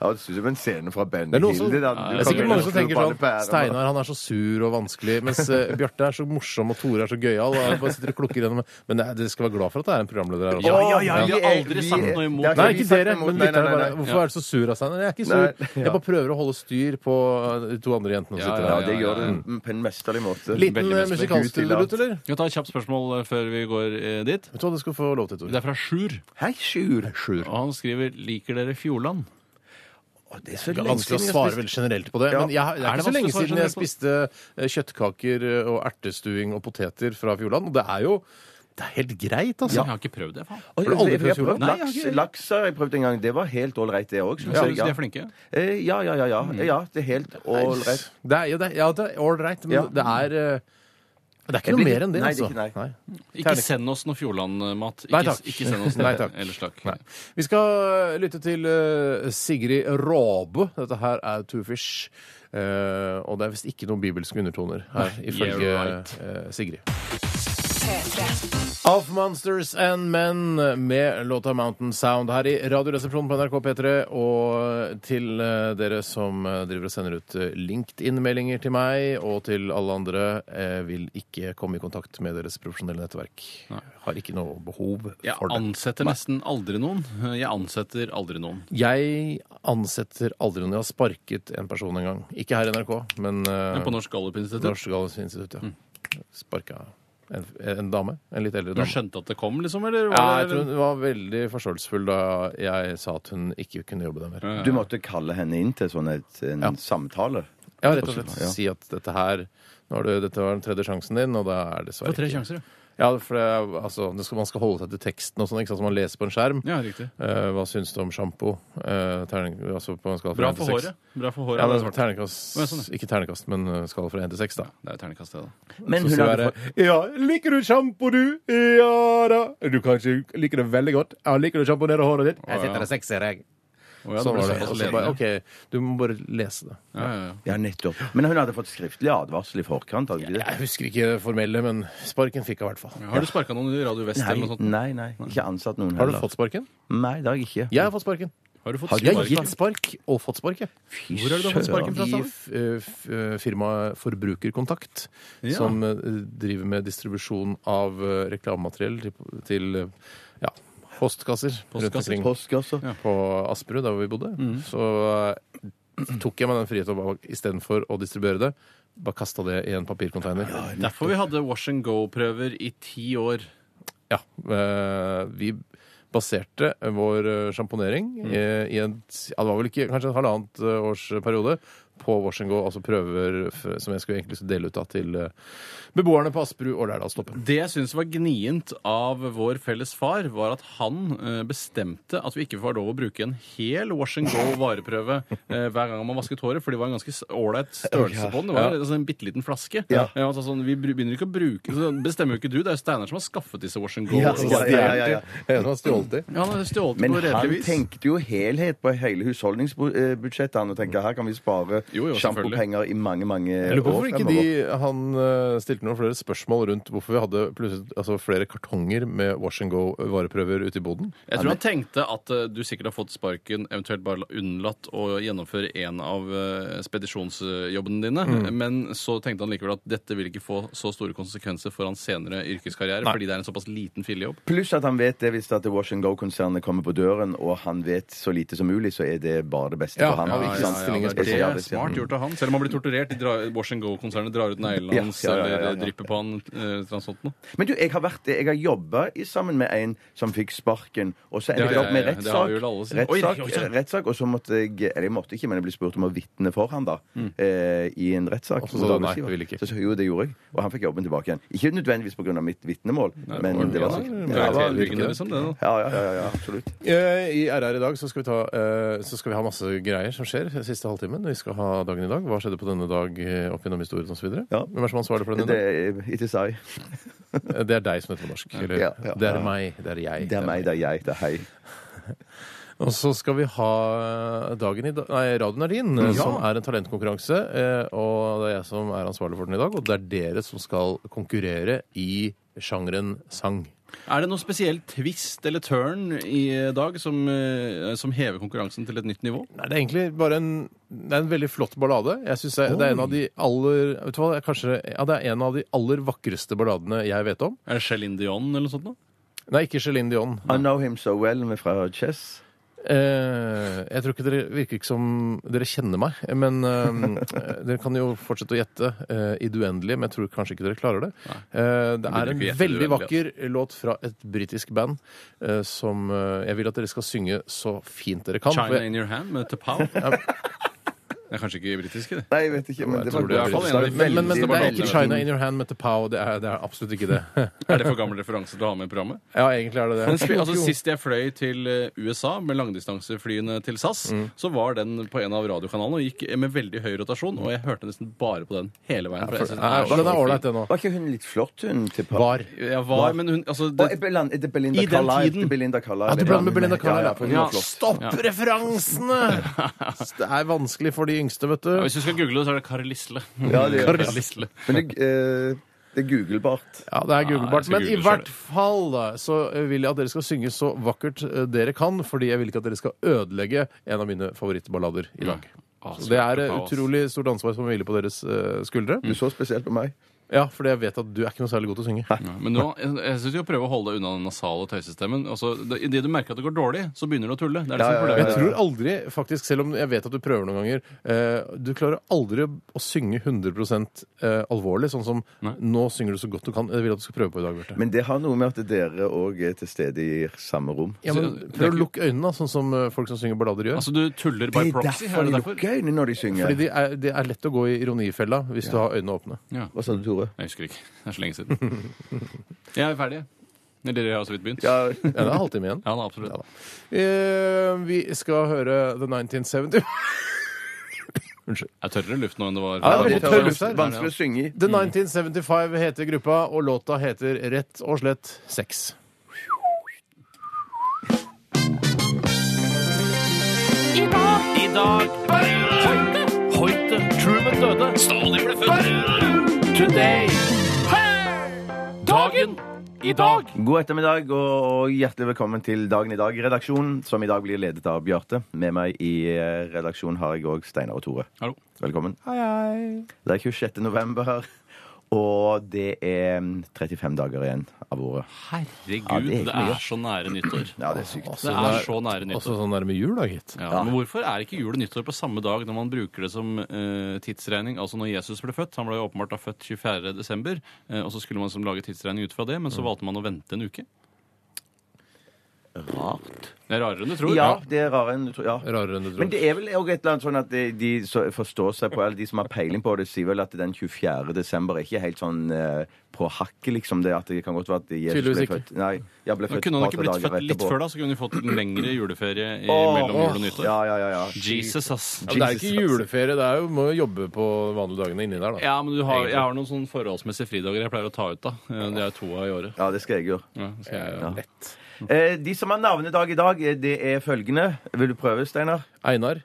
[SPEAKER 4] Ja, det synes jeg var en scene fra Ben
[SPEAKER 3] Det er, noen som,
[SPEAKER 4] Hilde.
[SPEAKER 3] det
[SPEAKER 4] da. Du
[SPEAKER 3] er
[SPEAKER 4] kan
[SPEAKER 3] sikkert
[SPEAKER 4] begynne
[SPEAKER 3] mange
[SPEAKER 4] å
[SPEAKER 3] som
[SPEAKER 4] skru
[SPEAKER 3] tenker
[SPEAKER 4] på alle
[SPEAKER 3] sånn
[SPEAKER 4] pærene.
[SPEAKER 3] Steinar han er så sur og vanskelig, mens eh, Bjarte er så morsom og Tore er så gøyal. og han bare sitter og klukker gjennom. Men det er- dere skal være glad for at det er en programleder her også.
[SPEAKER 5] Ja, ja, ja, vi
[SPEAKER 4] Vi
[SPEAKER 5] har
[SPEAKER 4] er-
[SPEAKER 5] aldri
[SPEAKER 4] vi
[SPEAKER 5] sagt
[SPEAKER 4] er-
[SPEAKER 5] noe imot.
[SPEAKER 4] det er
[SPEAKER 3] Nei,
[SPEAKER 4] vi
[SPEAKER 3] ikke
[SPEAKER 4] sagt
[SPEAKER 3] dere.
[SPEAKER 4] noe imot.
[SPEAKER 3] men
[SPEAKER 4] Nei,
[SPEAKER 3] lytterne
[SPEAKER 4] nei, nei,
[SPEAKER 3] bare
[SPEAKER 4] nei.
[SPEAKER 3] Hvorfor er du så sur av Steinar? Jeg er ikke
[SPEAKER 4] Nei,
[SPEAKER 3] sur.
[SPEAKER 4] ja.
[SPEAKER 3] Jeg bare prøver å holde styr på eh, de to andre jentene som
[SPEAKER 5] Ja,
[SPEAKER 3] sitter
[SPEAKER 4] Ja,
[SPEAKER 3] her.
[SPEAKER 4] det gjør du på en mesterlig måte.
[SPEAKER 3] Liten
[SPEAKER 5] Veldig
[SPEAKER 3] eh,
[SPEAKER 5] mesterlig.
[SPEAKER 3] musikalstudierutt, eller?
[SPEAKER 5] Skal vi ta et kjapt spørsmål eh, før vi går eh, dit?
[SPEAKER 3] Vet du hva du skal få lov til, Tore?
[SPEAKER 5] Det er fra Sjur,
[SPEAKER 4] Hei, Sjur.
[SPEAKER 3] Sjur.
[SPEAKER 5] og han skriver 'Liker dere Fjordland'?
[SPEAKER 4] Det er så
[SPEAKER 3] Det er
[SPEAKER 4] lenge
[SPEAKER 3] vanskelig å
[SPEAKER 4] siden jeg
[SPEAKER 3] svare
[SPEAKER 4] spiste-
[SPEAKER 3] veldig generelt på det.
[SPEAKER 4] Ja.
[SPEAKER 3] Men jeg, det
[SPEAKER 5] Er
[SPEAKER 3] er ikke
[SPEAKER 5] det
[SPEAKER 3] så lenge
[SPEAKER 5] vanskelig å svare
[SPEAKER 3] siden jeg
[SPEAKER 5] generelt på det?
[SPEAKER 3] spiste eh, kjøttkaker eh, og ertestuing og poteter fra Fjordland. Og det er jo det er helt greit, altså.
[SPEAKER 5] Jeg har ikke prøvd det, faen.
[SPEAKER 4] Oi,
[SPEAKER 3] Har du aldri
[SPEAKER 4] jeg- jeg
[SPEAKER 3] prøvd
[SPEAKER 4] har prøvd
[SPEAKER 3] Fjordland?
[SPEAKER 5] Nei, jeg har
[SPEAKER 4] Laks,
[SPEAKER 5] ikke-
[SPEAKER 4] laks har jeg prøvd en gang. Det var helt ålreit, det òg.
[SPEAKER 5] Ser ut som de er flinke.
[SPEAKER 4] Eh, Ja, ja, ja.
[SPEAKER 3] Mm.
[SPEAKER 4] ja. ja det er helt ålreit.
[SPEAKER 3] Det er, ja, det er, ja, det er all right, men
[SPEAKER 4] Ja.
[SPEAKER 3] det er eh, Det er
[SPEAKER 4] Jeg
[SPEAKER 3] ikke noe
[SPEAKER 4] blir-
[SPEAKER 3] mer enn det,
[SPEAKER 4] nei, det er
[SPEAKER 3] altså.
[SPEAKER 4] ikke nei.
[SPEAKER 5] Ikke send oss noe Fjordland-mat.
[SPEAKER 3] Nei,
[SPEAKER 5] Ikke,
[SPEAKER 3] takk.
[SPEAKER 5] ikke send oss
[SPEAKER 3] Nei,
[SPEAKER 5] noe.
[SPEAKER 3] takk.
[SPEAKER 5] Ellers takk.
[SPEAKER 3] Nei. Vi skal lytte til eh, Sigrid Råbe. Dette her er Two Fish. Eh, og det er visst ikke noen bibelske undertoner her, ifølge
[SPEAKER 5] right.
[SPEAKER 3] eh, Sigrid. Of Monsters and Men med låta Mountain Sound her i Radioresepsjonen på NRK P3. Og til eh, dere som eh, driver og sender ut eh, LinkedIn-meldinger til meg og til alle andre, eh, vil ikke komme i kontakt med deres profesjonelle nettverk. Har ikke noe behov
[SPEAKER 5] Jeg
[SPEAKER 3] for det.
[SPEAKER 5] ansetter nesten aldri noen. Jeg ansetter aldri noen.
[SPEAKER 3] Jeg ansetter aldri noen. Jeg har sparket en person en gang. Ikke her i NRK, men eh,
[SPEAKER 5] Men på Norsk Gallup-institutt.
[SPEAKER 3] Norsk Gallup-institutt. Ja. Sparka en, en dame. En litt eldre
[SPEAKER 5] Du
[SPEAKER 3] dame.
[SPEAKER 5] skjønte at det kom, liksom? Eller?
[SPEAKER 3] Ja,
[SPEAKER 5] var
[SPEAKER 3] jeg
[SPEAKER 5] det-
[SPEAKER 3] tror hun var veldig forståelsesfull da jeg sa at hun ikke kunne jobbe der mer.
[SPEAKER 4] Du måtte kalle henne inn til sånn et, en samtale.
[SPEAKER 3] Ja, rett og slett
[SPEAKER 4] Ja.
[SPEAKER 3] si at dette her nå har du, dette var den tredje sjansen din, og da er det
[SPEAKER 5] Det
[SPEAKER 3] dessverre
[SPEAKER 5] var tre
[SPEAKER 3] ikke-
[SPEAKER 5] sjanser, ja.
[SPEAKER 3] Ja, for det, er- altså, det skal, man skal holde seg til teksten og sånn, ikke sant, som man leser på en skjerm.
[SPEAKER 5] ja. Riktig.
[SPEAKER 3] Eh, hva syns du om sjampo? Eh, terning, altså på en skala fra
[SPEAKER 5] Bra
[SPEAKER 3] en til
[SPEAKER 5] for
[SPEAKER 3] seks.
[SPEAKER 5] håret. Bra for håret.
[SPEAKER 3] Ja,
[SPEAKER 5] det,
[SPEAKER 3] men
[SPEAKER 5] er svart.
[SPEAKER 3] terningkast,
[SPEAKER 5] Ja, sånn,
[SPEAKER 3] Ikke terningkast, men uh, skala fra 1 til 6, da.
[SPEAKER 5] det er terningkast, det, da.
[SPEAKER 4] Men
[SPEAKER 3] Så
[SPEAKER 4] hun
[SPEAKER 3] sier jeg
[SPEAKER 4] hadde fått
[SPEAKER 3] Ja, liker du sjampo, du? Ja da. Du kanskje liker det veldig godt. Ja, liker du sjampo nede i håret ditt? Jeg
[SPEAKER 5] ja.
[SPEAKER 3] setter en sekser, jeg.
[SPEAKER 5] Å, ja,
[SPEAKER 3] Sånn var det.
[SPEAKER 5] såpass
[SPEAKER 3] Og så
[SPEAKER 5] ledende.
[SPEAKER 3] bare, OK, du må bare lese det.
[SPEAKER 5] ja, ja, ja.
[SPEAKER 4] ja, nettopp. Men hun hadde fått skriftlig advarsel i forkant. Hadde hun
[SPEAKER 3] Jeg
[SPEAKER 4] ikke det?
[SPEAKER 3] husker ikke det formelle, men sparken fikk jeg i hvert fall.
[SPEAKER 5] Har du sparka noen i Radio Vest eller noe
[SPEAKER 4] Nei,
[SPEAKER 5] sånt?
[SPEAKER 4] nei, nei, ikke ansatt noen
[SPEAKER 3] sånn. Har
[SPEAKER 4] heller.
[SPEAKER 3] du fått sparken?
[SPEAKER 4] Nei, det har jeg ikke.
[SPEAKER 3] Jeg har fått sparken.
[SPEAKER 5] Har du fått
[SPEAKER 4] Har
[SPEAKER 3] Jeg
[SPEAKER 5] spark?
[SPEAKER 3] har gitt spark og fått spark, jeg.
[SPEAKER 4] Fy
[SPEAKER 5] Hvor har du
[SPEAKER 4] søren.
[SPEAKER 5] fått sparken fra?
[SPEAKER 3] I
[SPEAKER 5] Stavanger?
[SPEAKER 3] f- eh, f- eh, firmaet Forbrukerkontakt, som eh, driver med distribusjon av eh, reklamemateriell til, til eh, ja, postkasser rundt
[SPEAKER 5] Postkasser. Mm.
[SPEAKER 3] omkring
[SPEAKER 4] Postkasser.
[SPEAKER 3] på Asperud, der hvor vi bodde. Så eh, tok jeg meg den friheten og bare- istedenfor å distribuere det, bare kasta det i en papircontainer.
[SPEAKER 5] Derfor vi hadde wash and go-prøver i ti år.
[SPEAKER 3] Ja, eh, vi baserte vår eh, sjamponering eh, i en, ja, det var vel ikke, kanskje en halvannet eh, års periode på Washington, altså prøver f- som jeg skulle egentlig dele ut da til eh, beboerne på Asperud og Lærdalstoppen.
[SPEAKER 5] Det jeg syns var gnient av vår felles far, var at han eh, bestemte at vi ikke var lov å bruke en hel wash and go-vareprøve eh, hver gang man vasket håret, for det var en ganske s- ålreit størrelse på den. Det var altså, en bitte liten flaske.
[SPEAKER 4] Ja.
[SPEAKER 5] Eh, altså, sånn, vi bru- begynner ikke å bruke så Bestemmer jo ikke du, det er jo Steinar som har skaffet disse wash and go.
[SPEAKER 4] Ja,
[SPEAKER 5] og
[SPEAKER 4] ja, ja, ja, ja.
[SPEAKER 3] En har stjålet de.
[SPEAKER 5] Ja, han har stjålet det
[SPEAKER 4] Men
[SPEAKER 5] på redelig
[SPEAKER 4] han
[SPEAKER 5] vis.
[SPEAKER 4] tenkte jo helhet på hele husholdningsbudsjettet. Han og
[SPEAKER 3] Mm.
[SPEAKER 4] tenkte her kan vi spare
[SPEAKER 5] Jo, jo, selvfølgelig.
[SPEAKER 4] sjampopenger i mange, mange
[SPEAKER 3] Jeg lurer på hvorfor
[SPEAKER 4] år
[SPEAKER 3] ikke de, han eh, stilte noen flere spørsmål rundt hvorfor vi hadde plutselig altså, flere kartonger med wash and go-vareprøver ute i boden.
[SPEAKER 5] Jeg tror han tenkte at eh, du sikkert har fått sparken, eventuelt bare la- unnlatt å gjennomføre en av eh, spedisjonsjobbene dine. Men så tenkte han likevel at dette vil ikke få så store konsekvenser for hans senere yrkeskarriere, fordi det er en såpass liten fillejobb.
[SPEAKER 4] Pluss at han vet det hvis at Wash and Go-konsernet kommer på døren, og han vet så lite som mulig, så er det bare det beste
[SPEAKER 3] Ja,
[SPEAKER 4] for ham.
[SPEAKER 3] ja, ikke sant. Stillingen
[SPEAKER 5] det
[SPEAKER 3] spesielt.
[SPEAKER 5] er det. Smart
[SPEAKER 4] Mm.
[SPEAKER 5] gjort av han. Selv om han blir torturert. de drar- Wash and Go-konsernet drar ut neglene
[SPEAKER 4] Ja,
[SPEAKER 5] hans
[SPEAKER 4] ja, ja, ja, ja.
[SPEAKER 5] eller drypper på han. Eh, eller noe sånt noe.
[SPEAKER 4] Men du, jeg har, vært- jeg har jobba sammen med en som fikk sparken, og så
[SPEAKER 5] Det har
[SPEAKER 4] endte det opp med
[SPEAKER 5] jeg- det har vel alle
[SPEAKER 4] rettssak.
[SPEAKER 5] siden. Oi,
[SPEAKER 4] Rettssak,
[SPEAKER 5] oi, oi, oi.
[SPEAKER 4] rettssak, og så måtte jeg Eller jeg måtte ikke, men jeg ble spurt om å vitne for han da. Eh, I en rettssak.
[SPEAKER 3] Og så sa
[SPEAKER 4] mot
[SPEAKER 3] du nei,
[SPEAKER 4] arbeidsgiver.
[SPEAKER 3] jeg vil ikke.
[SPEAKER 4] Så sa jeg, jo, det gjorde jeg. Og han fikk jobben tilbake igjen. Ikke nødvendigvis pga. mitt vitnemål, men det var sikkert
[SPEAKER 5] Det
[SPEAKER 4] ja,
[SPEAKER 5] er
[SPEAKER 4] det var litt
[SPEAKER 5] selvbyggende,
[SPEAKER 4] gøy.
[SPEAKER 5] liksom, det, da.
[SPEAKER 4] ja, ja, ja, ja, absolutt.
[SPEAKER 3] Eh, I RR i dag så skal, vi ta, eh, så skal vi ha masse greier som skjer siste halvtimen. Vi skal ha dagen i dag. Hva skjedde på denne dag eh, opp gjennom historien osv.
[SPEAKER 4] Ja.
[SPEAKER 3] Hvem er som ansvarlig for den? i
[SPEAKER 4] Det
[SPEAKER 3] dag?
[SPEAKER 4] er It is I.
[SPEAKER 3] Eh, Det er deg som heter på norsk. Eller,
[SPEAKER 4] Ja, ja.
[SPEAKER 3] Det er meg. Det er jeg.
[SPEAKER 4] Det er meg, det er jeg, det er hei.
[SPEAKER 3] Og så skal vi ha eh, dagen i dag, nei, Radioen er din, eh, som er en talentkonkurranse. eh, Og det er jeg som er ansvarlig for den i dag. Og det er dere som skal konkurrere i sjangeren sang.
[SPEAKER 5] Er det noe spesiell twist eller turn i eh, dag som, eh, som hever konkurransen til et nytt nivå?
[SPEAKER 3] Nei, det er egentlig bare en, det er en veldig flott ballade. Jeg synes det, det er en av de aller vet du hva, det er kanskje, ja, det er en av de aller vakreste balladene jeg vet om.
[SPEAKER 5] Er det Céline Dion eller noe sånt? noe?
[SPEAKER 3] Nei, ikke Céline Dion.
[SPEAKER 4] I know him so well med fra Chess.
[SPEAKER 3] Eh, jeg tror ikke dere virker ikke som dere kjenner meg. Men eh, dere kan jo fortsette å gjette eh, i det uendelige, men jeg tror kanskje ikke dere klarer det. Eh, det
[SPEAKER 5] burde
[SPEAKER 3] er en
[SPEAKER 5] ikke gjette i
[SPEAKER 3] veldig
[SPEAKER 5] det
[SPEAKER 3] vakker låt fra et britisk band eh, som eh, jeg vil at dere skal synge så fint dere kan. for
[SPEAKER 5] China
[SPEAKER 3] jeg-
[SPEAKER 5] in your hand med Tapao. Det er kanskje ikke britisk, det.
[SPEAKER 4] Nei, jeg vet ikke, men det var
[SPEAKER 5] tror det er i hvert fall en av de
[SPEAKER 3] men, men, men det er
[SPEAKER 5] Veldig
[SPEAKER 3] ikke China in your hand med Tapao. Det, er- det er absolutt ikke det.
[SPEAKER 5] Er det for gammel referanse til å ha med i programmet?
[SPEAKER 3] Ja, egentlig er det det.
[SPEAKER 5] Men spi- altså, sist jeg fløy til eh, USA med langdistanseflyene til SAS,
[SPEAKER 3] Mm.
[SPEAKER 5] så var den på en av radiokanalene og gikk med veldig høy rotasjon, og jeg hørte nesten bare på den hele veien. for jeg synes den
[SPEAKER 3] Nei,
[SPEAKER 5] er så
[SPEAKER 3] den er
[SPEAKER 5] fin.
[SPEAKER 3] ålreit, den òg.
[SPEAKER 4] Var ikke hun litt flott, hun? Til par?
[SPEAKER 3] Var.
[SPEAKER 5] Jeg var, men hun altså,
[SPEAKER 4] Og
[SPEAKER 5] det,
[SPEAKER 4] Belinda, det er Belinda
[SPEAKER 5] I den
[SPEAKER 4] Carlisle.
[SPEAKER 5] tiden.
[SPEAKER 4] det er Belinda Carlisle.
[SPEAKER 3] Ja, du blander med Belinda Carlisle,
[SPEAKER 4] Ja, ja, for hun
[SPEAKER 5] ja.
[SPEAKER 4] var flott.
[SPEAKER 3] Stopp
[SPEAKER 5] Ja.
[SPEAKER 3] referansene! Det er vanskelig for de yngste, vet du.
[SPEAKER 5] Ja, Hvis du skal google det, så er det Kari Lisle.
[SPEAKER 4] Ja, det gjør det.
[SPEAKER 5] Kari Lisle.
[SPEAKER 4] Men det, eh, det er googlebart.
[SPEAKER 3] Ja, det er
[SPEAKER 5] jeg
[SPEAKER 3] googlebart.
[SPEAKER 5] skal
[SPEAKER 3] Men i
[SPEAKER 5] google
[SPEAKER 3] hvert fall da, så vil jeg at dere skal synge så vakkert eh, dere kan, fordi jeg vil ikke at dere skal ødelegge en av mine favorittballader i dag.
[SPEAKER 5] Ah,
[SPEAKER 3] Så det er eh,
[SPEAKER 5] svarte kaos.
[SPEAKER 3] utrolig stort ansvar som hviler på deres eh, skuldre.
[SPEAKER 4] Du så spesielt på meg.
[SPEAKER 3] Ja, fordi jeg vet at du er ikke noe særlig god til å synge.
[SPEAKER 5] Ja, Men nå, jeg, jeg synes jo prøve å holde deg unna den nasale tøysestemmen. Altså, det, i det du merker at det går dårlig, så begynner du å tulle. Det er det som er
[SPEAKER 3] Men
[SPEAKER 5] problemet.
[SPEAKER 3] jeg tror aldri, faktisk, selv om jeg vet at du prøver noen ganger eh, Du klarer aldri å synge 100 eh, alvorlig, sånn som Nå synger du så godt du kan. Jeg vil at du skal prøve på i dag, Bjarte.
[SPEAKER 4] Men det har noe med at dere òg er til stede i samme rom.
[SPEAKER 3] Ja, men Prøv å lukke øynene, da, sånn som eh, folk som synger ballader gjør.
[SPEAKER 5] Altså, du tuller by proxy. Er det
[SPEAKER 4] de
[SPEAKER 5] derfor?
[SPEAKER 4] lukker øynene når de synger.
[SPEAKER 3] Fordi det er, det er lett å gå i ironifella hvis du har øynene åpne.
[SPEAKER 5] Ja.
[SPEAKER 4] Hva sa du, Tore?
[SPEAKER 5] Jeg husker ikke. Det er så lenge siden. Jeg er ferdig. Eller jeg har så vidt begynt.
[SPEAKER 4] Ja,
[SPEAKER 3] Ja, det er en halvtime igjen.
[SPEAKER 5] Ja, da, absolutt.
[SPEAKER 3] Eh, vi skal høre The 1970. Unnskyld.
[SPEAKER 5] Det er tørrere luft nå enn det var
[SPEAKER 3] Ja, det er
[SPEAKER 5] før.
[SPEAKER 3] veldig
[SPEAKER 4] det
[SPEAKER 3] tørr
[SPEAKER 4] var
[SPEAKER 3] luft her.
[SPEAKER 4] vanskelig å synge i.
[SPEAKER 3] The 1975 heter gruppa, og låta heter rett og slett Sex.
[SPEAKER 7] I dag Hoite Hoite Truman døde Stalin ble født Today Dagen I dag
[SPEAKER 4] God ettermiddag og, og hjertelig velkommen til Dagen i dag, redaksjonen, som i dag blir ledet av Bjarte. Med meg i eh, redaksjonen har jeg òg Steinar og Tore.
[SPEAKER 5] Hallo.
[SPEAKER 4] Velkommen.
[SPEAKER 3] Hei, hei.
[SPEAKER 4] Det er 26. november, og det er 35 dager igjen av året. Ja,
[SPEAKER 5] Herregud,
[SPEAKER 4] det er ikke
[SPEAKER 5] det
[SPEAKER 4] mye.
[SPEAKER 5] er så nære nyttår.
[SPEAKER 4] Ja, det er sykt.
[SPEAKER 5] Det er så nære
[SPEAKER 3] Også
[SPEAKER 5] nyttår.
[SPEAKER 3] sånn der med jul, da, gitt.
[SPEAKER 5] Ja, men hvorfor er ikke jul og nyttår på samme dag når man bruker det som eh, tidsregning? Altså når Jesus ble født, han ble jo åpenbart da født 24. desember, eh, og så skulle man liksom lage tidsregning ut fra det, men så valgte man å vente en uke.
[SPEAKER 4] rart.
[SPEAKER 5] Det er rarere enn du tror.
[SPEAKER 4] Ja, det er rarere enn du tror. Ja.
[SPEAKER 3] Rarere enn du tror.
[SPEAKER 4] Men det er vel også et eller annet sånn at de, de så forstår seg på, eller de som har peiling på det, sier vel at den 24. desember er ikke helt sånn eh, på hakket, liksom. Det, at det kan godt være at Jesus
[SPEAKER 3] Tydeligvis
[SPEAKER 4] ble
[SPEAKER 3] ikke.
[SPEAKER 4] født Nei, ja, ble
[SPEAKER 5] Men
[SPEAKER 4] født
[SPEAKER 5] kunne han
[SPEAKER 4] et
[SPEAKER 5] ikke
[SPEAKER 4] par
[SPEAKER 5] blitt
[SPEAKER 4] dager
[SPEAKER 5] født litt
[SPEAKER 4] etterpå.
[SPEAKER 5] før, da? Så kunne vi fått en lengre juleferie i
[SPEAKER 4] Åh,
[SPEAKER 5] mellom jul og nyttår.
[SPEAKER 4] Ja, ja, ja, ja.
[SPEAKER 5] Jesus, ass.
[SPEAKER 3] Ja, men det er ikke juleferie. Det er jo, må jo jobbe på de vanlige dagene inni der, da.
[SPEAKER 5] Ja, men du har, jeg har noen sånne forholdsmessige fridager jeg pleier å ta ut, da. Eh, Det er to av i året.
[SPEAKER 4] Ja, det skal jeg gjøre.
[SPEAKER 5] Ja, skal jeg,
[SPEAKER 4] Ja. Eh, de som har navnedag i dag, eh, det er følgende. Vil du prøve, Steinar?
[SPEAKER 3] Einar.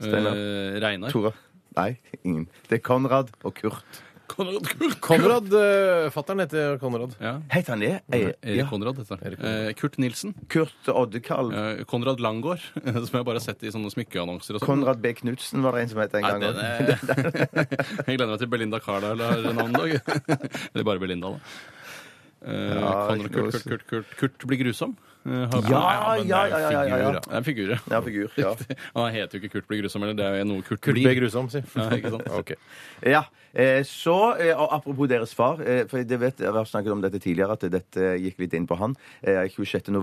[SPEAKER 4] Steinar.
[SPEAKER 5] Eh, Reinar.
[SPEAKER 4] Tore? Nei, ingen. Det er Konrad og Kurt.
[SPEAKER 5] Konrad Kurt.
[SPEAKER 3] Konrad. Uh, Fattern heter Konrad.
[SPEAKER 5] Ja.
[SPEAKER 4] Heter han det? Jeg,
[SPEAKER 5] Erik
[SPEAKER 4] ja.
[SPEAKER 5] Konrad heter han. Eh, Kurt Nilsen.
[SPEAKER 4] Kurt Oddekalv.
[SPEAKER 5] Eh, Konrad Langgaard, som jeg bare har sett i sånne smykkeannonser. og sånn.
[SPEAKER 4] Konrad B. Knutsen var det en som het en
[SPEAKER 5] Nei,
[SPEAKER 4] gang.
[SPEAKER 5] det,
[SPEAKER 4] også.
[SPEAKER 5] det. Jeg gleder meg til Belinda Carlisle har navnedag. Eller bare Belinda, da. Eh,
[SPEAKER 4] Ja,
[SPEAKER 5] Konrad
[SPEAKER 4] ikke noe
[SPEAKER 5] Kurt, Kurt, Kurt, Kurt, Kurt blir grusom. Eh, har-
[SPEAKER 4] Ja,
[SPEAKER 5] Nei, men det er jo
[SPEAKER 4] ja, ja, ja, ja, ja.
[SPEAKER 5] figur, Det er en figur,
[SPEAKER 4] Ja, figur. Ja.
[SPEAKER 5] Han heter jo ikke Kurt blir grusom, eller det er jo noe Kurt,
[SPEAKER 3] Kurt B.
[SPEAKER 5] blir.
[SPEAKER 3] Grusom, si.
[SPEAKER 5] Ja, ikke sant?
[SPEAKER 3] Ok.
[SPEAKER 4] Ja, eh, så, eh, og Apropos deres far, eh, for det vet, jeg har snakket om dette tidligere, at dette gikk litt inn på han. Eh,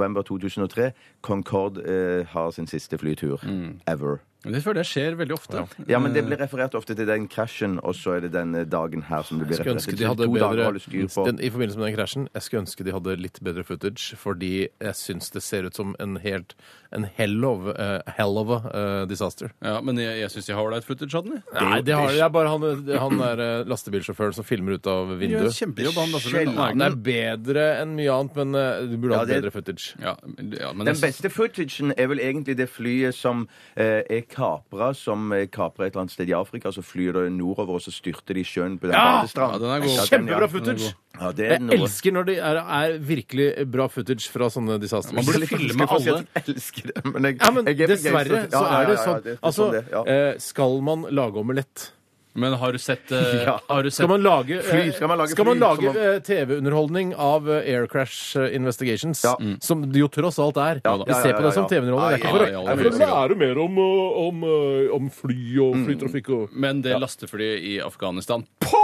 [SPEAKER 4] 26.11.2003, Concorde eh, har sin siste flytur
[SPEAKER 5] Mm.
[SPEAKER 4] ever.
[SPEAKER 5] Men Det føler jeg skjer veldig ofte.
[SPEAKER 4] Ja, men Det blir referert ofte til den krasjen, og så er det den eh, dagen her som det blir
[SPEAKER 3] Skulle
[SPEAKER 4] referert
[SPEAKER 3] ønske
[SPEAKER 4] til.
[SPEAKER 3] de
[SPEAKER 4] Så
[SPEAKER 3] hadde
[SPEAKER 4] to dager å
[SPEAKER 3] bedre
[SPEAKER 4] holde styr på.
[SPEAKER 3] den, I forbindelse med den krasjen, jeg skulle ønske de hadde litt bedre footage, fordi jeg syns det ser ut som en helt En hell of, eh, hell of a eh, disaster.
[SPEAKER 5] Ja, men jeg, jeg syns de har ålreit footage av den. jeg.
[SPEAKER 3] Nei, det, har, det er bare han, han der eh, lastebilsjåføren som filmer ut av
[SPEAKER 5] De gjør en
[SPEAKER 3] vinduet.
[SPEAKER 5] kjempejobb, han
[SPEAKER 3] Ja, Den er
[SPEAKER 5] lastebilen.
[SPEAKER 3] bedre enn mye annet, men eh, du burde
[SPEAKER 4] Ja,
[SPEAKER 3] hatt
[SPEAKER 4] det-
[SPEAKER 3] bedre footage.
[SPEAKER 5] Ja, men- ja, men
[SPEAKER 4] Den
[SPEAKER 5] jeg-
[SPEAKER 4] beste footagen er vel egentlig det flyet som eh, er kapra, som eh, kaprer et eller annet sted i Afrika. Så flyr det nordover, og så styrter de i sjøen på den badestranden.
[SPEAKER 5] ja, den er god.
[SPEAKER 4] Ja, den, ja.
[SPEAKER 3] Kjempebra footage!
[SPEAKER 4] Ja, det er
[SPEAKER 3] Jeg
[SPEAKER 4] noe.
[SPEAKER 3] elsker når det er, er virkelig bra footage fra sånne disastre.
[SPEAKER 5] Man burde filme
[SPEAKER 4] Jeg får si
[SPEAKER 5] alle.
[SPEAKER 4] at Jeg elsker det, men, jeg,
[SPEAKER 3] Ja, men
[SPEAKER 4] jeg er
[SPEAKER 3] dessverre
[SPEAKER 4] begeistret.
[SPEAKER 3] så
[SPEAKER 4] Ja, ja,
[SPEAKER 3] er det
[SPEAKER 4] ja, ja,
[SPEAKER 3] sånn.
[SPEAKER 4] det er
[SPEAKER 3] Altså,
[SPEAKER 4] sånn det, ja.
[SPEAKER 3] eh, skal man lage omelett?
[SPEAKER 5] Men har du sett, eh,
[SPEAKER 4] Ja.
[SPEAKER 5] har du sett
[SPEAKER 3] Skal man lage, eh,
[SPEAKER 4] Fly, skal man lage
[SPEAKER 3] skal man
[SPEAKER 4] fly,
[SPEAKER 3] lage
[SPEAKER 4] skal man-
[SPEAKER 3] eh, TV-underholdning av eh, Air Crash eh, Investigations?
[SPEAKER 4] Ja.
[SPEAKER 3] Mm. Som det jo tross alt er.
[SPEAKER 4] Ja,
[SPEAKER 3] Vi
[SPEAKER 4] ja,
[SPEAKER 3] ser
[SPEAKER 4] ja,
[SPEAKER 3] på
[SPEAKER 4] ja,
[SPEAKER 3] det som
[SPEAKER 4] ja.
[SPEAKER 3] TV-underholdning. Det er ikke
[SPEAKER 4] Ja, Mm.
[SPEAKER 5] ja, ja,
[SPEAKER 3] for,
[SPEAKER 5] ja,
[SPEAKER 3] det er for å lære mer om, eh, om, eh, om fly og flytrafikk og
[SPEAKER 5] Men det lasteflyet i Afghanistan po,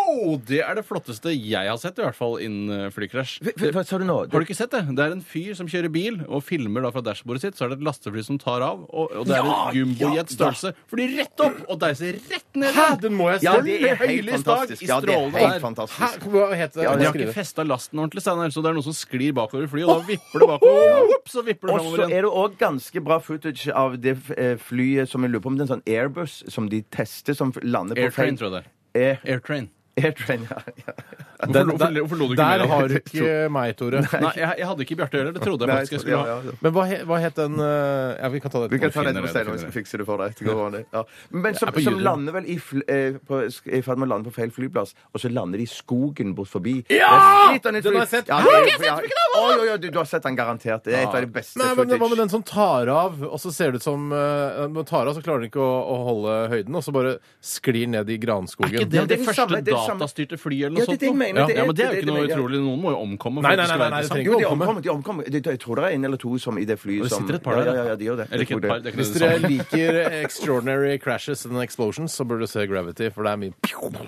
[SPEAKER 5] Det er det flotteste jeg har sett, i hvert fall innen eh, flykrasj.
[SPEAKER 4] Hva- hva- Hva sa du nå?
[SPEAKER 5] Har du ikke sett det? Det er en fyr som kjører bil og filmer da fra dashbordet sitt. Så er det et lastefly som tar av, og, og det er en jumbojet størrelse. Flyr rett opp og deiser rett ned.
[SPEAKER 3] Hæ, den må jeg
[SPEAKER 4] Ja,
[SPEAKER 3] se!
[SPEAKER 4] det er helt
[SPEAKER 5] høylys dag
[SPEAKER 4] fantastisk.
[SPEAKER 5] i
[SPEAKER 4] Ja, det er
[SPEAKER 5] strålende vær.
[SPEAKER 4] helt fantastisk.
[SPEAKER 3] Hæ, hva heter det?
[SPEAKER 4] Ja,
[SPEAKER 5] De
[SPEAKER 3] Jeg skal
[SPEAKER 5] har
[SPEAKER 3] skrive
[SPEAKER 5] ikke
[SPEAKER 3] det.
[SPEAKER 5] festa lasten ordentlig, Steinar, så det er noen som sklir bakover i flyet, og da vipper det bakover. Og, whoop, så vipper det
[SPEAKER 4] Og så
[SPEAKER 5] fremover
[SPEAKER 4] er det
[SPEAKER 5] igjen.
[SPEAKER 4] òg ganske bra footage av det eh, flyet som jeg lurer på om det er en sånn airbus som de tester, som lander på
[SPEAKER 5] Airtrain, tror jeg det er.
[SPEAKER 4] Air,
[SPEAKER 5] Airtrain.
[SPEAKER 4] airtrain, ja, ja.
[SPEAKER 5] Hvorfor, hvorfor, hvorfor lo du ikke
[SPEAKER 3] Der
[SPEAKER 5] mer?
[SPEAKER 3] har du ikke meg, Tore.
[SPEAKER 5] Nei, jeg, jeg hadde ikke Bjarte heller. Det trodde jeg
[SPEAKER 4] Nei,
[SPEAKER 5] faktisk jeg
[SPEAKER 4] ja,
[SPEAKER 5] skulle ha.
[SPEAKER 4] ja, ja.
[SPEAKER 3] Men hva, he, hva het den eh, Ja, vi kan ta det
[SPEAKER 4] Vi kan
[SPEAKER 3] etterpå.
[SPEAKER 4] ta det etterpå,
[SPEAKER 5] finner det,
[SPEAKER 4] Steinar. Vi
[SPEAKER 5] finner
[SPEAKER 4] skal fikse det for deg. Det går an, det. Ja. Men som,
[SPEAKER 3] er på
[SPEAKER 4] som
[SPEAKER 3] YouTube.
[SPEAKER 4] lander vel i fl eh, på, sk- er i ferd med å lande på feil flyplass, og så lander de i skogen bort forbi.
[SPEAKER 3] Ja!
[SPEAKER 4] Det er sliterne
[SPEAKER 3] Den har
[SPEAKER 4] fly-
[SPEAKER 3] jeg sett.
[SPEAKER 4] Ja, det er- ja. Oi, oi, oi, du, du har sett den garantert. Det er et av de beste
[SPEAKER 3] Nei, men Hva med
[SPEAKER 4] footage.
[SPEAKER 3] den som tar av, og så ser det ut som eh, Når den tar av, så klarer den ikke å, å holde høyden, og så bare sklir ned i granskogen.
[SPEAKER 5] Er ikke
[SPEAKER 4] det
[SPEAKER 5] det
[SPEAKER 4] er
[SPEAKER 5] det,
[SPEAKER 4] den
[SPEAKER 5] første
[SPEAKER 4] samme- det er den samme-
[SPEAKER 5] datastyrte flyet
[SPEAKER 4] Ja,
[SPEAKER 5] eller
[SPEAKER 4] det er
[SPEAKER 5] noe sånt?
[SPEAKER 4] det jeg
[SPEAKER 5] nå?
[SPEAKER 4] mener,
[SPEAKER 5] ja.
[SPEAKER 4] det er-
[SPEAKER 5] ja, men det er
[SPEAKER 4] det
[SPEAKER 5] jo
[SPEAKER 4] er det
[SPEAKER 5] ikke noe
[SPEAKER 4] jeg mener.
[SPEAKER 5] utrolig. Noen må jo omkomme. for
[SPEAKER 3] Nei,
[SPEAKER 5] at
[SPEAKER 3] nei,
[SPEAKER 5] det skal
[SPEAKER 3] nei,
[SPEAKER 5] være
[SPEAKER 3] nei, det
[SPEAKER 5] interessant.
[SPEAKER 3] trenger
[SPEAKER 4] Jo,
[SPEAKER 3] ikke
[SPEAKER 4] de
[SPEAKER 3] å komme.
[SPEAKER 4] omkommer, de omkommer. Det- Jeg tror det er en eller to som i det flyet
[SPEAKER 5] Det
[SPEAKER 4] som
[SPEAKER 5] sitter et par der,
[SPEAKER 4] Ja, ja, ja, de gjør det.
[SPEAKER 5] Eller ikke
[SPEAKER 4] Jeg
[SPEAKER 5] et
[SPEAKER 4] tror
[SPEAKER 5] par.
[SPEAKER 4] det.
[SPEAKER 5] Det er ikke
[SPEAKER 3] Hvis
[SPEAKER 5] det
[SPEAKER 3] dere liker Extraordinary Crashes and Explosions, så burde du se Gravity, for det er mye
[SPEAKER 5] Ja, men det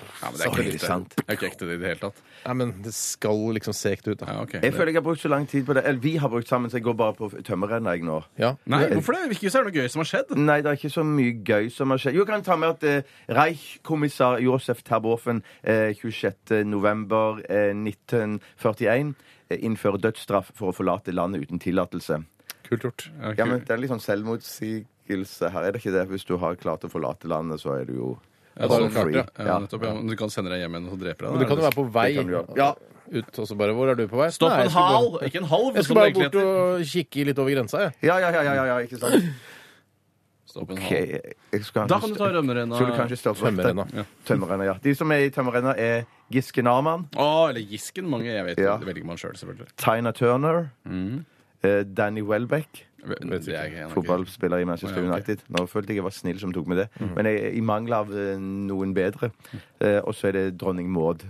[SPEAKER 4] Sorry,
[SPEAKER 5] er ikke riktig.
[SPEAKER 4] sant.
[SPEAKER 5] Det er ikke ekte det i det hele tatt.
[SPEAKER 3] Nei, men det skal liksom sekt ut,
[SPEAKER 5] Ja,
[SPEAKER 3] da.
[SPEAKER 5] ok.
[SPEAKER 4] Jeg føler jeg har brukt så lang tid på det. Eller vi har brukt sammen, så jeg går bare på tømmerrenna, jeg Mm. nå.
[SPEAKER 3] Ja.
[SPEAKER 5] Nei, hvorfor det? Virker jo som det er noe gøy som har skjedd.
[SPEAKER 4] Nei, det er ikke så mye gøy som har skjedd. Jo, jeg kan ta med at eh, Reich-kommissær Josef Terboven eh, 26. november eh, 1941 eh, innfører dødsstraff for å forlate landet uten tillatelse.
[SPEAKER 3] Kult gjort.
[SPEAKER 4] Ja, men Det er litt sånn selvmotsigelse her, er det ikke det? Hvis du har klart å forlate landet, så er du jo
[SPEAKER 5] Ja, da er det
[SPEAKER 4] altså,
[SPEAKER 5] klart,
[SPEAKER 4] free.
[SPEAKER 5] ja. Ja,
[SPEAKER 4] Ja.
[SPEAKER 5] nettopp, ja. Men Du kan sende deg hjem igjen og så dreper deg.
[SPEAKER 3] Men du kan jo være på vei
[SPEAKER 4] kan du gjøre.
[SPEAKER 3] ja. ut, og så bare Hvor er du på vei?
[SPEAKER 5] Stopp
[SPEAKER 3] Nei, jeg
[SPEAKER 5] en
[SPEAKER 3] skal
[SPEAKER 5] hal,
[SPEAKER 3] bare-
[SPEAKER 5] ikke en
[SPEAKER 3] Jeg
[SPEAKER 5] halv. som
[SPEAKER 3] skal bare
[SPEAKER 5] det egentlig
[SPEAKER 3] bort og kikke litt over grensa, jeg.
[SPEAKER 4] Ja, ja, ja, ja, ja, ja, ikke sant?
[SPEAKER 5] heter. Stopp en
[SPEAKER 4] Ok,
[SPEAKER 5] hal.
[SPEAKER 4] jeg- jeg skal
[SPEAKER 5] Da kan du ta
[SPEAKER 4] Skulle
[SPEAKER 5] rømmerenna.
[SPEAKER 4] kanskje stoppe
[SPEAKER 3] Tømmerrenna.
[SPEAKER 4] Tømmerrenna, ja. De som er i tømmerrenna, er Giske Narman,
[SPEAKER 5] Å, eller Gisken. Mange. Jeg vet
[SPEAKER 4] Ja.
[SPEAKER 5] Det velger man sjøl, selv, selvfølgelig.
[SPEAKER 4] Tina Turner, eh, Danny Welbeck
[SPEAKER 5] Mm. Det er ikke-
[SPEAKER 4] fotballspiller i Manchester
[SPEAKER 5] Å, ja, ok. Mhm.
[SPEAKER 4] United. Nå følte jeg jeg var snill som tok med det, men jeg, i mangel av eh, noen bedre. Eh, og så er det dronning Maud.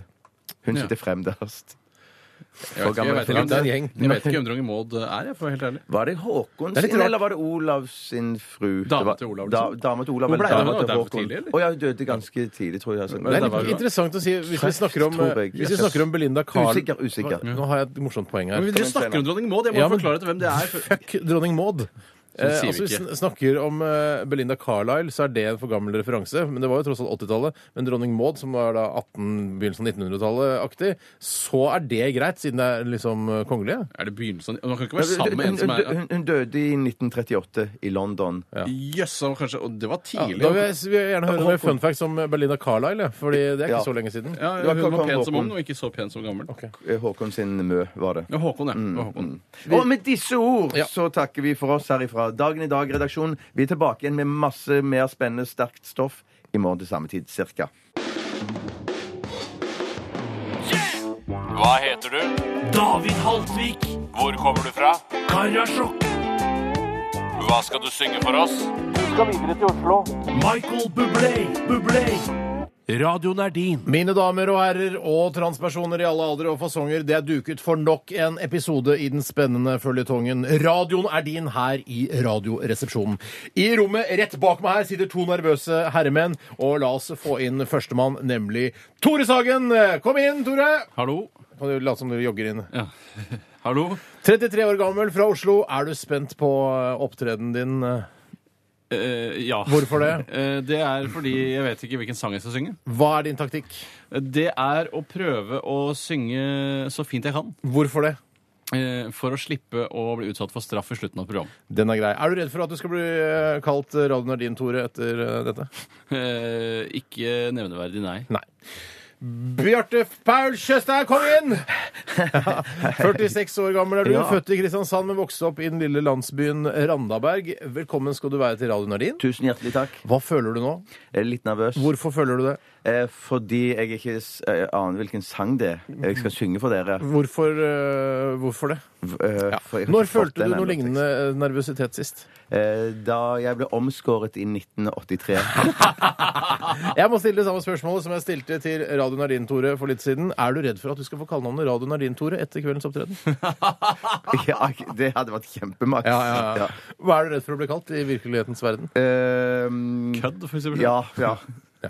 [SPEAKER 4] Hun
[SPEAKER 5] Ja.
[SPEAKER 4] sitter fremderst.
[SPEAKER 5] Jeg vet ikke-
[SPEAKER 4] gammel
[SPEAKER 5] jeg vet
[SPEAKER 4] for
[SPEAKER 5] ikke om det er en gjeng.
[SPEAKER 4] gammel.
[SPEAKER 5] Jeg vet ikke hvem Dronning Maud er, jeg, for å være helt ærlig.
[SPEAKER 4] Var det Håkon
[SPEAKER 3] Det er litt
[SPEAKER 4] sin,
[SPEAKER 3] rart.
[SPEAKER 4] eller var det Olav sin fru?
[SPEAKER 5] Dame
[SPEAKER 4] Det var-
[SPEAKER 5] til Olav,
[SPEAKER 4] Da,
[SPEAKER 5] liksom.
[SPEAKER 4] dame til Olav.
[SPEAKER 5] Hvor
[SPEAKER 4] eller
[SPEAKER 5] ble det?
[SPEAKER 4] dame
[SPEAKER 5] Hun var
[SPEAKER 4] til
[SPEAKER 5] der for
[SPEAKER 4] Håkon.
[SPEAKER 5] tidlig, eller?
[SPEAKER 4] Å ja, hun døde ganske tidlig, tror jeg. altså.
[SPEAKER 3] Det er
[SPEAKER 5] var
[SPEAKER 3] litt
[SPEAKER 5] jo-
[SPEAKER 3] interessant å si hvis vi
[SPEAKER 4] Kreft,
[SPEAKER 3] snakker om, eh,
[SPEAKER 4] tror jeg.
[SPEAKER 3] hvis vi snakker om Belinda Carl
[SPEAKER 4] Usikker, usikker.
[SPEAKER 3] Nå har jeg et morsomt poeng
[SPEAKER 5] Men
[SPEAKER 3] her.
[SPEAKER 5] vi vi snakker om dronning Maud. Jeg må
[SPEAKER 3] Ja, men-
[SPEAKER 5] forklare til hvem det er. før-
[SPEAKER 3] Fuck dronning Maud. Eh,
[SPEAKER 5] sier vi
[SPEAKER 3] altså, hvis
[SPEAKER 5] ikke.
[SPEAKER 3] vi sn- snakker om eh, Belinda Carlisle, så er det en for gammel referanse. Men det var jo tross alt 80-tallet. Men dronning Maud, som var da 18, begynnelsen av 1900-tallet-aktig, så er det greit, siden det er liksom eh, kongelige.
[SPEAKER 5] Er det begynnelsen? Man kan ikke være sammen med en
[SPEAKER 4] Hun,
[SPEAKER 5] som
[SPEAKER 4] hun,
[SPEAKER 5] er
[SPEAKER 4] hun, hun døde i 1938 i London.
[SPEAKER 5] Jøss, han var kanskje Og det var
[SPEAKER 3] Ja,
[SPEAKER 5] tidlig.
[SPEAKER 3] da vil jeg, vil jeg gjerne høre noen
[SPEAKER 4] Håkon.
[SPEAKER 3] fun facts om eh, Belinda Carlisle, ja, fordi det er ikke så
[SPEAKER 4] Ja.
[SPEAKER 3] lenge siden.
[SPEAKER 5] Ja,
[SPEAKER 4] Da
[SPEAKER 5] hun
[SPEAKER 4] kan-
[SPEAKER 5] var
[SPEAKER 4] kan
[SPEAKER 5] pen som
[SPEAKER 4] Håkon-
[SPEAKER 5] ung og ikke så pen som gammel. Mm,
[SPEAKER 4] Eh, Håkon sin mø, var det.
[SPEAKER 5] Ja, Håkon, ja. Det var Håkon.
[SPEAKER 4] Og med disse ord
[SPEAKER 3] Ja.
[SPEAKER 4] så takker vi for oss herifra. Dagen i dag-redaksjonen. Vi er tilbake igjen med masse mer spennende, sterkt stoff i morgen til samme tid, cirka.
[SPEAKER 7] Hva heter du? David Haltvik. Hvor kommer du fra? Karasjok. Hva skal du synge for oss? Du skal videre til Oslo. Michael Bublé. Bublé. Radioen er din.
[SPEAKER 3] Mine damer og herrer og transpersoner i alle aldre og fasonger, det er duket for nok en episode i den spennende føljetongen. Radioen er din her i Radioresepsjonen. I rommet rett bak meg her sitter to nervøse herremenn, og la oss få inn førstemann, nemlig Tore Sagen. Kom inn, Tore!
[SPEAKER 5] Hallo?
[SPEAKER 3] Kan du late som du jogger inn?
[SPEAKER 5] Ja. Hallo?
[SPEAKER 3] 33 år gammel fra Oslo. Er du spent på eh, opptredenen din? eh?
[SPEAKER 5] Eh, ja.
[SPEAKER 3] Hvorfor det?
[SPEAKER 5] Eh, det er fordi jeg vet ikke hvilken sang jeg skal synge.
[SPEAKER 3] Hva er din taktikk?
[SPEAKER 5] Det er å prøve å synge så fint jeg kan.
[SPEAKER 3] Hvorfor det?
[SPEAKER 5] eh, For å slippe å bli utsatt for straff i slutten av programmet.
[SPEAKER 3] Den er grei. Er du redd for at du skal bli eh, kalt eh, Radio Nardin, Tore, etter eh, dette?
[SPEAKER 5] Eh, Ikke nevneverdig, nei.
[SPEAKER 3] Nei. Bjarte Paul Tjøstheim, kom inn! 46 år gammel er du,
[SPEAKER 4] Ja.
[SPEAKER 3] født i Kristiansand, men vokste opp i den lille landsbyen Randaberg. Velkommen skal du være til Radio Nardin.
[SPEAKER 4] Tusen hjertelig takk.
[SPEAKER 3] Hva føler du nå?
[SPEAKER 4] Jeg er litt nervøs.
[SPEAKER 3] Hvorfor føler du det?
[SPEAKER 4] Eh, fordi jeg ikke s- eh, aner hvilken sang det er. Jeg skal synge for dere.
[SPEAKER 3] Hvorfor, eh, hvorfor det?
[SPEAKER 4] V- eh, for jeg har
[SPEAKER 3] Når
[SPEAKER 4] ikke fått
[SPEAKER 3] følte
[SPEAKER 4] den
[SPEAKER 3] du noe
[SPEAKER 4] ennå,
[SPEAKER 3] lignende eh, nervøsitet sist?
[SPEAKER 4] tekst. Eh, da jeg ble omskåret i 1983.
[SPEAKER 3] Jeg må stille det samme spørsmålet som jeg stilte til Radio Nardin, Tore, for litt siden. Er du redd for at du skal få kallenavnet Radio Nardin, Tore, etter kveldens opptreden?
[SPEAKER 4] ja, det hadde vært kjempemaks. Ja.
[SPEAKER 3] Hva er du redd for å bli kalt i virkelighetens verden?
[SPEAKER 4] Eh,
[SPEAKER 5] Kødd, for eksempel.
[SPEAKER 4] ja, ja.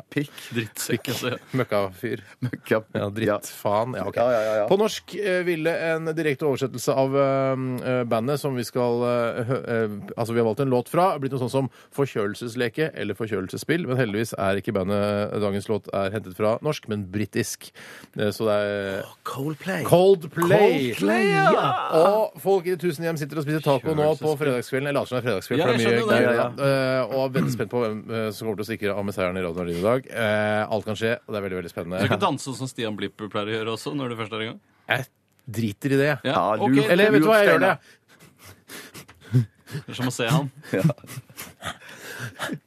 [SPEAKER 4] Pikk,
[SPEAKER 5] Drittsekk. Altså.
[SPEAKER 3] Møkkafyr.
[SPEAKER 4] møkka
[SPEAKER 3] Ja,
[SPEAKER 4] Ja.
[SPEAKER 3] drittfaen. Ja, ok.
[SPEAKER 4] Ja, ja, ja, ja.
[SPEAKER 3] På norsk eh, ville en direkte oversettelse av eh, bandet som vi skal eh, hø eh, Altså, vi har valgt en låt fra, blitt noe sånn som Forkjølelsesleke eller Forkjølelsesspill. Men heldigvis er ikke bandet eh, dagens låt er hentet fra norsk, men britisk. Eh, så det er
[SPEAKER 4] Coldplay.
[SPEAKER 3] Coldplay!
[SPEAKER 4] Coldplay, ja!
[SPEAKER 3] Og folk i tusen hjem sitter og spiser taco nå på fredagskvelden. Jeg later som det er fredagskveld,
[SPEAKER 5] Ja,
[SPEAKER 3] for det er
[SPEAKER 5] jeg
[SPEAKER 3] mye
[SPEAKER 5] skjønner
[SPEAKER 3] greier.
[SPEAKER 4] det.
[SPEAKER 3] Ja, Eh, Og er veldig spent på hvem eh, som kommer til å stikke av med seieren i Radio Nordin i dag. Eh, Alt kan skje, og det er veldig, veldig
[SPEAKER 5] Du kan
[SPEAKER 3] spennende.
[SPEAKER 5] danse sånn som Stian Blipp pleier å gjøre også, når du først er i gang.
[SPEAKER 3] Jeg driter i det. jeg.
[SPEAKER 5] Ja,
[SPEAKER 4] Ja, du-
[SPEAKER 5] ok,
[SPEAKER 3] Eller vet du hva, jeg gjør det.
[SPEAKER 4] Steinar.
[SPEAKER 5] Det er som å se han.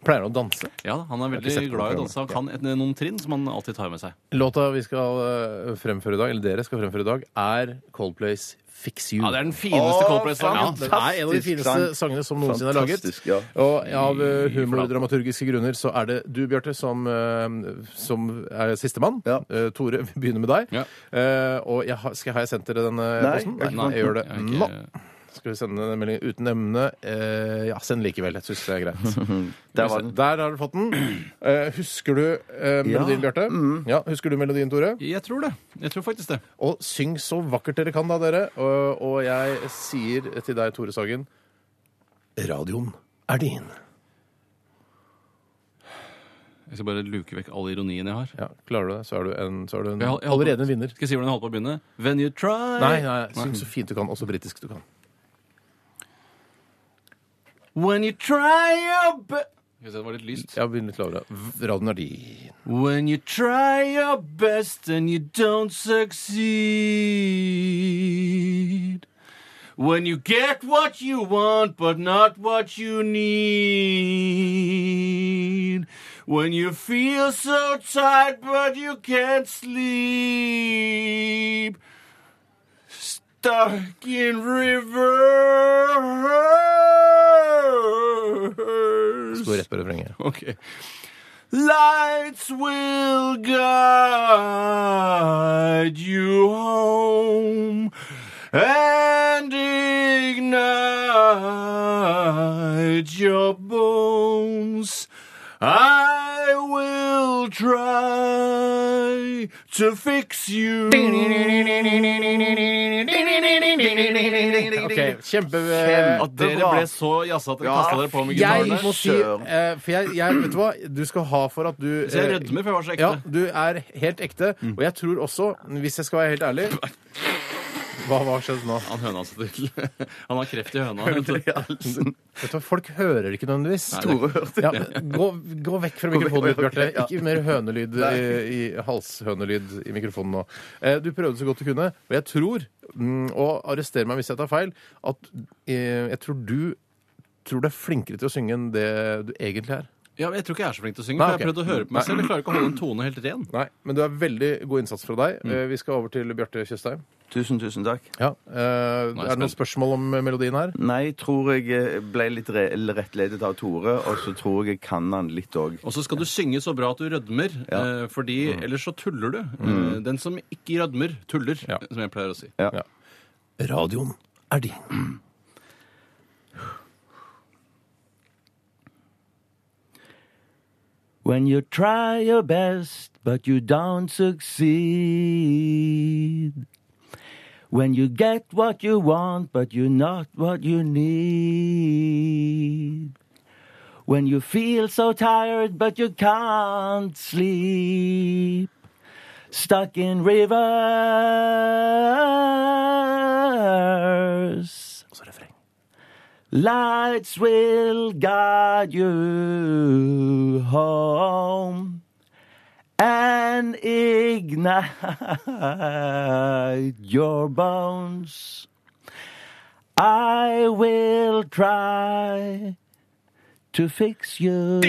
[SPEAKER 3] Pleier å danse.
[SPEAKER 5] Ja, Han er veldig
[SPEAKER 3] sett på
[SPEAKER 5] glad i å
[SPEAKER 3] programmet.
[SPEAKER 5] danse. Han kan et, noen trinn som han alltid tar med seg.
[SPEAKER 3] Låta vi skal eh, fremføre i dag, eller dere skal fremføre i dag, er Coldplays Fix You.
[SPEAKER 5] Ja, Det er den fineste
[SPEAKER 4] Åh,
[SPEAKER 3] Ja,
[SPEAKER 5] Coldplay-sangen.
[SPEAKER 3] den er en av de
[SPEAKER 4] Fantastisk
[SPEAKER 3] fineste
[SPEAKER 4] sang.
[SPEAKER 3] sangene som noensinne er laget.
[SPEAKER 4] Fantastisk, ja.
[SPEAKER 3] Og av eh, humordramaturgiske grunner så er det du, Bjarte, som, eh, som er sistemann.
[SPEAKER 4] Ja.
[SPEAKER 3] Eh, Tore, vi begynner med deg.
[SPEAKER 5] Ja.
[SPEAKER 3] Eh, og jeg har, skal, har jeg sendt dere den eh,
[SPEAKER 4] Nei,
[SPEAKER 3] posten?
[SPEAKER 4] jeg har ikke
[SPEAKER 3] jeg gjør det
[SPEAKER 5] Jeg er
[SPEAKER 3] nå.
[SPEAKER 5] ikke-
[SPEAKER 3] Skal vi sende en melding uten emne? Eh, ja, send likevel. Jeg syns det er greit.
[SPEAKER 4] Der var den.
[SPEAKER 3] Der har du fått den. Eh, husker du eh, melodien, Bjarte?
[SPEAKER 4] Mm.
[SPEAKER 3] Ja, husker du melodien, Tore?
[SPEAKER 5] Jeg tror det. Jeg tror faktisk det.
[SPEAKER 3] Og syng så vakkert dere kan, da, dere. Og, og jeg sier til deg, Tore Sagen Radioen er din.
[SPEAKER 5] Jeg skal bare luke vekk all ironien jeg har.
[SPEAKER 3] Ja, Klarer du det, så er du, en, så er du en,
[SPEAKER 5] Jeg hol- jeg holdt på-
[SPEAKER 3] allerede en vinner.
[SPEAKER 5] Skal jeg si hvordan jeg holdt på å begynne? When you try
[SPEAKER 3] Nei, nei, syng så fint du kan. Også britisk du kan.
[SPEAKER 5] When you try your be- Skal vi se, det var litt lyst.
[SPEAKER 3] Jeg begynner litt lavere. V- Radioen er din.
[SPEAKER 5] When you try your best and you don't succeed. When you get what you want but not what you need. When you feel so tired but you can't sleep. Stuck in river.
[SPEAKER 3] Går rett på refrenget.
[SPEAKER 5] Okay. Lights will guide you home and ignite your bones. I will try to fix you.
[SPEAKER 3] Ok, kjempe... Eh,
[SPEAKER 5] At dere ble så jazza at dere kasta dere på med
[SPEAKER 3] Jeg
[SPEAKER 5] gitarene.
[SPEAKER 3] må si eh, For jeg, jeg vet du hva, du skal ha for at du
[SPEAKER 5] Så jeg
[SPEAKER 3] eh,
[SPEAKER 5] rødmer, for jeg var så ekte. Mm.
[SPEAKER 3] Ja, du er helt ekte. Og jeg tror også, hvis jeg skal være helt ærlig Hva hva har skjedd nå?
[SPEAKER 5] Han høna sitter til. Han har kreft i høna.
[SPEAKER 3] Vet du hva, Folk hører det ikke nødvendigvis.
[SPEAKER 5] Tore
[SPEAKER 3] hørte ja, gå, gå vekk fra mikrofonen ditt, Bjarte. Ikke mer hønelyd i, i halshønelyd i mikrofonen nå. Eh, Du prøvde så godt du kunne, og jeg tror, mm, og arrester meg hvis jeg tar feil, at eh, jeg tror du tror du er flinkere til å synge enn det du egentlig er.
[SPEAKER 5] Ja, men jeg tror ikke jeg er så flink til å synge.
[SPEAKER 3] Nei,
[SPEAKER 5] for Jeg har
[SPEAKER 3] ok.
[SPEAKER 5] prøvd å høre på meg selv. Jeg klarer ikke å holde en tone helt ren.
[SPEAKER 3] Nei, Men du er veldig god innsats fra deg. Eh, Vi skal over til Bjarte Tjøstheim.
[SPEAKER 4] Tusen, tusen takk.
[SPEAKER 3] Ja. eh, Er det noen spørsmål om eh, melodien her?
[SPEAKER 4] Nei, tror jeg eh, ble litt re rettledet av Tore, og så tror jeg jeg kan han litt òg.
[SPEAKER 5] Og så skal du synge så bra at du rødmer, eh, fordi ellers så tuller du. Eh, Den som ikke rødmer, tuller,
[SPEAKER 3] Ja.
[SPEAKER 5] som jeg pleier å si.
[SPEAKER 3] Radioen er din.
[SPEAKER 4] When you try your best, but you don't succeed. When you get what you want, but you're not what you need. When you feel so tired, but you can't sleep. Stuck in reverse. Lights will guide you home and ignite your bones. I will try to fix you.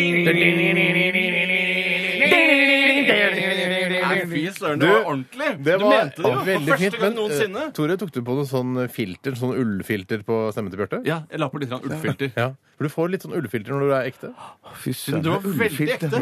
[SPEAKER 5] Fy søren,
[SPEAKER 3] Du,
[SPEAKER 5] det var ordentlig!
[SPEAKER 3] Det
[SPEAKER 5] du
[SPEAKER 3] var
[SPEAKER 5] mente det jo! For
[SPEAKER 3] veldig
[SPEAKER 5] første
[SPEAKER 3] fint. Men
[SPEAKER 5] gang noensinne.
[SPEAKER 3] eh, Tore, tok du på noe sånn filter, sånn ullfilter på stemmen til Bjarte?
[SPEAKER 5] Ja, jeg la på litt grann ullfilter.
[SPEAKER 3] Ja. For du får litt sånn ullfilter når du er ekte.
[SPEAKER 5] Du var veldig ekte.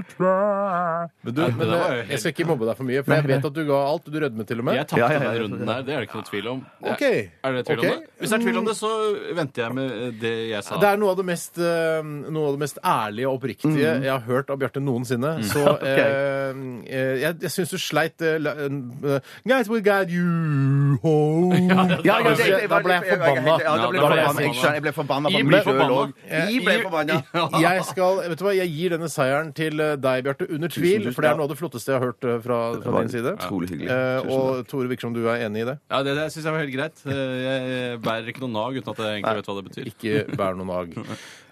[SPEAKER 3] Men, du, men
[SPEAKER 5] det
[SPEAKER 3] eh,
[SPEAKER 5] var jo helt-
[SPEAKER 3] jeg skal ikke mobbe deg for mye, for jeg vet at du ga alt. Du rødmet til og med.
[SPEAKER 5] Jeg tapte
[SPEAKER 4] Ja, ja, ja,
[SPEAKER 5] denne
[SPEAKER 4] jeg
[SPEAKER 5] runden her, det er det ikke noe tvil om.
[SPEAKER 3] Ok.
[SPEAKER 5] Er det tvil
[SPEAKER 3] Ok.
[SPEAKER 5] om det? Hvis det er tvil om det, så venter jeg med eh, det jeg sa.
[SPEAKER 3] Det er noe av det mest, eh, noe av det mest ærlige og oppriktige
[SPEAKER 4] Mm.
[SPEAKER 3] jeg har hørt av Bjarte noensinne. Så eh, eh, jeg, jeg syns du sleit eh, la- eh, Guys, we got you home.
[SPEAKER 4] Ja,
[SPEAKER 3] Da ble jeg- da ble jeg forbanna.
[SPEAKER 4] Ja, da ble jeg
[SPEAKER 5] Ja, da ble jeg
[SPEAKER 4] forbanna. Jeg skjønner, jeg ble forbanna på
[SPEAKER 5] I ble
[SPEAKER 4] meg sjøl
[SPEAKER 5] forbanna.
[SPEAKER 4] òg. I ble forbanna.
[SPEAKER 3] Jeg skal, vet du hva, jeg gir denne seieren til eh, deg, Bjarte, under tvil,
[SPEAKER 4] tusen
[SPEAKER 3] for det er
[SPEAKER 4] takk.
[SPEAKER 3] noe av det flotteste jeg har hørt eh, fra, fra
[SPEAKER 4] var
[SPEAKER 3] din side.
[SPEAKER 4] utrolig hyggelig.
[SPEAKER 3] Eh,
[SPEAKER 4] Tusen
[SPEAKER 3] og Tore virker som du er enig i det.
[SPEAKER 5] Ja, Det, det syns jeg var helt greit. Eh, Jeg bærer ikke noe nag uten at jeg egentlig vet hva det betyr.
[SPEAKER 3] Ikke bær noen nag.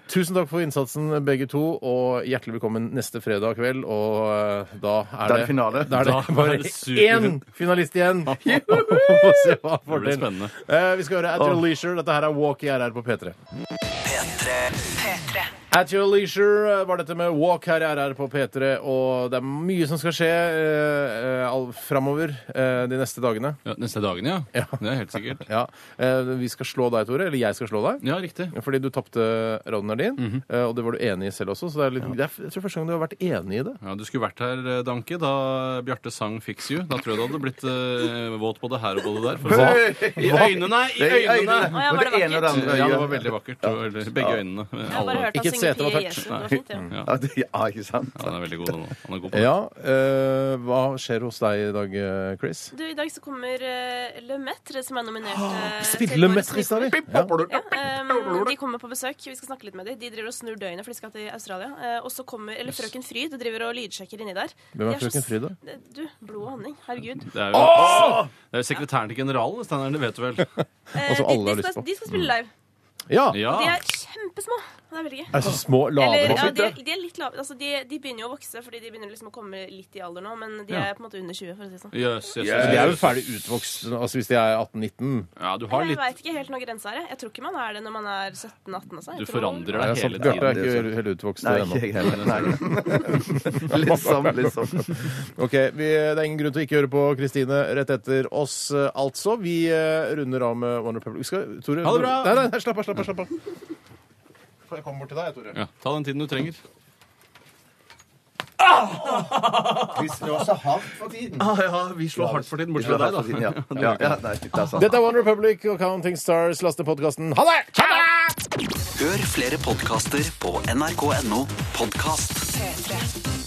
[SPEAKER 3] Tusen takk for innsatsen, begge to, og hjertelig velkommen neste fredag kveld. Og eh, da er
[SPEAKER 4] Da er
[SPEAKER 3] det
[SPEAKER 4] det finale.
[SPEAKER 3] Da er det
[SPEAKER 5] Da er
[SPEAKER 3] bare
[SPEAKER 5] det super-
[SPEAKER 3] én finalist igjen! Få se hva han får
[SPEAKER 5] Det blir
[SPEAKER 3] til.
[SPEAKER 5] spennende.
[SPEAKER 3] Eh, Vi skal høre At Your Leisure. Dette her er Walk i RR på P3.
[SPEAKER 2] P3.
[SPEAKER 9] P3.
[SPEAKER 3] At Your Leisure var dette med Walk her i RR på P3, og det er mye som skal skje uh, framover eh, de neste dagene.
[SPEAKER 5] Ja, neste dagen, ja.
[SPEAKER 3] Ja.
[SPEAKER 5] Det er helt sikkert.
[SPEAKER 3] Ja. Eh, vi skal slå deg, Tore. Eller jeg skal slå deg.
[SPEAKER 5] Ja, riktig.
[SPEAKER 3] Fordi du tapte radioen din,
[SPEAKER 5] Mhm.
[SPEAKER 3] eh, og det var du enig i selv også. Så det er litt, det er, jeg tror første gang du har vært enig i det.
[SPEAKER 5] Ja, Du skulle vært her, eh, Danke, da Bjarte sang 'Fix You'. Da tror jeg du hadde blitt eh, våt både her og både der. For å si. sånn. I øynene! I øynene! Eh,
[SPEAKER 9] Å ja, var det
[SPEAKER 4] ene og det
[SPEAKER 9] vakkert?
[SPEAKER 4] andre.
[SPEAKER 5] Ja, det var veldig vakkert. Det var veldig- Begge øynene.
[SPEAKER 9] Jeg har bare
[SPEAKER 5] Alle.
[SPEAKER 9] hørt han
[SPEAKER 3] Ikke
[SPEAKER 9] synge
[SPEAKER 3] sete Mm. var
[SPEAKER 9] Pie
[SPEAKER 3] tørt.
[SPEAKER 9] Jesu. Det var fint, ja.
[SPEAKER 4] Ja, det- Ja, ikke sant?
[SPEAKER 5] Ja, Han er veldig god, han også. Han er god på det.
[SPEAKER 3] Ja, eh, Hva skjer hos deg i dag, eh, Chris?
[SPEAKER 9] Du, I dag så kommer uh, Le Maître, som er nominert uh,
[SPEAKER 3] Spille mesterlista di! Ja.
[SPEAKER 9] Ja, ehm, de kommer på besøk. Vi skal snakke litt med dem. De driver og snur døgnet, for de skal til Australia. Eh, og så kommer Eller Frøken Fryd driver og lydsjekker inni der.
[SPEAKER 3] Hvem er
[SPEAKER 9] De så
[SPEAKER 3] Frøken Fryd, da? Mm.
[SPEAKER 9] s- eh, Du, blod og honning. Herregud.
[SPEAKER 5] Det er jo, det er jo sekretæren til generalen, Steinar. Det vet du vel?
[SPEAKER 9] Eh,
[SPEAKER 3] Altså,
[SPEAKER 9] de,
[SPEAKER 3] alle har
[SPEAKER 9] de,
[SPEAKER 3] lyst
[SPEAKER 9] skal,
[SPEAKER 3] på.
[SPEAKER 9] de skal spille live.
[SPEAKER 3] Ja!
[SPEAKER 5] Ja.
[SPEAKER 9] De er kjempesmå. Det er veldig gøy.
[SPEAKER 3] Er det så små,
[SPEAKER 9] Eller,
[SPEAKER 3] lavere
[SPEAKER 9] ja,
[SPEAKER 3] også?
[SPEAKER 9] de, er, de er litt lave. Altså, de, de begynner jo å vokse, fordi de begynner liksom å komme litt i alder nå, men de er på en måte under 20, for å si det sånn.
[SPEAKER 5] Jøss,
[SPEAKER 3] Så
[SPEAKER 5] jøss,
[SPEAKER 3] De er jo
[SPEAKER 5] jøss.
[SPEAKER 3] ferdig utvokst altså hvis de er 18-19.
[SPEAKER 5] Ja, du har
[SPEAKER 9] Jeg
[SPEAKER 5] litt
[SPEAKER 9] veit ikke helt når grensa er. jeg. Jeg tror ikke man er det når man er 17-18. Altså. Jeg
[SPEAKER 5] Du
[SPEAKER 9] tror-
[SPEAKER 5] forandrer
[SPEAKER 3] Nei,
[SPEAKER 5] deg
[SPEAKER 3] altså,
[SPEAKER 5] hele
[SPEAKER 3] Bjarte er
[SPEAKER 5] tiden.
[SPEAKER 3] ikke helt utvokst
[SPEAKER 4] Nei, ikke
[SPEAKER 3] ennå.
[SPEAKER 4] jeg heller. Nei. Liksom, liksom.
[SPEAKER 3] Ok, vi, Det er ingen grunn til å ikke høre på Kristine rett etter oss, eh, altså. Vi eh, runder av med One Republic. Vi Skal, Tore,
[SPEAKER 5] Ha det bra!
[SPEAKER 3] Nei, nei, nei, slapp av, slapp av, slapp av. Jeg kommer bort til deg, Tore.
[SPEAKER 5] Ja, ta den tiden du trenger.
[SPEAKER 4] Vi slår så hardt for tiden.
[SPEAKER 5] Ah, ja, vi slår hardt for tiden, bortsett fra deg, da.
[SPEAKER 4] Ja, ja, ja, nei, det er sant.
[SPEAKER 3] Dette er One Republic og Counting Stars. Laste podkasten. Ha det!
[SPEAKER 2] Hør flere podkaster på nrk.no podkast.
[SPEAKER 10] P3.